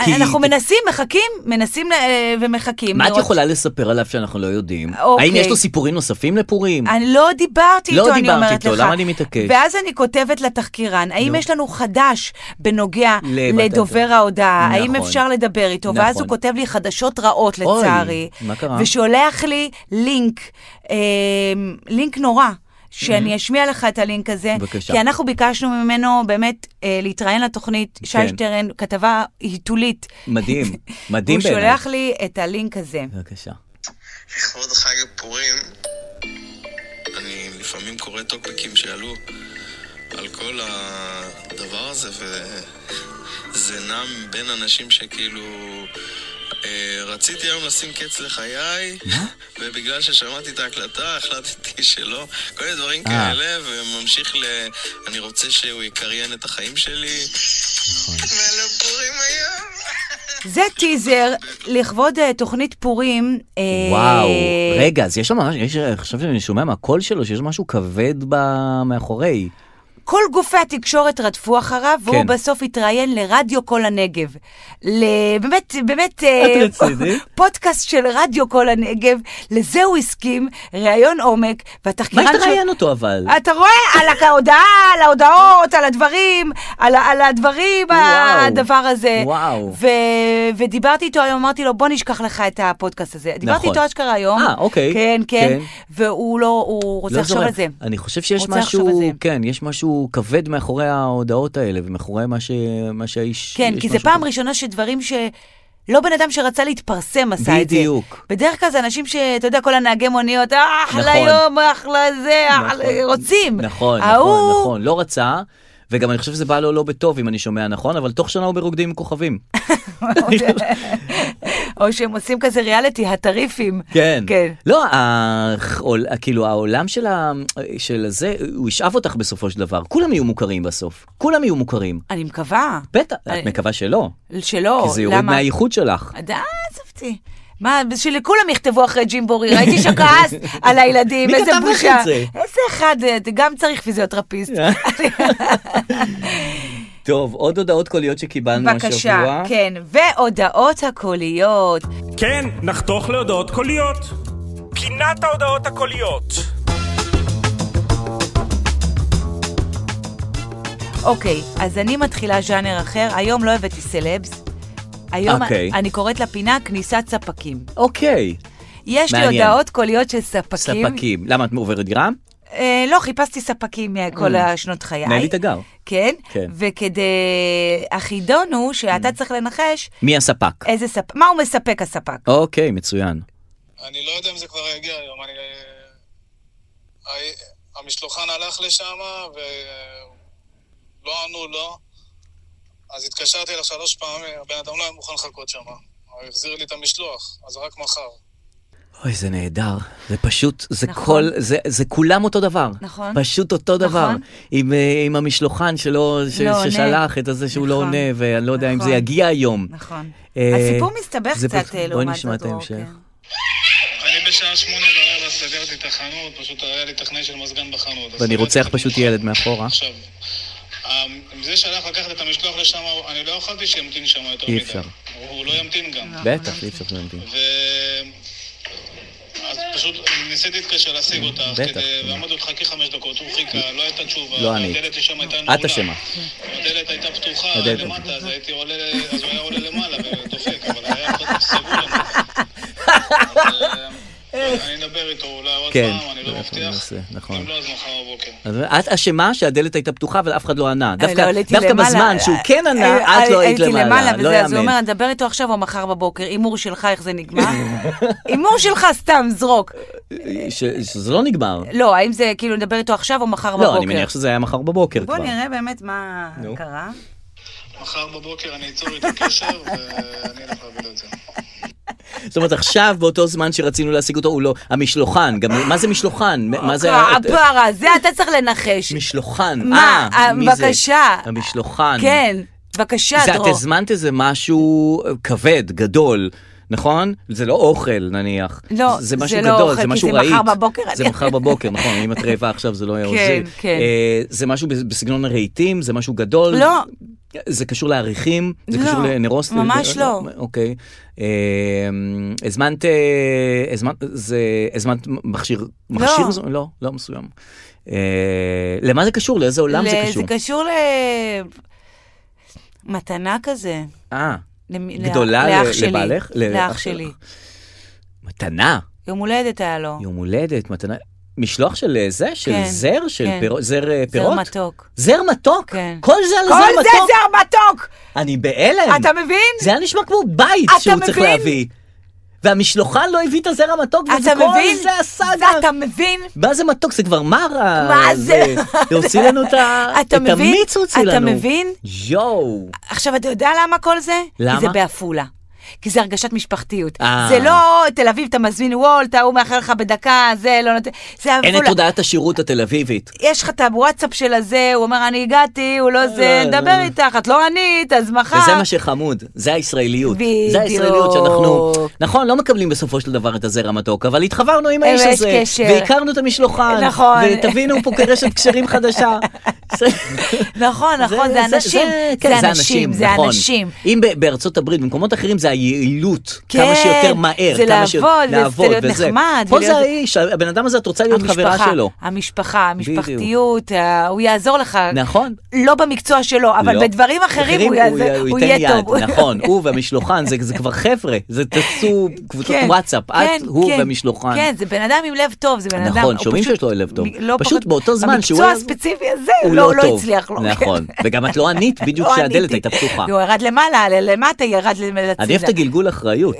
Speaker 2: כי-
Speaker 3: אנחנו
Speaker 2: כי-
Speaker 3: מנסים, מחכים, מנסים אה, ומחכים.
Speaker 2: מה את
Speaker 3: לראות-
Speaker 2: יכולה לספר עליו שאנחנו לא יודעים?
Speaker 3: אוקיי.
Speaker 2: האם יש לו סיפורים נוספים לפורים?
Speaker 3: אני לא דיברתי
Speaker 2: לא
Speaker 3: איתו, אני
Speaker 2: דיברת
Speaker 3: אומרת
Speaker 2: איתו,
Speaker 3: לך.
Speaker 2: למה אני מתעקש?
Speaker 3: ואז אני כותבת לתחקירן, האם
Speaker 2: נו.
Speaker 3: יש לנו חדש בנוגע
Speaker 2: למתן
Speaker 3: לדובר
Speaker 2: טריף.
Speaker 3: ההודעה? האם
Speaker 2: נכון.
Speaker 3: אפשר לדבר איתו?
Speaker 2: נכון.
Speaker 3: ואז הוא כותב לי חדשות רעות,
Speaker 2: אוי,
Speaker 3: לצערי.
Speaker 2: מה קרה?
Speaker 3: ושולח לי לינק, אה, לינק נורא. שאני אשמיע לך את הלינק הזה,
Speaker 2: Mm-hmm. בבקשה.
Speaker 3: כי אנחנו ביקשנו ממנו באמת אה, להתראיין לתוכנית, שי
Speaker 2: כן.
Speaker 3: שטרן, כתבה היתולית. [laughs]
Speaker 2: מדהים, מדהים
Speaker 3: הוא
Speaker 2: בעיניי.
Speaker 3: שולח לי את הלינק הזה.
Speaker 2: בבקשה.
Speaker 4: לכבוד חג הפורים, אני לפעמים קורא טוקבקים שעלו על כל הדבר הזה, וזה נע בין אנשים שכאילו... אה, רציתי היום לשים קץ לחיי, ובגלל ששמעתי את ההקלטה החלטתי שלא. כל מיני דברים כאלה, וממשיך ל... אני רוצה שהוא יקריין את החיים שלי. מלא פורים היום.
Speaker 3: זה טיזר לכבוד אה, תוכנית פורים. אה,
Speaker 2: וואו, רגע, אז יש לו ממש, יש- עכשיו שאני שומע מהקול שלו שיש משהו כבד ב- מאחורי.
Speaker 3: כל גופי התקשורת רדפו אחריו, והוא
Speaker 2: כן.
Speaker 3: בסוף התראיין לרדיו כל הנגב. ל... באמת, באמת, אה,
Speaker 2: את רצינית?
Speaker 3: פודקאסט של רדיו כל הנגב, לזה הוא הסכים, ראיון עומק, והתחקירן
Speaker 2: מה התראיין אותו אבל? לא
Speaker 3: אתה רואה? על ההודעה, על ההודעות, על הדברים, על, ה- על הדברים,
Speaker 2: וואו.
Speaker 3: הדבר הזה.
Speaker 2: וואו.
Speaker 3: ו, ודיברתי איתו היום, אמרתי לו, בוא נשכח לך את הפודקאסט הזה. דיברתי איתו אשכרה היום.
Speaker 2: אה, אוקיי.
Speaker 3: כן, כן.
Speaker 2: כן.
Speaker 3: והוא לא, הוא רוצה
Speaker 2: לא
Speaker 3: לחשוב
Speaker 2: זורם.
Speaker 3: על זה.
Speaker 2: אני חושב שיש
Speaker 3: רוצה לחשוב על
Speaker 2: משהו,
Speaker 3: זה.
Speaker 2: כן, יש משהו כבד מאחורי ההודעות האלה ומאחורי מה, ש, מה שהאיש...
Speaker 3: כן,
Speaker 2: יש
Speaker 3: כי זה
Speaker 2: משהו
Speaker 3: פעם
Speaker 2: כבד.
Speaker 3: ראשונה שדברים ש... לא בן אדם שרצה להתפרסם עשה את זה.
Speaker 2: בדיוק.
Speaker 3: בדרך כלל זה אנשים שאתה יודע, כל הנהגי מוניות, "אה, אחלה
Speaker 2: נכון.
Speaker 3: יום, אחלה זה, אחלה-" רוצים.
Speaker 2: נכון,
Speaker 3: ההוא-
Speaker 2: נכון, נכון, לא רצה. וגם אני חושב שזה בא לו לא בטוב אם אני שומע נכון, אבל תוך שנה הוא ברוקדים עם כוכבים.
Speaker 3: [laughs] או שהם עושים כזה ריאליטי, הטריפים.
Speaker 2: כן.
Speaker 3: כן.
Speaker 2: לא, העול, כאילו העולם של, ה, של הזה, הוא ישאב אותך בסופו של דבר. כולם יהיו מוכרים בסוף. כולם יהיו מוכרים.
Speaker 3: אני מקווה
Speaker 2: בטח,
Speaker 3: אני-
Speaker 2: את מקווה שלא.
Speaker 3: שלא,
Speaker 2: כי זה יורד
Speaker 3: למה?
Speaker 2: מהייחוד שלך.
Speaker 3: די, עזוב אותי. מה, שלכולם יכתבו אחרי ג'ימבורי, ראיתי
Speaker 2: [laughs]
Speaker 3: שכעס על הילדים,
Speaker 2: מי
Speaker 3: איזה
Speaker 2: כתב לך את
Speaker 3: בושה.
Speaker 2: זה?
Speaker 3: איזה אחד, אה, גם צריך פיזיותרפיסט.
Speaker 2: [laughs] טוב, עוד הודעות קוליות שקיבלנו השבוע.
Speaker 3: בבקשה, כן, והודעות הקוליות.
Speaker 5: כן, נחתוך להודעות קוליות. פינת ההודעות הקוליות.
Speaker 3: אוקיי, אז אני מתחילה ז'אנר אחר, היום לא הבאתי סלבס. היום
Speaker 2: אוקיי.
Speaker 3: אני קוראת לפינה כניסת ספקים.
Speaker 2: אוקיי,
Speaker 3: יש לי
Speaker 2: מעניין.
Speaker 3: הודעות קוליות של ספקים.
Speaker 2: ספקים. למה את עוברת דירה?
Speaker 3: אה, לא, חיפשתי ספקים מכל השנות חיי.
Speaker 2: נעלי תגר.
Speaker 3: כן,
Speaker 2: Mm. כן. Mm.
Speaker 3: וכדי... החידון הוא שאתה צריך לנחש
Speaker 2: מי הספק?
Speaker 3: איזה ספק, מה הוא מספק הספק.
Speaker 2: אוקיי, מצוין.
Speaker 6: אני לא יודע אם זה כבר יגיע היום, אני... ה- המשלוחן הלך לשם ולא ענו לו, אז התקשרתי אליו שלוש פעמים, הבן אדם לא היה מוכן לחכות שם. הוא החזיר לי את המשלוח, אז רק מחר.
Speaker 2: אוי, זה נהדר. זה פשוט, זה
Speaker 3: נכון.
Speaker 2: כל, זה, זה כולם אותו דבר.
Speaker 3: נכון.
Speaker 2: פשוט אותו
Speaker 3: נכון.
Speaker 2: דבר. עם, אה, עם המשלוחן שלא, ש,
Speaker 3: לא עונה.
Speaker 2: ששלח את הזה שהוא לא
Speaker 3: נכון.
Speaker 2: עונה, ואני לא יודע אם
Speaker 3: נכון.
Speaker 2: זה יגיע היום.
Speaker 3: נכון.
Speaker 2: אה,
Speaker 3: הסיפור מסתבך
Speaker 2: זה
Speaker 3: קצת
Speaker 2: פח-
Speaker 3: אה, לעומת זאת.
Speaker 2: בואי נשמע את
Speaker 3: או-
Speaker 2: ההמשך.
Speaker 3: כן.
Speaker 6: אני בשעה שמונה בלילה סגרתי את החנות, פשוט היה לי טכנאי של מזגן בחנות. אז
Speaker 2: ואני
Speaker 6: סגרתי
Speaker 2: רוצח
Speaker 6: את
Speaker 2: פשוט
Speaker 6: המשלוח.
Speaker 2: ילד מאחורה.
Speaker 6: עכשיו, ה- זה שהלך לקחת את המשלוח לשם, אני לא יכולתי שימתין שם יותר
Speaker 2: אי
Speaker 6: מדי.
Speaker 2: אפשר.
Speaker 6: הוא- הוא לא ימתין גם.
Speaker 2: בטח, אי אפשר להמתין.
Speaker 6: ו... אז פשוט ניסיתי להתקשר להשיג אותך,
Speaker 2: בטח.
Speaker 6: כדי- ואמרתי לו תחכי חמש דקות, הוא חיכה, לא הייתה תשובה,
Speaker 2: לא אני.
Speaker 6: הדלת לשם הייתה נעולה.
Speaker 2: את אשמה.
Speaker 6: הדלת הייתה פתוחה,
Speaker 2: הדלת.
Speaker 6: למטה, אז הייתי עולה, אז הוא היה עולה למעלה ודופק, אבל היה פשוט סגור לנו.
Speaker 2: [laughs]
Speaker 6: אז, אה, אני אדבר איתו אולי עוד
Speaker 2: כן,
Speaker 6: פעם, אני לא
Speaker 2: אנחנו
Speaker 6: מבטיח.
Speaker 2: ננסה, נכון.
Speaker 6: אם לא, אז מחר בבוקר.
Speaker 2: אז את אשמה שהדלת הייתה פתוחה אבל אף אחד לא ענה.
Speaker 3: לא,
Speaker 2: דווקא
Speaker 3: עליתי
Speaker 2: דווקא
Speaker 3: למעלה.
Speaker 2: בזמן שהוא כן ענה,
Speaker 3: אה,
Speaker 2: את לא
Speaker 3: אה,
Speaker 2: היית
Speaker 3: הייתי
Speaker 2: למעלה. לא
Speaker 3: וזה, אז הוא
Speaker 2: יאמן.
Speaker 3: אומר, נדבר איתו עכשיו או מחר בבוקר, הימור שלך, איך זה
Speaker 2: [laughs]
Speaker 3: נגמר? הימור שלך, סתם, זרוק.
Speaker 2: ש- שזה לא נגמר.
Speaker 3: לא, האם זה כאילו נדבר איתו עכשיו או מחר בבוקר?
Speaker 2: לא, אני מניח שזה היה מחר בבוקר
Speaker 3: בוא
Speaker 2: כבר.
Speaker 3: נראה באמת מה קרה.
Speaker 6: מחר בבוקר אני אצור איתו קשר, ואני אלך להביא לו את זה.
Speaker 2: זאת אומרת, עכשיו, באותו זמן שרצינו להשיג אותו, הוא לא... המשלוחן, גם... מה זה משלוחן? מה זה... ה-
Speaker 3: הפרה, זה אתה צריך לנחש.
Speaker 2: משלוחן.
Speaker 3: אוקיי, מה?
Speaker 2: אה, מי זה?
Speaker 3: בבקשה.
Speaker 2: המשלוחן.
Speaker 3: כן, בבקשה,
Speaker 2: זה, את
Speaker 3: דרור.
Speaker 2: הזמנת איזה משהו כבד, גדול. נכון? זה לא אוכל נניח.
Speaker 3: לא,
Speaker 2: זה
Speaker 3: זה
Speaker 2: משהו
Speaker 3: לא
Speaker 2: גדול,
Speaker 3: אוכל,
Speaker 2: זה
Speaker 3: כי
Speaker 2: משהו
Speaker 3: זה
Speaker 2: רהיט.
Speaker 3: מחר בבוקר,
Speaker 2: זה
Speaker 3: אני-
Speaker 2: מחר בבוקר, נכון, אם את רעבה עכשיו זה לא היה
Speaker 3: [laughs] כן,
Speaker 2: עוזר.
Speaker 3: כן.
Speaker 2: אה, זה משהו בס- בסגנון הרהיטים, זה משהו גדול.
Speaker 3: לא.
Speaker 2: זה קשור לאריכים, זה
Speaker 3: לא,
Speaker 2: קשור לנרוס.
Speaker 3: ממש לא.
Speaker 2: אוקיי. אה, הזמנת, אה, הזמנת, זה- הזמנת מכשיר, מכשיר? מסו- לא, לא מסוים. אה, למה זה קשור? לאיזה עולם זה
Speaker 3: ל-
Speaker 2: קשור?
Speaker 3: זה קשור ל... מתנה כזה.
Speaker 2: אה,
Speaker 3: למ- לאח-
Speaker 2: גדולה
Speaker 3: לאח
Speaker 2: ל-
Speaker 3: שלי.
Speaker 2: לבעלך?
Speaker 3: לאח שלי.
Speaker 2: מתנה,
Speaker 3: יום הולדת היה לו.
Speaker 2: יום הולדת, מתנה. משלוח של אה, זה? של
Speaker 3: כן,
Speaker 2: זר? של
Speaker 3: כן.
Speaker 2: פירו- זר אה,
Speaker 3: זר
Speaker 2: פירות?
Speaker 3: מתוק.
Speaker 2: זר מתוק?
Speaker 3: כן.
Speaker 2: כל זה על זר
Speaker 3: כל זה
Speaker 2: מתוק?
Speaker 3: זר מתוק!
Speaker 2: אני בהלם.
Speaker 3: אתה מבין?
Speaker 2: זה היה נשמע כמו בית
Speaker 3: אתה
Speaker 2: שהוא צריך
Speaker 3: מבין?
Speaker 2: להביא. והמשלוחן לא הביא את הזר המתוק, וזה
Speaker 3: אתה
Speaker 2: כל
Speaker 3: מבין?
Speaker 2: זה הסאגה.
Speaker 3: אתה מבין?
Speaker 2: מה זה מתוק? זה כבר מר ה-
Speaker 3: מה זה?
Speaker 2: הוציא לנו את ה-
Speaker 3: אתה
Speaker 2: את
Speaker 3: מבין?
Speaker 2: המיץ הוציא
Speaker 3: אתה
Speaker 2: לנו.
Speaker 3: מבין?
Speaker 2: יואו.
Speaker 3: עכשיו, אתה יודע למה כל זה?
Speaker 2: למה?
Speaker 3: כי זה בעפולה. כי זה הרגשת משפחתיות.
Speaker 2: אה.
Speaker 3: זה לא תל אביב, אתה מזמין וולט, ההוא מאחר לך בדקה, זה לא נותן... זה
Speaker 2: אין את
Speaker 3: הגבול.
Speaker 2: תודעת השירות התל אביבית.
Speaker 3: יש לך את הוואטסאפ של הזה, הוא אומר, אני הגעתי, הוא לא זה,
Speaker 2: לא,
Speaker 3: נדבר
Speaker 2: לא.
Speaker 3: איתך, את לא ענית, אז מחר...
Speaker 2: וזה מה שחמוד, זה הישראליות.
Speaker 3: בדיוק.
Speaker 2: זה הישראליות שאנחנו, נכון, לא מקבלים בסופו של דבר את הזר המתוק, אבל התחברנו עם האיש
Speaker 3: אבל יש
Speaker 2: הזה,
Speaker 3: קשר.
Speaker 2: והכרנו את המשלוחן,
Speaker 3: נכון.
Speaker 2: ותבינו פה קרשת קשרים
Speaker 3: [laughs]
Speaker 2: חדשה. זה-
Speaker 3: נכון, נכון, זה אנשים,
Speaker 2: כן,
Speaker 3: זה אנשים, זה
Speaker 2: נכון.
Speaker 3: אנשים.
Speaker 2: אם ב- בארצות הברית, במקומות אחרים זה היעילות,
Speaker 3: כן,
Speaker 2: כמה שיותר מהר,
Speaker 3: זה
Speaker 2: כמה שיותר-
Speaker 3: לעבוד, וזה להיות
Speaker 2: וזה.
Speaker 3: נחמד,
Speaker 2: פה
Speaker 3: ולהיות-
Speaker 2: זה האיש, הבן אדם הזה, את רוצה להיות חברה שלו.
Speaker 3: המשפחה, המשפחתיות, ה- הוא יעזור לך.
Speaker 2: נכון.
Speaker 3: לא במקצוע שלו, אבל
Speaker 2: לא.
Speaker 3: בדברים אחרים הוא יעזור- הוא יהיה טוב. [laughs]
Speaker 2: נכון, הוא והמשלוחן, זה זה כבר חבר'ה, זה תעשו קבוצות
Speaker 3: כן,
Speaker 2: וואטסאפ,
Speaker 3: כן,
Speaker 2: את, הוא
Speaker 3: כן,
Speaker 2: והמשלוחן.
Speaker 3: כן, זה בן אדם עם לב טוב, זה בן אדם...
Speaker 2: נכון,
Speaker 3: הוא
Speaker 2: שומעים
Speaker 3: פשוט-
Speaker 2: שיש לו לב טוב.
Speaker 3: מ- לא
Speaker 2: פשוט
Speaker 3: פחות-
Speaker 2: באותו זמן שהוא היה-
Speaker 3: במקצוע הספציפי הזה, הוא לא לא
Speaker 2: טוב.
Speaker 3: הצליח לו. [laughs]
Speaker 2: נכון, וגם את לא ענית בדיוק
Speaker 3: לא
Speaker 2: כשהדלת
Speaker 3: עניתי.
Speaker 2: הייתה פתוחה.
Speaker 3: הוא ירד למעלה, ל- למטה ירד למ- לצידה.
Speaker 2: אני אוהב את הגלגול
Speaker 3: [laughs]
Speaker 2: אחריות.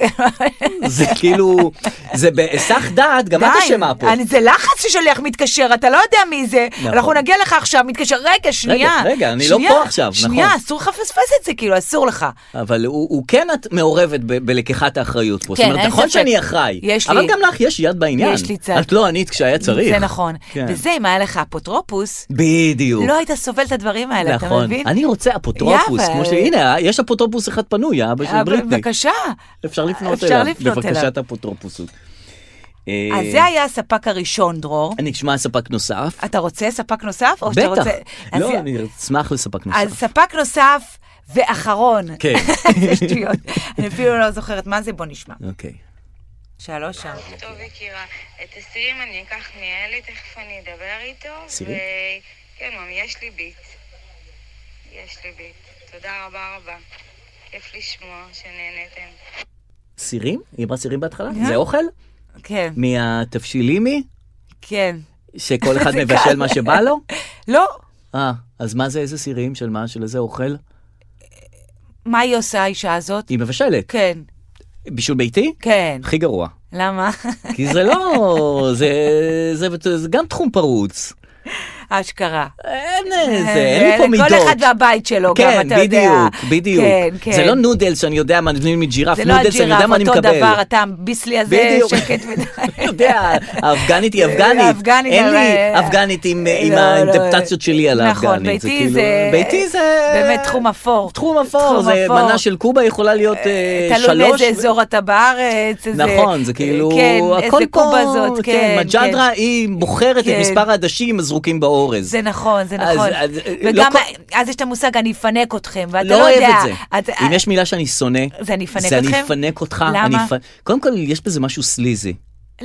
Speaker 2: זה כאילו, זה בהיסח דעת, גם את
Speaker 3: די,
Speaker 2: אשמה פה.
Speaker 3: אני- זה לחץ ששליח מתקשר, אתה לא יודע מי זה.
Speaker 2: נכון.
Speaker 3: אנחנו נגיע לך עכשיו, מתקשר, רגע, שנייה.
Speaker 2: רגע, אני לא
Speaker 3: שנייה,
Speaker 2: פה עכשיו, נכון.
Speaker 3: שנייה, אסור לך לפספס את זה, כאילו, אסור לך.
Speaker 2: אבל הוא הוא כן את מעורבת ב- בלקיחת האחריות פה.
Speaker 3: כן,
Speaker 2: זאת אומרת,
Speaker 3: אין
Speaker 2: נכון
Speaker 3: ספק.
Speaker 2: שאני אחראי,
Speaker 3: יש
Speaker 2: אבל
Speaker 3: לי-
Speaker 2: גם לך יש יד בעניין.
Speaker 3: יש לי צד.
Speaker 2: את לא ענית כשהיה צריך.
Speaker 3: זה נכון.
Speaker 2: כן.
Speaker 3: וזה, אם היה לך אפוטרופוס,
Speaker 2: בדיוק.
Speaker 3: לא היית סובל את הדברים האלה, אתה
Speaker 2: נכון.
Speaker 3: מבין?
Speaker 2: אני רוצה אפוטרופוס,
Speaker 3: יאללה.
Speaker 2: כמו שהנה, יש אפוטרופוס אחד פנוי, האבא של
Speaker 3: אבל
Speaker 2: בריטני.
Speaker 3: בבקשה.
Speaker 2: אפשר לפנות
Speaker 3: אפשר
Speaker 2: אליו,
Speaker 3: לפנות
Speaker 2: בבקשת
Speaker 3: אליו.
Speaker 2: אפוטרופוסות.
Speaker 3: אז זה היה הספק הראשון, דרור.
Speaker 2: אה. אני אשמע ספק נוסף.
Speaker 3: אתה רוצה ספק נוסף? או שאתה
Speaker 2: בטח.
Speaker 3: רוצה... אז-
Speaker 2: לא, אני אשמח לספק
Speaker 3: אז
Speaker 2: נוסף.
Speaker 3: ספק נוסף ואחרון. [laughs]
Speaker 2: כן.
Speaker 3: זה שטויות. אני אפילו לא זוכרת מה זה, בוא נשמע.
Speaker 2: אוקיי.
Speaker 3: שלוש שם.
Speaker 7: טוב, יקירה. את הסירים אני אקח מאלי, תכף אני אדבר איתו.
Speaker 2: סירים?
Speaker 7: ו- כן, ממי, יש לי ביט. יש לי ביט. תודה רבה רבה. כיף לשמוע שנהנתם.
Speaker 2: סירים? היא אמרה סירים בהתחלה?
Speaker 3: אה?
Speaker 2: זה אוכל?
Speaker 3: כן,
Speaker 2: מהתבשילימי?
Speaker 3: כן.
Speaker 2: שכל אחד
Speaker 3: [laughs] זה
Speaker 2: מבשל
Speaker 3: קל.
Speaker 2: מה שבא לו?
Speaker 3: לא,
Speaker 2: אה, אז מה זה, איזה סירים? של מה? של איזה אוכל?
Speaker 3: מה היא עושה, האישה הזאת?
Speaker 2: היא מבשלת.
Speaker 3: כן,
Speaker 2: בישול ביתי?
Speaker 3: כן.
Speaker 2: הכי גרוע.
Speaker 3: למה? [laughs]
Speaker 2: כי זה לא... זה- זה זה גם תחום פרוץ.
Speaker 3: אשכרה. אה,
Speaker 2: אין איזה, אה, אין לי פה מידות.
Speaker 3: כל אחד והבית שלו, גם
Speaker 2: כן,
Speaker 3: אתה יודע.
Speaker 2: בדיוק, בדיוק.
Speaker 3: כן, כן.
Speaker 2: זה לא נודל שאני יודע מה נותנים לי ג'ירף,
Speaker 3: זה לא
Speaker 2: נודל שאני יודע
Speaker 3: הג'ירף,
Speaker 2: מה אני
Speaker 3: אותו
Speaker 2: מקבל.
Speaker 3: דבר, אתה ביסלי הזה,
Speaker 2: בדיוק. [laughs]
Speaker 3: שקט מדי.
Speaker 2: אני יודע, האפגנית
Speaker 3: [laughs]
Speaker 2: היא אפגנית.
Speaker 3: האפגנית,
Speaker 2: אין לי
Speaker 3: אבל-
Speaker 2: אפגנית עם עם
Speaker 3: לא, לא.
Speaker 2: האינטפטציות שלי על האפגנית.
Speaker 3: נכון, ביתי
Speaker 2: כאילו-
Speaker 3: זה...
Speaker 2: ביתי זה...
Speaker 3: באמת תחום אפור.
Speaker 2: תחום אפור,
Speaker 3: תחום
Speaker 2: זה
Speaker 3: אפור.
Speaker 2: מנה של קובה יכולה להיות אה, שלוש.
Speaker 3: תלוי מאיזה אזור אתה בארץ, איזה...
Speaker 2: נכון, זה כאילו,
Speaker 3: כן,
Speaker 2: הכל
Speaker 3: איזה
Speaker 2: פה,
Speaker 3: קובה זאת, כן,
Speaker 2: מג'דרה
Speaker 3: כן.
Speaker 2: היא בוחרת את
Speaker 3: כן.
Speaker 2: מספר העדשים הזרוקים באורז.
Speaker 3: זה נכון, זה
Speaker 2: אז-
Speaker 3: נכון.
Speaker 2: אז- לא
Speaker 3: וגם,
Speaker 2: כל-
Speaker 3: אז יש את המושג, אני אפנק אתכם, ואתה
Speaker 2: לא
Speaker 3: לא
Speaker 2: אוהב
Speaker 3: יודע. אה,
Speaker 2: את זה.
Speaker 3: את-
Speaker 2: אם יש מילה שאני שונא,
Speaker 3: זה אני אפנק
Speaker 2: זה אני
Speaker 3: אתכם?
Speaker 2: אפנק אותך.
Speaker 3: למה?
Speaker 2: אני אפ- קודם כל, יש בזה משהו סליזי.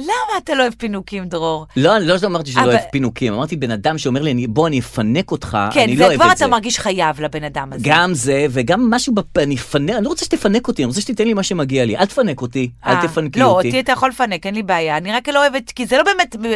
Speaker 3: למה אתה לא אוהב פינוקים, דרור?
Speaker 2: לא, אני לא אמרתי שלא
Speaker 3: אבל-
Speaker 2: אוהב פינוקים, אמרתי בן אדם שאומר לי, "אני- בוא, אני אפנק אותך,
Speaker 3: כן,
Speaker 2: אני
Speaker 3: זה
Speaker 2: לא אוהב
Speaker 3: כבר
Speaker 2: את זה.
Speaker 3: אתה מרגיש חייב לבן אדם הזה.
Speaker 2: גם זה, וגם משהו בפ... אני אפנק, אני לא רוצה שתפנק אותי, אני רוצה שתיתן לי מה שמגיע לי. אל תפנק אותי,
Speaker 3: אה,
Speaker 2: אל תפנקי
Speaker 3: לא,
Speaker 2: אותי.
Speaker 3: אותי אתה יכול לפנק, אין לי בעיה. אני רק לא אוהבת, כי זה לא באמת... אה,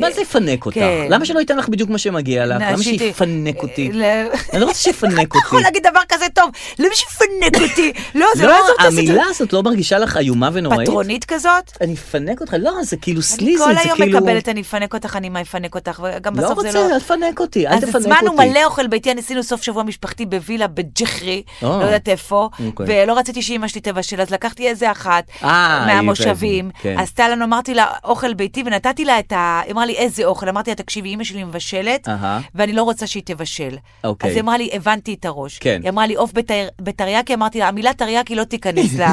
Speaker 2: מה זה יפנק אותך?
Speaker 3: כן.
Speaker 2: למה שלא ייתן לך בדיוק מה שמגיע לך? למה
Speaker 3: נעשיתי-
Speaker 2: שיפנק אותי?
Speaker 3: אה, ל-
Speaker 2: אני לא רוצה שיפנק
Speaker 3: [laughs] אתה יכול
Speaker 2: אותי.
Speaker 3: להגיד דבר כזה טוב, למה שיפנק אותי? לא, זה לא
Speaker 2: לא,
Speaker 3: יעזור את
Speaker 2: המילה הזאת לא מרגישה לך איומה ונוראית?
Speaker 3: פטרונית כזאת?
Speaker 2: אני אפנק אותך, לא, זה כאילו
Speaker 3: אני
Speaker 2: סליזי,
Speaker 3: כל
Speaker 2: זה
Speaker 3: היום
Speaker 2: כאילו...
Speaker 3: מקבלת, אני אפנק אותך, אני מה אפנק אותך, וגם
Speaker 2: לא
Speaker 3: בסוף זה
Speaker 2: רוצה,
Speaker 3: לא...
Speaker 2: אל תפנק אותי, אל
Speaker 3: אז
Speaker 2: תפנק אותי.
Speaker 3: הזמנו מלא אוכל ביתי, אני עשינו סוף שבוע משפחתי בווילה בג'חרי,
Speaker 2: אה.
Speaker 3: לא יודעת איפה,
Speaker 2: אוקיי.
Speaker 3: ולא רציתי שאימא שלי תבשל, אז לקחתי איזה אחת
Speaker 2: אה,
Speaker 3: מהמושבים,
Speaker 2: הבנתי, כן.
Speaker 3: עשתה לנו, אמרתי לה, אוכל ביתי, ונתתי לה את ה... היא אמרה לי, איזה אוכל? אמרתי לה, תקשיבי, אימא שלי מבשלת,
Speaker 2: אהה.
Speaker 3: ואני לא רוצה שהיא תבשל.
Speaker 2: אוקיי.
Speaker 3: אז היא אמרה לי, הבנתי את הראש.
Speaker 2: כן.
Speaker 3: היא אמרה לי, עוף בתר- בתרי"קי, אמרתי לה, המילה תרי"קי לא תיכנס ל...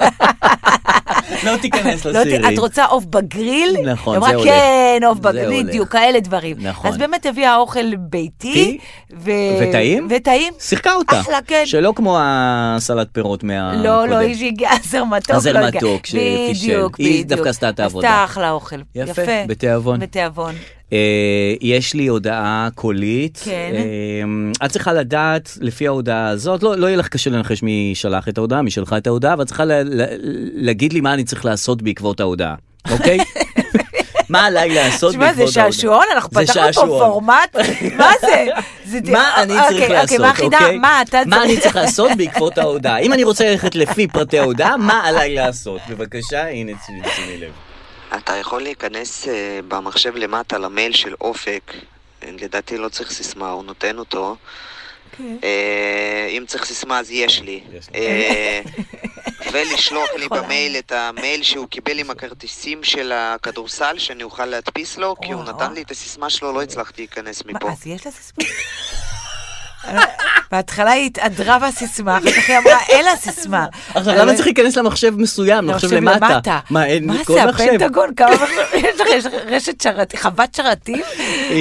Speaker 2: [laughs] לא תיכנס
Speaker 3: לא ת- את רוצה עוף בגריל?
Speaker 2: נכון,
Speaker 3: היא אמרה,
Speaker 2: זה הולך.
Speaker 3: כן, עוף
Speaker 2: זה
Speaker 3: בגריל,
Speaker 2: הולך.
Speaker 3: בדיוק, כאלה דברים.
Speaker 2: נכון.
Speaker 3: אז באמת הביאה אוכל ביתי. ו...
Speaker 2: וטעים?
Speaker 3: וטעים.
Speaker 2: שיחקה אותה.
Speaker 3: אחלה, כן.
Speaker 2: שלא כמו הסלט פירות מה...
Speaker 3: לא,
Speaker 2: הקודם.
Speaker 3: לא, היא שהגיעה עזר מתוק.
Speaker 2: הזר
Speaker 3: לא הגיעה.
Speaker 2: אה, מתוק שפישל.
Speaker 3: בדיוק,
Speaker 2: היא
Speaker 3: בדיוק.
Speaker 2: דווקא עשתה את העבודה.
Speaker 3: עשתה אחלה אוכל.
Speaker 2: יפה, בתיאבון.
Speaker 3: בתיאבון.
Speaker 2: אה, יש לי הודעה קולית.
Speaker 3: כן.
Speaker 2: אה, את צריכה לדעת, לפי ההודעה הזאת, לא, לא יהיה לך קשה לנחש מי שלח את ההודעה, מי שלחה את ההודעה, ואת צריכה ל- ל- להגיד לי מה אני צריך לעשות בעקבות ההודעה, אוקיי?
Speaker 3: [laughs]
Speaker 2: מה עליי לעשות בעקבות
Speaker 3: תשמע,
Speaker 2: ההודעה?
Speaker 3: זה שעשועון, אנחנו
Speaker 2: זה
Speaker 3: פתחנו פה
Speaker 2: שעשועון.
Speaker 3: פורמט. מה זה?
Speaker 2: [laughs]
Speaker 3: זה-
Speaker 2: מה אני
Speaker 3: אוקיי,
Speaker 2: צריך לעשות,
Speaker 3: אוקיי, מה החידה?
Speaker 2: אוקיי?
Speaker 3: מה אתה
Speaker 2: מה אני
Speaker 3: צריך?
Speaker 2: צריך לעשות בעקבות ההודעה? אם אני רוצה ללכת לפי פרטי ההודעה, מה עליי לעשות? בבקשה, הנה תשימי לב.
Speaker 8: אתה יכול להיכנס uh, במחשב למטה למייל של אופק, לדעתי לא צריך סיסמה, הוא נותן
Speaker 3: אוקיי.
Speaker 8: אה, אותו. Okay. Uh, אם צריך סיסמה אז יש לי.
Speaker 3: [laughs]
Speaker 2: יש
Speaker 8: Uh, ולשלוח לי במייל את המייל שהוא קיבל עם הכרטיסים של הכדורסל, שאני אוכל להדפיס לו, כי הוא
Speaker 3: וואו.
Speaker 8: נתן לי את הסיסמה שלו, לא הצלחתי להיכנס
Speaker 3: מה,
Speaker 8: מפה.
Speaker 3: אז יש לה סיסמה? בהתחלה היא התהדרה בסיסמה, אחר כך היא אמרה, אין לה סיסמה. "לא,
Speaker 2: עכשיו, למה צריך להיכנס למחשב מסוים, למחשב למטה?
Speaker 3: אה, מה,
Speaker 2: מה, אין
Speaker 3: זה
Speaker 2: כל מחשב?
Speaker 3: הפנטגון? כמה מחשבים? יש לך יש לך רשת שרתים, חוות שרתים?
Speaker 2: אם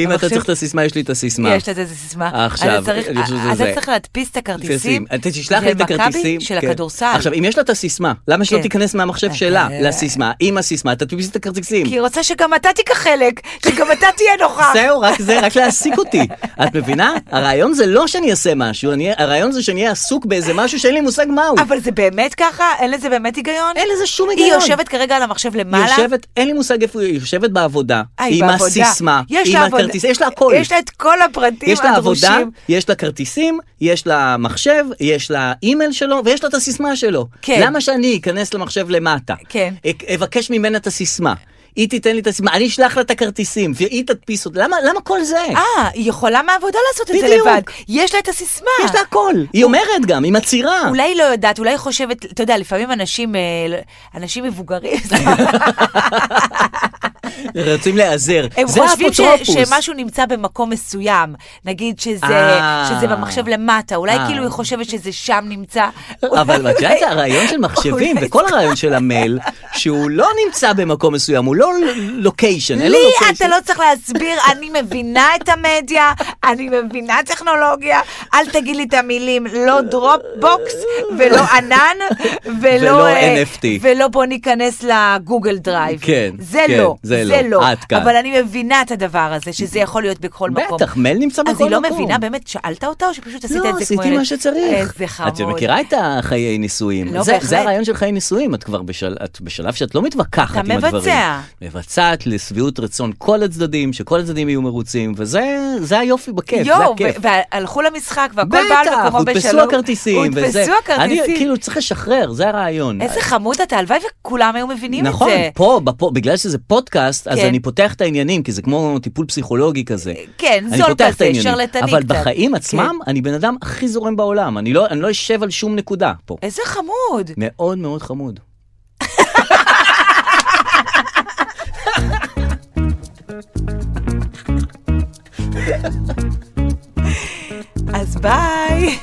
Speaker 2: אתה
Speaker 3: המחשב-
Speaker 2: צריך את הסיסמה, יש לי את הסיסמה.
Speaker 3: יש לזה איזה סיסמה.
Speaker 2: עכשיו,
Speaker 3: אז אתה צריך-
Speaker 2: אני חושב שזה
Speaker 3: אז אתה
Speaker 2: זה.
Speaker 3: צריך להדפיס את הכרטיסים.
Speaker 2: אתה תשלח לי את
Speaker 3: של מכבי,
Speaker 2: הכרטיסים.
Speaker 3: של
Speaker 2: כן.
Speaker 3: הכדורסל.
Speaker 2: עכשיו, אם יש לה את הסיסמה, למה שלא
Speaker 3: כן.
Speaker 2: תיכנס מהמחשב שלה
Speaker 3: אה,
Speaker 2: לסיסמה? עם הסיסמה, אתה תדפיס את הכרטיסים.
Speaker 3: כי היא רוצה שגם אתה תיקח חלק, שגם אתה תהיה נוכח.
Speaker 2: זהו, רק זה, רק להעסיק אותי. את מבינה? הרעיון זה לא שאני אעשה משהו, אני- הרעיון זה שאני אהיה עסוק באיזה משהו שאין לי מושג מהו.
Speaker 3: אבל זה באמת ככה? אין לזה באמת היגיון?
Speaker 2: אין לזה שום
Speaker 3: היא
Speaker 2: היגיון.
Speaker 3: יושבת כרגע על המחשב
Speaker 2: היא
Speaker 3: למעלה.
Speaker 2: יושבת, אין לי מושג איפה היא יושבת בעבודה,
Speaker 3: אה, היא
Speaker 2: עם
Speaker 3: בעבודה.
Speaker 2: הסיסמה,
Speaker 3: יש
Speaker 2: עם
Speaker 3: לה עבודה.
Speaker 2: הכרטיס, יש לה הכל.
Speaker 3: יש לה את כל הפרטים
Speaker 2: יש לה עבודה,
Speaker 3: הדרושים.
Speaker 2: יש לה כרטיסים, יש לה מחשב, יש לה אימייל שלו, ויש לה את הסיסמה שלו.
Speaker 3: כן.
Speaker 2: למה שאני אכנס למחשב למטה?
Speaker 3: כן.
Speaker 2: אק- אבקש ממנה את הסיסמה. היא תיתן לי את הסיסמה, אני אשלח לה את הכרטיסים, והיא תדפיס אותה. למה, למה כל זה?
Speaker 3: אה, היא יכולה מהעבודה לעשות את זה
Speaker 2: בדיוק.
Speaker 3: לבד. יש לה את הסיסמה.
Speaker 2: יש לה הכל. היא אומרת גם, היא מצהירה.
Speaker 3: אולי היא לא יודעת, אולי היא חושבת, אתה יודע, לפעמים אנשים, אה, לא- אנשים
Speaker 2: [laughs]
Speaker 3: מבוגרים,
Speaker 2: רוצים להיעזר.
Speaker 3: הם
Speaker 2: זה
Speaker 3: חושבים ש-
Speaker 2: האפוטרופוס.
Speaker 3: שמשהו נמצא במקום מסוים. נגיד שזה
Speaker 2: אה.
Speaker 3: שזה במחשב למטה, אולי
Speaker 2: אה.
Speaker 3: כאילו היא חושבת שזה שם נמצא.
Speaker 2: אבל את
Speaker 3: [laughs]
Speaker 2: יודעת, הרעיון של מחשבים
Speaker 3: אולי-
Speaker 2: וכל הרעיון של המייל, שהוא לא נמצא במקום מסוים, הוא לא לוקיישן, אין לו
Speaker 3: לי
Speaker 2: לוקיישן.
Speaker 3: אתה לא צריך להסביר, אני מבינה את המדיה, אני מבינה טכנולוגיה, אל תגיד לי את המילים, לא דרופבוקס ולא ענן ולא...
Speaker 2: ולא
Speaker 3: אה,
Speaker 2: NFT.
Speaker 3: ולא בוא ניכנס לגוגל דרייב.
Speaker 2: כן,
Speaker 3: זה
Speaker 2: כן,
Speaker 3: לא,
Speaker 2: זה
Speaker 3: זה
Speaker 2: לא.
Speaker 3: לא.
Speaker 2: עד כאן.
Speaker 3: אבל אני מבינה את הדבר הזה, שזה יכול להיות בכל מקום.
Speaker 2: בטח, מייל נמצא בכל
Speaker 3: אז היא לא
Speaker 2: מקום.
Speaker 3: מבינה, באמת, שאלת אותה או שפשוט עשית את זה
Speaker 2: לא,
Speaker 3: כמו...
Speaker 2: עשיתי
Speaker 3: ילד?
Speaker 2: מה שצריך.
Speaker 3: איזה
Speaker 2: את
Speaker 3: חמוד.
Speaker 2: מכירה את החיי נישואים.
Speaker 3: לא,
Speaker 2: זה-
Speaker 3: בהחלט.
Speaker 2: זה הרעיון של חיי נישואים, את כבר בשל- את בשלב שאת לא מתווכחת
Speaker 3: אתה
Speaker 2: עם הדברים.
Speaker 3: מבצע.
Speaker 2: מבצעת לשביעות רצון כל הצדדים, שכל הצדדים יהיו מרוצים, וזה זה היופי בכיף, כן, זה
Speaker 3: יואו,
Speaker 2: הכיף.
Speaker 3: ו- והלכו למשחק והכל בעל
Speaker 2: בטח,
Speaker 3: מקומו בשלום.
Speaker 2: הודפסו הכרטיסים וזה.
Speaker 3: הודפסו
Speaker 2: אני
Speaker 3: הכרטיסים.
Speaker 2: כאילו צריך לשחרר, זה הרעיון.
Speaker 3: איזה חמוד אתה, הלוואי וכולם היו מבינים את זה.
Speaker 2: נכון, פה, בפו, בגלל שזה פודקאסט, אז
Speaker 3: כן.
Speaker 2: אני פותח את העניינים, כי זה כמו טיפול פסיכולוגי כזה.
Speaker 3: כן,
Speaker 2: אני
Speaker 3: זול
Speaker 2: פותח את
Speaker 3: כזה,
Speaker 2: העניינים.
Speaker 3: שרלטני
Speaker 2: אבל
Speaker 3: קצת.
Speaker 2: בחיים
Speaker 3: כן.
Speaker 2: עצמם, אני בן אדם הכי זורם בעולם, אני לא אני לא אשב על שום נקודה פה.
Speaker 3: איזה חמוד.
Speaker 2: מאוד מאוד חמוד.
Speaker 3: אז ביי.